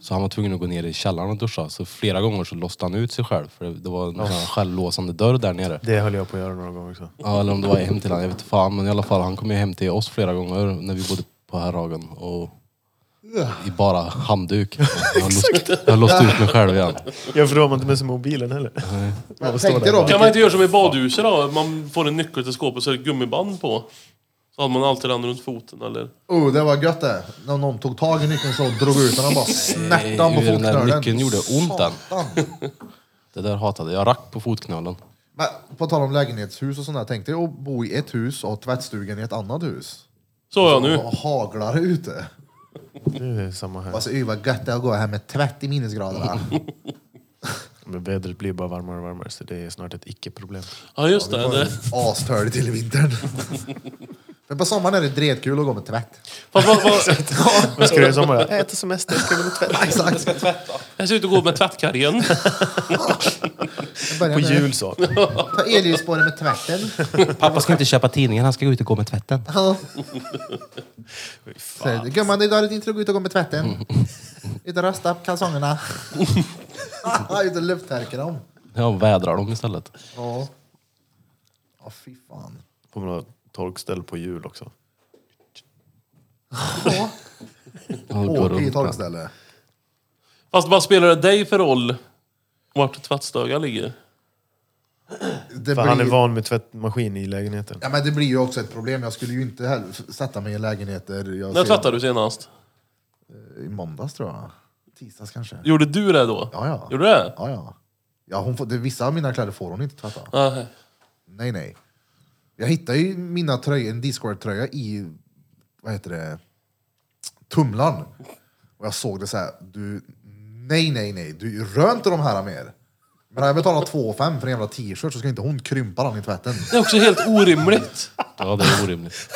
Speaker 4: Så han var tvungen att gå ner i källaren och duscha. Så flera gånger så låste han ut sig själv. För det, det var en sån här självlåsande dörr där nere.
Speaker 3: Det höll jag på att göra några gånger också.
Speaker 4: Ja, eller om det var hem till han, jag vet inte fan. Men i alla fall, han kom ju hem till oss flera gånger när vi bodde på Herrhagen. Och i bara handduk. Jag har låst- jag har låst ut mig själv igen.
Speaker 3: Ja, för då har man inte med sig mobilen heller.
Speaker 2: men
Speaker 3: står
Speaker 2: tänk
Speaker 3: där
Speaker 2: dig då
Speaker 1: Kan man inte göra som i badhuset då? Man får en nyckel till skåpet så är det gummiband på. Så hade man alltid den runt foten eller...
Speaker 2: Oh, det var gött det. När någon tog tag i nyckeln så och drog ut den och bara snärtan på
Speaker 4: hur den där
Speaker 2: fotknölen.
Speaker 4: nyckeln gjorde ont den.
Speaker 2: Satan.
Speaker 4: Det där hatade jag. Jag rack på fotknölen.
Speaker 2: Men på tal om lägenhetshus och sånt där, tänk dig att bo i ett hus och ha tvättstugan i ett annat hus.
Speaker 1: Så har jag nu.
Speaker 2: Och haglar det ute.
Speaker 3: Det är samma här.
Speaker 2: Alltså, uy vad gött det är att gå här med tvätt i
Speaker 3: (laughs)
Speaker 2: minusgraderna.
Speaker 3: Men vädret blir bara varmare och varmare så det är snart ett icke-problem.
Speaker 1: Ja just
Speaker 2: Det
Speaker 1: det.
Speaker 2: var
Speaker 1: det.
Speaker 2: ju astöligt till i vintern. Men på sommaren är det dretkul att gå med tvätt.
Speaker 1: Fast vad,
Speaker 3: (laughs)
Speaker 1: vad,
Speaker 3: Vad ska du göra i (laughs) sommar? Jag äter semester, ska väl tvätta.
Speaker 2: Exakt.
Speaker 1: jag ser ut att gå med tvättkargen.
Speaker 2: Jag börjar
Speaker 3: På
Speaker 2: med
Speaker 3: jul så. (laughs)
Speaker 2: att Ta elljusspåren med tvätten.
Speaker 4: Pappa ska inte köpa tidningen, han ska gå ut och gå med tvätten.
Speaker 2: Ja. Så, Gumman, idag är det din tur att gå ut och gå med tvätten. Ut och rösta upp
Speaker 3: (laughs)
Speaker 2: kalsongerna. ut och luftverka dem.
Speaker 4: Ja, vädrar dem istället.
Speaker 2: Ja. Ja, fy fan.
Speaker 3: Får man ha torkställ på jul också.
Speaker 2: Ja.
Speaker 4: Han går
Speaker 2: Åk i
Speaker 4: runt där.
Speaker 2: torkställe.
Speaker 1: Fast vad spelar det dig för roll? Vart tvättstugan ligger?
Speaker 2: Det
Speaker 3: För han är
Speaker 2: blir,
Speaker 3: van med tvättmaskin i lägenheten.
Speaker 2: ja, men det blir ju också ett problem. Jag skulle ju inte heller f- sätta mig i lägenheter.
Speaker 1: När
Speaker 2: Jag ser-
Speaker 1: tvättade du senast?
Speaker 2: I måndags tror jag. tisdags kanske.
Speaker 1: Gjorde du det då?
Speaker 2: Ja, ja.
Speaker 1: Gjorde du det?
Speaker 2: Ja, ja. ja hon får, det, vissa av mina kläder får hon inte tvätta.
Speaker 1: Nej.
Speaker 2: Nej, nej. Jag hittade ju mina tröjor, en Discord-tröja i, vad heter det, tumlan. Och jag såg det så här, du, nej, nej, nej, du rör inte de här mer. Men när jag betalar 2 5 för en jävla t-shirt så ska inte hon krympa den i tvätten.
Speaker 1: Det är också helt orimligt.
Speaker 4: Ja, det är orimligt.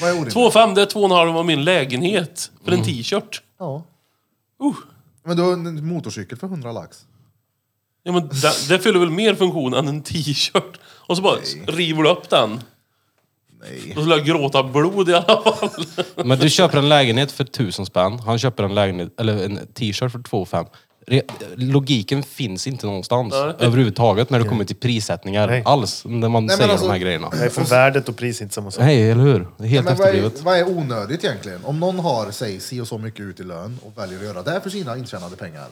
Speaker 2: Vad är orimligt?
Speaker 1: 2,5 det är 2,5 av min lägenhet. För
Speaker 3: Mm.
Speaker 1: en t-shirt.
Speaker 2: Ja.
Speaker 1: Uh.
Speaker 2: Men du har en motorcykel för 100 lax.
Speaker 1: Ja, men det, det fyller väl mer funktion än en t-shirt? Och så bara river du upp den.
Speaker 2: Nej.
Speaker 1: Då skulle jag gråta blod i alla fall.
Speaker 2: (laughs)
Speaker 4: Men du köper en lägenhet för tusen spänn. Han köper en lägenhet, eller en t-shirt för 2 5. Logiken finns inte någonstans
Speaker 1: Nej.
Speaker 4: överhuvudtaget när det kommer till prissättningar
Speaker 3: Nej.
Speaker 4: alls. När man
Speaker 2: men
Speaker 4: säger
Speaker 2: alltså-
Speaker 4: de här grejerna.
Speaker 3: Nej, för värdet och pris är inte samma sak.
Speaker 4: Nej, eller hur? Det är helt
Speaker 2: Men vad, är,
Speaker 4: efterblivet.
Speaker 2: vad är onödigt egentligen? Om någon har, säg, si och så mycket ut i lön och väljer att göra det här för sina intjänade pengar.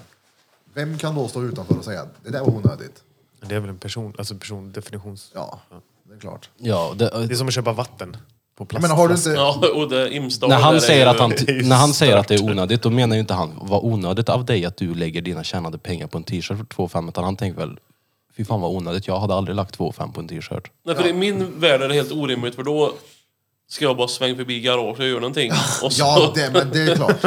Speaker 2: Vem kan då stå utanför och säga att det där var onödigt?
Speaker 3: Men Det är väl en person, alltså en persondefinitions...
Speaker 2: Ja, det är klart.
Speaker 4: Ja, det,
Speaker 3: Det är som att köpa vatten på
Speaker 2: Jag
Speaker 3: plast.
Speaker 2: menar, har du inte...
Speaker 1: Ja, (laughs) och det imstar
Speaker 4: när
Speaker 1: där
Speaker 4: han,
Speaker 1: är
Speaker 4: säger
Speaker 1: ju-
Speaker 4: att, han,
Speaker 3: det är ju
Speaker 4: när han säger
Speaker 3: stört.
Speaker 4: att det är onödigt, då menar ju inte han vad onödigt av dig att du lägger dina tjänade pengar på en t-shirt för 2 5 utan han tänker väl Fy fan vad onödigt, jag hade aldrig lagt 2 5 på en t-shirt.
Speaker 1: Nej, för i min värld är det helt orimligt för då ska jag bara svänga förbi garaget och göra någonting. Och så,
Speaker 2: Ja, det, men det är klart.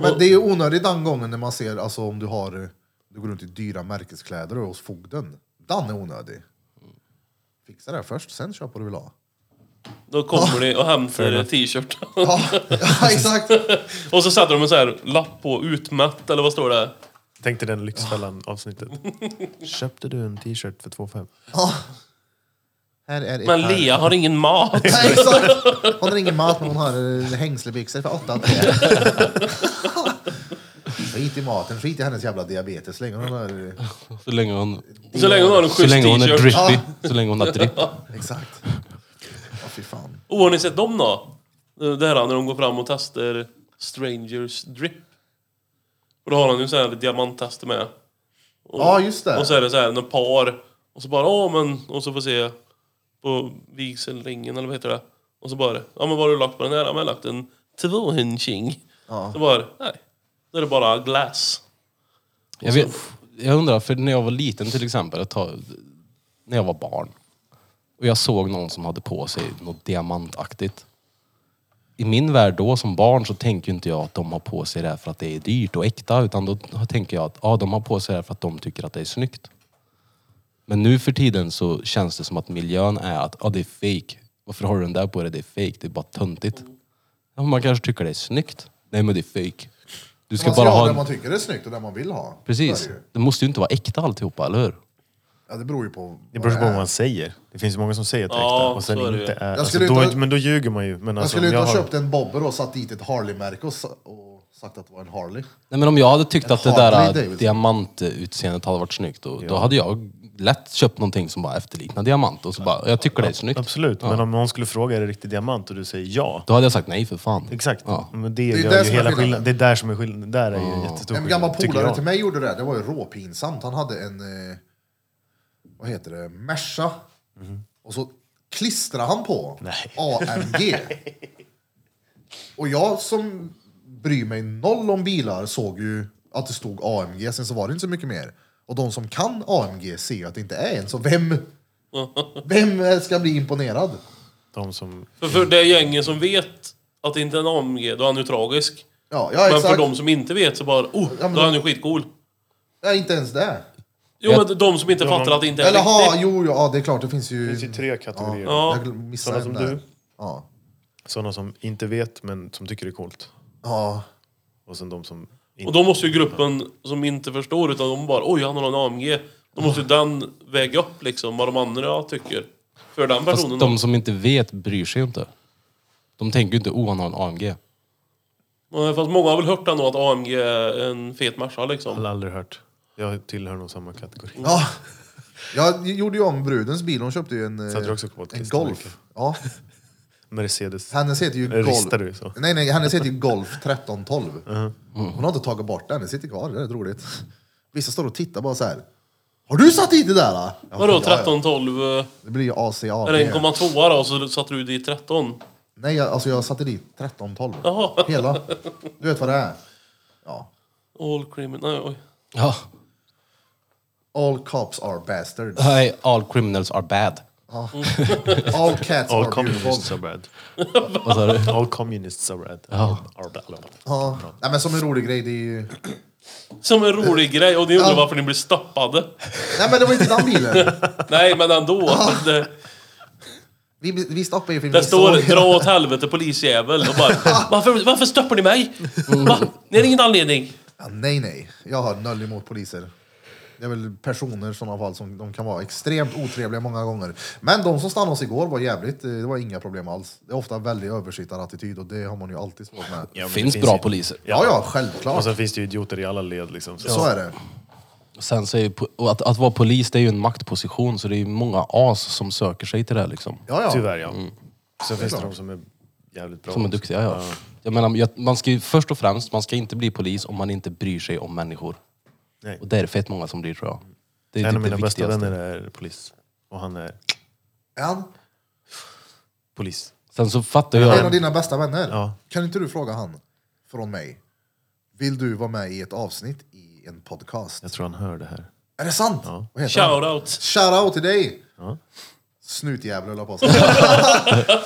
Speaker 2: Men det är ju onödigt den gången när man ser, alltså om du har, du går runt i dyra märkeskläder och hos fogden. Den är onödig. Fixa det här först, sen köp vad du vill ha.
Speaker 1: (laughs) Då kommer de och hämtar en t-shirt. (laughs)
Speaker 2: Ja, (laughs) ja exakt.
Speaker 1: Och så sätter de en sån här lapp på utmätt, eller vad står det?
Speaker 3: Tänk dig den (laughs) Lyxfällan-avsnittet. Köpte du en t-shirt för 2 5
Speaker 2: Ja. Här är ett
Speaker 1: Men
Speaker 2: här.
Speaker 1: Lea har ingen
Speaker 4: (laughs)
Speaker 1: mat.
Speaker 2: Nej, exakt. Hon har ingen mat men hon har eh, hängslebyxor för 8 Skit i maten, skit i hennes jävla diabetes. Länge hon har...
Speaker 4: Så länge hon,
Speaker 1: Så länge hon har en
Speaker 4: så
Speaker 1: schysst
Speaker 4: länge hon är
Speaker 1: t-shirt.
Speaker 4: drippy. Så länge hon har dripp.
Speaker 2: Exakt. Ja, fy fan.
Speaker 1: Och har ni sett dem då? Det här när de går fram och testar Strangers Drip. Och då har han ju så här diamanttester med. Och,
Speaker 2: Ja, just det.
Speaker 1: Och så är det så här, några par. Och så bara, ja men, och så får se på vigselringen eller vad heter det? Och så bara, ja men vad har du lagt på den här? Ja men jag har lagt en tvåhundsing. Så bara, nej. Då är det bara glass.
Speaker 4: Jag, vet, jag undrar, för när jag var liten till exempel, ett tag, när jag var barn och jag såg någon som hade på sig något diamantaktigt. I min värld då som barn så tänker ju inte jag att de har på sig det här för att det är dyrt och äkta utan då tänker jag att ja, de har på sig det här för att de tycker att det är snyggt. Men nu för tiden så känns det som att miljön är att ja, det är fake. Varför har du den där på dig? Det är fake. Det är bara töntigt. Ja, man kanske tycker det är snyggt. Nej men det är fake. Du ska
Speaker 2: Man ska
Speaker 4: bara ha
Speaker 2: ha det
Speaker 4: en
Speaker 2: man tycker är snyggt och det man vill ha. Så
Speaker 4: Precis.
Speaker 2: är det ju.
Speaker 4: Det måste ju inte vara äkta alltihopa, eller hur?
Speaker 2: Ja, det beror ju på.
Speaker 3: Det
Speaker 2: vad
Speaker 3: beror på
Speaker 2: är.
Speaker 3: vad man säger. Det finns ju många som säger att det är
Speaker 1: Ja,
Speaker 3: äkta och sen
Speaker 1: så är det ju.
Speaker 3: inte är.
Speaker 2: Eh. Jag
Speaker 3: Alltså,
Speaker 2: skulle
Speaker 3: då,
Speaker 2: inte ha-
Speaker 3: är inte- men då ljuger man ju. Men
Speaker 2: Jag
Speaker 3: alltså,
Speaker 2: skulle
Speaker 3: om
Speaker 2: inte
Speaker 3: jag
Speaker 2: ha
Speaker 3: har...
Speaker 2: köpt en bobber och satt dit ett Harley-märke och, sa- och sagt att det var en Harley.
Speaker 4: Nej, men om jag hade tyckt att det
Speaker 2: Harley
Speaker 4: där
Speaker 2: Davidson.
Speaker 4: diamantutseendet hade varit snyggt, då, då hade jag lätt köpt någonting som bara efterliknar diamant. Och så bara, jag tycker det är snyggt.
Speaker 3: Absolut, men om någon skulle fråga är det riktig diamant och du säger ja.
Speaker 4: Då hade jag sagt nej för fan.
Speaker 3: Exakt.
Speaker 4: Ja.
Speaker 3: Men det,
Speaker 2: är
Speaker 3: gör
Speaker 2: där
Speaker 3: ju
Speaker 2: som är
Speaker 3: hela
Speaker 2: skillnaden.
Speaker 3: skillnaden. Det är där som är skillnaden. Där är ju en jättestor
Speaker 2: En gammal
Speaker 3: skillnad, tycker
Speaker 2: polare
Speaker 3: jag.
Speaker 2: till mig gjorde det. Det var ju råpinsamt. Han hade en, eh, vad heter det, Merca.
Speaker 3: Mm.
Speaker 2: Och så klistrade han på
Speaker 3: (laughs)
Speaker 2: AMG. och jag som bryr mig noll om bilar såg ju att det stod AMG, sen så var det inte så mycket mer. Och de som kan AMG ser ju att det inte är en, så
Speaker 3: (laughs)
Speaker 2: vem, vem ska bli imponerad?
Speaker 3: De som...
Speaker 1: För, för det gängen som vet att det inte är en AMG, då är han ju tragisk.
Speaker 2: Ja, ja
Speaker 1: men
Speaker 2: exakt.
Speaker 1: för de som inte vet så bara, oh,
Speaker 2: Ja, men
Speaker 1: då är han
Speaker 2: då-
Speaker 1: ju skitcool.
Speaker 2: Nej, inte ens det.
Speaker 1: Jo men de som inte fattar
Speaker 3: man-
Speaker 1: att det inte är
Speaker 2: Eller ha,
Speaker 1: riktigt.
Speaker 2: jo, ja, det är klart, det finns ju...
Speaker 3: Det finns ju tre kategorier.
Speaker 1: Ja.
Speaker 2: Jag glöm- missade
Speaker 3: Sådana
Speaker 2: en
Speaker 3: som
Speaker 2: där.
Speaker 3: du.
Speaker 2: Ja.
Speaker 3: Sådana som inte vet men som tycker det är coolt.
Speaker 2: ja.
Speaker 3: Och sen de som inte...
Speaker 1: Och då måste ju gruppen som inte förstår utan de bara, oj han har en AMG. Då måste ju den väga upp liksom vad de andra tycker. För den personen.
Speaker 4: Fast de som inte vet bryr sig ju inte. De tänker ju inte, oh han har en AMG.
Speaker 1: Nej, Fast många har väl hört ändå att AMG är en fet Merca liksom.
Speaker 3: Alla har aldrig hört. Jag tillhör nog samma kategori.
Speaker 2: Ja. Jag gjorde ju om brudens bil, hon köpte ju en, eh,
Speaker 3: Satte du också på ett
Speaker 2: en
Speaker 3: klistermärke?
Speaker 2: Golf. Ja.
Speaker 3: Mercedes.
Speaker 2: Hennes heter ju
Speaker 3: (laughs) Eller ristar
Speaker 2: Golf.
Speaker 3: du så? Uh-huh.
Speaker 2: Nej, nej, hennes heter ju Golf
Speaker 3: (laughs)
Speaker 2: 1312. Hon har inte tagit bort den, den sitter kvar, det är rätt roligt. Vissa står och tittar bara så här. Har du satt dit det där? Då? Ja,
Speaker 1: Vadå
Speaker 2: ja, ja.
Speaker 1: 13, 12? eh,
Speaker 2: Det blir ju ACA.
Speaker 1: Är det 1,2 då så satte du dit 13?
Speaker 2: Nej, jag, alltså jag satte dit 1312.
Speaker 1: Jaha.
Speaker 2: Hela. Du vet vad det är. Ja.
Speaker 1: All criminal... Nej, oj.
Speaker 4: Ja.
Speaker 2: All cops are bastards.
Speaker 4: Nej, all criminals are bad.
Speaker 2: All cats
Speaker 3: All
Speaker 2: are beautiful.
Speaker 3: communists are bad.
Speaker 4: Vad sa du?
Speaker 3: All communists are bad.
Speaker 4: Ja.
Speaker 3: Are bad.
Speaker 2: Ja. Nej, men som en rolig grej, det är ju...
Speaker 1: Som en rolig grej. Och ni undrar varför ni blir stoppade.
Speaker 2: Nej men det var inte den bilen.
Speaker 1: Nej, men
Speaker 2: (laughs)
Speaker 1: ändå. Det,
Speaker 2: Vi, vi stoppade ju för vi
Speaker 1: det står
Speaker 2: såg-
Speaker 1: dra åt helvete polisjävel. Och bara, varför, varför stoppar ni mig? Va? Ni har ingen anledning.
Speaker 2: Ja, nej, nej. Jag har noll emot poliser. Det är väl personer i sådana fall som de kan vara extremt otrevliga många gånger. Men de som stannade oss igår var jävligt, eh, det var inga problem alls. Det är ofta väldigt översittarattityd och det har man ju alltid svårt med. Ja,
Speaker 3: Ja, Alltså, men det
Speaker 4: finns bra
Speaker 3: ju-
Speaker 4: poliser.
Speaker 2: ja,
Speaker 3: Och
Speaker 2: självklart.
Speaker 3: sen finns det ju idioter i alla led liksom. Så.
Speaker 2: Så är det.
Speaker 4: (laughs) Sen så är ju, po- och att, att vara polis det är ju en maktposition så det är ju många as som söker sig till det liksom.
Speaker 2: Ja, ja.
Speaker 3: Tyvärr ja. Sen finns det
Speaker 2: klart.
Speaker 3: de som är jävligt bra.
Speaker 4: Som är
Speaker 3: också.
Speaker 4: duktiga ja. Jag menar, jag- man ska ju först och främst, man ska inte bli polis om man inte bryr sig om människor.
Speaker 3: Nej.
Speaker 4: Och det är det fett många som blir tror jag. Det är
Speaker 3: En
Speaker 4: typ
Speaker 3: av mina
Speaker 4: det
Speaker 3: bästa
Speaker 4: viktigaste.
Speaker 3: vänner är polis. Och han är
Speaker 2: Är han
Speaker 3: polis.
Speaker 4: Sen så fattar
Speaker 2: en
Speaker 4: jag...
Speaker 2: av dina bästa vänner?
Speaker 3: Ja.
Speaker 2: Kan inte du fråga han från mig? Vill du vara med i ett avsnitt i en podcast?
Speaker 3: Jag tror han hör det här.
Speaker 2: Är det sant? Vad heter han?
Speaker 1: Shoutout.
Speaker 2: Shoutout till dig!
Speaker 3: Ja.
Speaker 2: Snutjävel höll jag på att säga.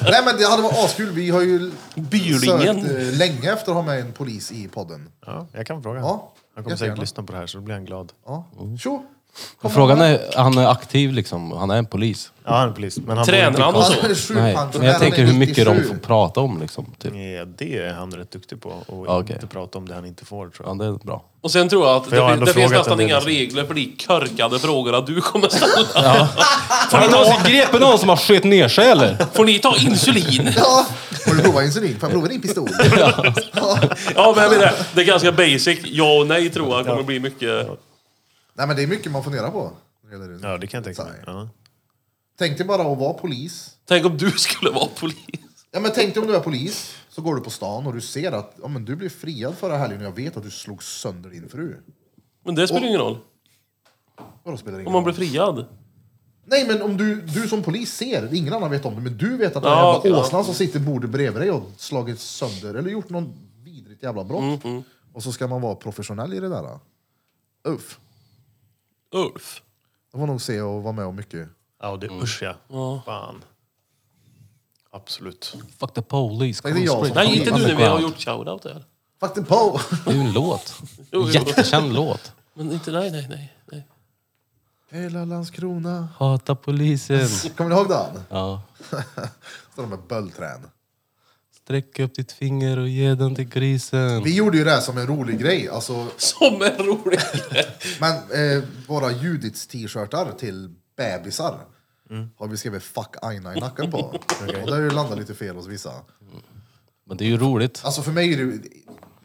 Speaker 4: (laughs)
Speaker 2: Nej men det hade varit askul. Vi har ju
Speaker 1: Bylingen.
Speaker 2: sökt eh, länge efter att ha med en polis i podden.
Speaker 3: Ja, jag kan fråga
Speaker 2: Ja,
Speaker 3: Han kommer
Speaker 2: jättegärna.
Speaker 3: säkert lyssna på det här så då blir han glad.
Speaker 2: Ja.
Speaker 4: Mm.
Speaker 2: Tjo!
Speaker 4: Och Frågan är, han är aktiv liksom, han är en polis.
Speaker 3: Ja, han är polis. Men han
Speaker 1: Tränar han
Speaker 3: bor
Speaker 1: också?
Speaker 2: Han är sju
Speaker 4: Nej,
Speaker 2: pensionär,
Speaker 4: men jag
Speaker 2: han är
Speaker 4: tänker hur mycket de
Speaker 2: 97.
Speaker 4: får (laughs) prata om liksom. Typ.
Speaker 3: inte- Ja, det är han rätt duktig på. Och
Speaker 4: Ja, okej.
Speaker 3: inte prata om det han inte får tror
Speaker 4: Ja,
Speaker 3: jag.
Speaker 4: det är bra.
Speaker 1: Och sen tror jag att
Speaker 3: jag har
Speaker 1: det, fin-
Speaker 3: ändå
Speaker 1: det finns
Speaker 3: frågat
Speaker 1: nästan
Speaker 3: en del,
Speaker 1: inga regler
Speaker 3: liksom.
Speaker 1: för de körkade frågorna du kommer ställa.
Speaker 4: Har någonsin grepit någon som har skett ner sig eller?
Speaker 1: Får ni ta insulin?
Speaker 2: Ja. Har du provat insulin? Får jag prova din
Speaker 4: (laughs)
Speaker 2: pistol? Ja.
Speaker 1: Ja, men jag menar, (laughs) det är ganska basic. Ja och nej tror jag kommer bli mycket.
Speaker 2: Nej men det är mycket man funderar på. när det gäller-
Speaker 3: Ja, det kan jag tänka mig.
Speaker 2: Så här.
Speaker 3: Ja.
Speaker 2: Tänk dig bara att vara polis.
Speaker 1: Tänk om du skulle vara polis.
Speaker 2: Ja, men tänk dig om du är polis, så går du på stan och du ser att ja, men du blev friad förra helgen och jag vet att du slog sönder din fru.
Speaker 1: Men det spelar ju ingen roll.
Speaker 2: Vadå spelar det ingen
Speaker 1: Om man blir
Speaker 2: roll?
Speaker 1: friad.
Speaker 2: Nej men om du, du som polis ser, ingen annan vet om det, men du vet att den
Speaker 1: Ja,
Speaker 2: jävla
Speaker 1: okej, ja.
Speaker 2: åsnan som sitter i bordet bredvid dig och slagit sönder eller gjort någon vidrigt jävla brott.
Speaker 1: Mm,
Speaker 2: Och så ska man vara professionell i det där. Uff.
Speaker 1: Ulf.
Speaker 2: Det var nog se och vara med om mycket.
Speaker 3: Ja, och det
Speaker 4: Mm.
Speaker 3: usch ja. Fan. Absolut.
Speaker 4: Fuck the police.
Speaker 2: Nej, det är jag som-
Speaker 1: Nej, inte nu när vi har
Speaker 4: Underground.
Speaker 1: gjort shoutout här.
Speaker 2: Fucking på!
Speaker 4: Det är ju en låt.
Speaker 1: jo.
Speaker 4: Jättekänd låt.
Speaker 1: Men inte nej, nej, nej. nej.
Speaker 2: (laughs) Hela Landskrona.
Speaker 4: Hata polisen.
Speaker 2: Kommer ni ihåg den?
Speaker 4: Ja.
Speaker 2: Står de med böldträn.
Speaker 4: Sträck upp ditt finger och ge den till grisen.
Speaker 2: Vi gjorde ju det här som en rolig grej. Alltså,
Speaker 1: Som en rolig
Speaker 2: Men eh, våra Judits t-shirtar till bebisar
Speaker 1: Mm.
Speaker 2: har vi skrivit fuck aina i
Speaker 1: (laughs)
Speaker 2: nacken på. Och det har ju landat lite fel hos vissa.
Speaker 4: Men det är ju roligt.
Speaker 2: Alltså för mig är det ju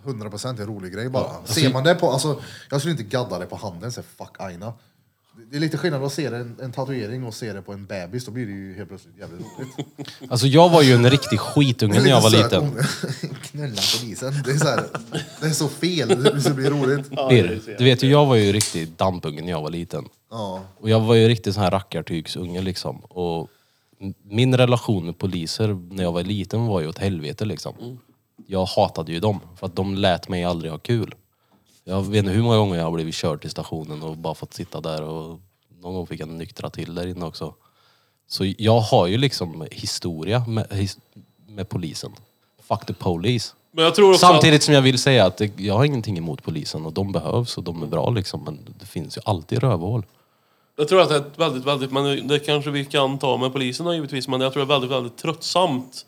Speaker 2: 100% en rolig grej bara. Ser man det på, alltså jag skulle inte gadda det på handen så fuck aina. Det- Det är lite skillnad att se det, en, en tatuering och se det på en bebis, då blir det ju helt plötsligt jävligt roligt.
Speaker 4: Alltså jag var ju en riktig skitunge (laughs) när
Speaker 2: (laughs)
Speaker 4: jag var
Speaker 2: Lite
Speaker 4: liten.
Speaker 2: söt (laughs) unge. Knulla polisen, det är så här, det är så fel, det så blir roligt.
Speaker 4: Birr, du vet ju, jag var ju riktig dampunge när jag var liten.
Speaker 2: Ja.
Speaker 4: Och jag var ju riktigt sån här rackartygsunge liksom. Och m- min relation med poliser när jag var liten var ju åt helvete liksom.
Speaker 2: Mm.
Speaker 4: Jag hatade ju dem, för att de lät mig aldrig ha kul. Jag vet inte hur många gånger jag har blivit körd till stationen och bara fått sitta där och någon gång fick jag nyktra till där inne också. Så jag har ju liksom historia med, his, med polisen. Fuck the police.
Speaker 1: Men jag tror också
Speaker 4: Samtidigt som jag vill säga att det- jag har ingenting emot polisen och de behövs och de är bra liksom. Men det finns ju alltid rövhål.
Speaker 1: Att, jag tror att det är ett väldigt, väldigt, men det kanske vi kan ta med polisen då, givetvis, men jag tror det är väldigt, väldigt tröttsamt.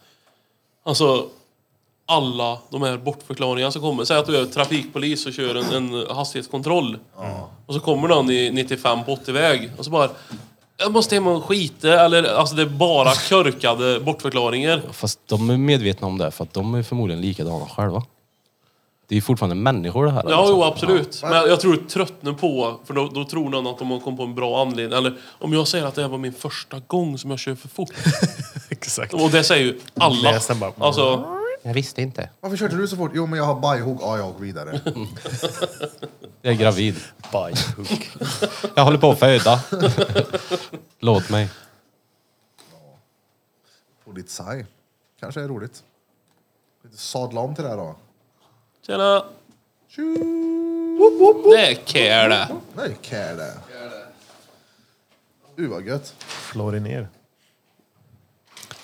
Speaker 1: Alltså, alla de här bortförklaringarna som kommer. Säg att du är trafikpolis och kör en, en hastighetskontroll. Och så kommer någon i 95 på 80-väg och så bara jag måste hem och skita, eller alltså det är bara körkade bortförklaringar.
Speaker 4: Fast de är medvetna om det, för att de är förmodligen likadana själva. Det är ju fortfarande människor det
Speaker 1: Ja,
Speaker 4: här. liksom.
Speaker 1: jo absolut. Men jag tror tröttnar på, för då, då tror någon att de har kommit på en bra anledning. Eller om jag säger att det här var min första gång som jag kör för fort.
Speaker 3: (laughs) Exakt.
Speaker 1: Och det säger ju alla.
Speaker 3: Läsaren bara-
Speaker 1: Alltså,
Speaker 4: Jag visste inte.
Speaker 2: Varför körde du så fort? Jo men jag har bajhugg, ja jag och vidare.
Speaker 4: (laughs) Jag är gravid.
Speaker 3: Bajhook.
Speaker 4: (laughs) Jag håller på att föda. (laughs) Låt mig.
Speaker 2: Polizei. Kanske är roligt. Lite sadla om till det här då.
Speaker 1: tjena! Det är care det.
Speaker 2: Nej, care det. Uh, vad gött.
Speaker 3: Flår ner.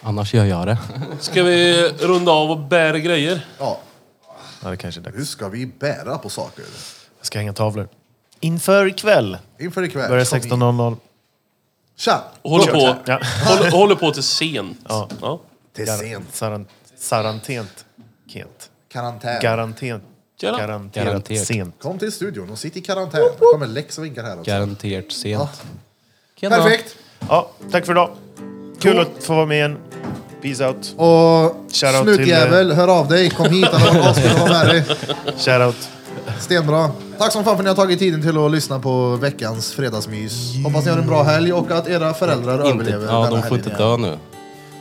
Speaker 4: Annars gör jag det.
Speaker 1: Ska vi runda av och bära grejer?
Speaker 2: Ja,
Speaker 3: Ja, det kanske är
Speaker 2: hur
Speaker 3: dags.
Speaker 2: ska vi bära på saker?
Speaker 3: Jag ska hänga tavlor. Inför ikväll.
Speaker 2: Inför ikväll.
Speaker 3: Äh, Börjar
Speaker 2: som vi-
Speaker 3: 16.00.
Speaker 2: Tja!
Speaker 1: Och Håller på,
Speaker 2: Klockan.
Speaker 3: Ja.
Speaker 1: håller, håller på till sent. Ja.
Speaker 2: Till sent.
Speaker 3: Saran, sarantent. Kent.
Speaker 2: Karantän.
Speaker 3: Garantent.
Speaker 1: Tjena.
Speaker 3: Garanterat
Speaker 4: Garanterat.
Speaker 3: sent.
Speaker 2: Kom till studion och sitt i karantän. Det kommer Lex och vinkar här också.
Speaker 4: Garanterat sent. Tjena.
Speaker 2: Perfekt!
Speaker 3: Ja, tack för idag. Kul att få vara med igen. Peace out.
Speaker 2: Och
Speaker 3: Shoutout
Speaker 4: eh,
Speaker 2: snutjävel, hör av dig. Kom hit, eller
Speaker 4: (laughs)
Speaker 2: vad ska vara med dig.
Speaker 3: Shout out.
Speaker 2: Stenbra. Tack som fan för att ni har tagit tiden till att lyssna på veckans fredagsmys. Hoppas ni har en bra helg och att era föräldrar
Speaker 4: Inte,
Speaker 2: överlever
Speaker 4: ja, de får
Speaker 2: helgen
Speaker 4: inte
Speaker 2: igen.
Speaker 4: dö nu.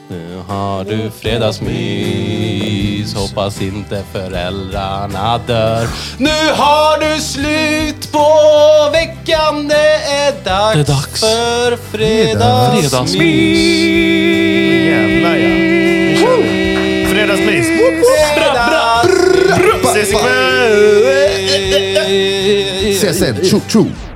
Speaker 4: Nu har du fredagsmys, hoppas inte föräldrarna dör. Nu har du slut på veckan, det är dags,
Speaker 1: Det är dags.
Speaker 4: för fredagsmys.
Speaker 3: Jävlar ja. Nu kör vi. Fredagsmys.
Speaker 4: Fredags-
Speaker 3: Ses ikväll.
Speaker 2: Ses sen. Tjo, tjo.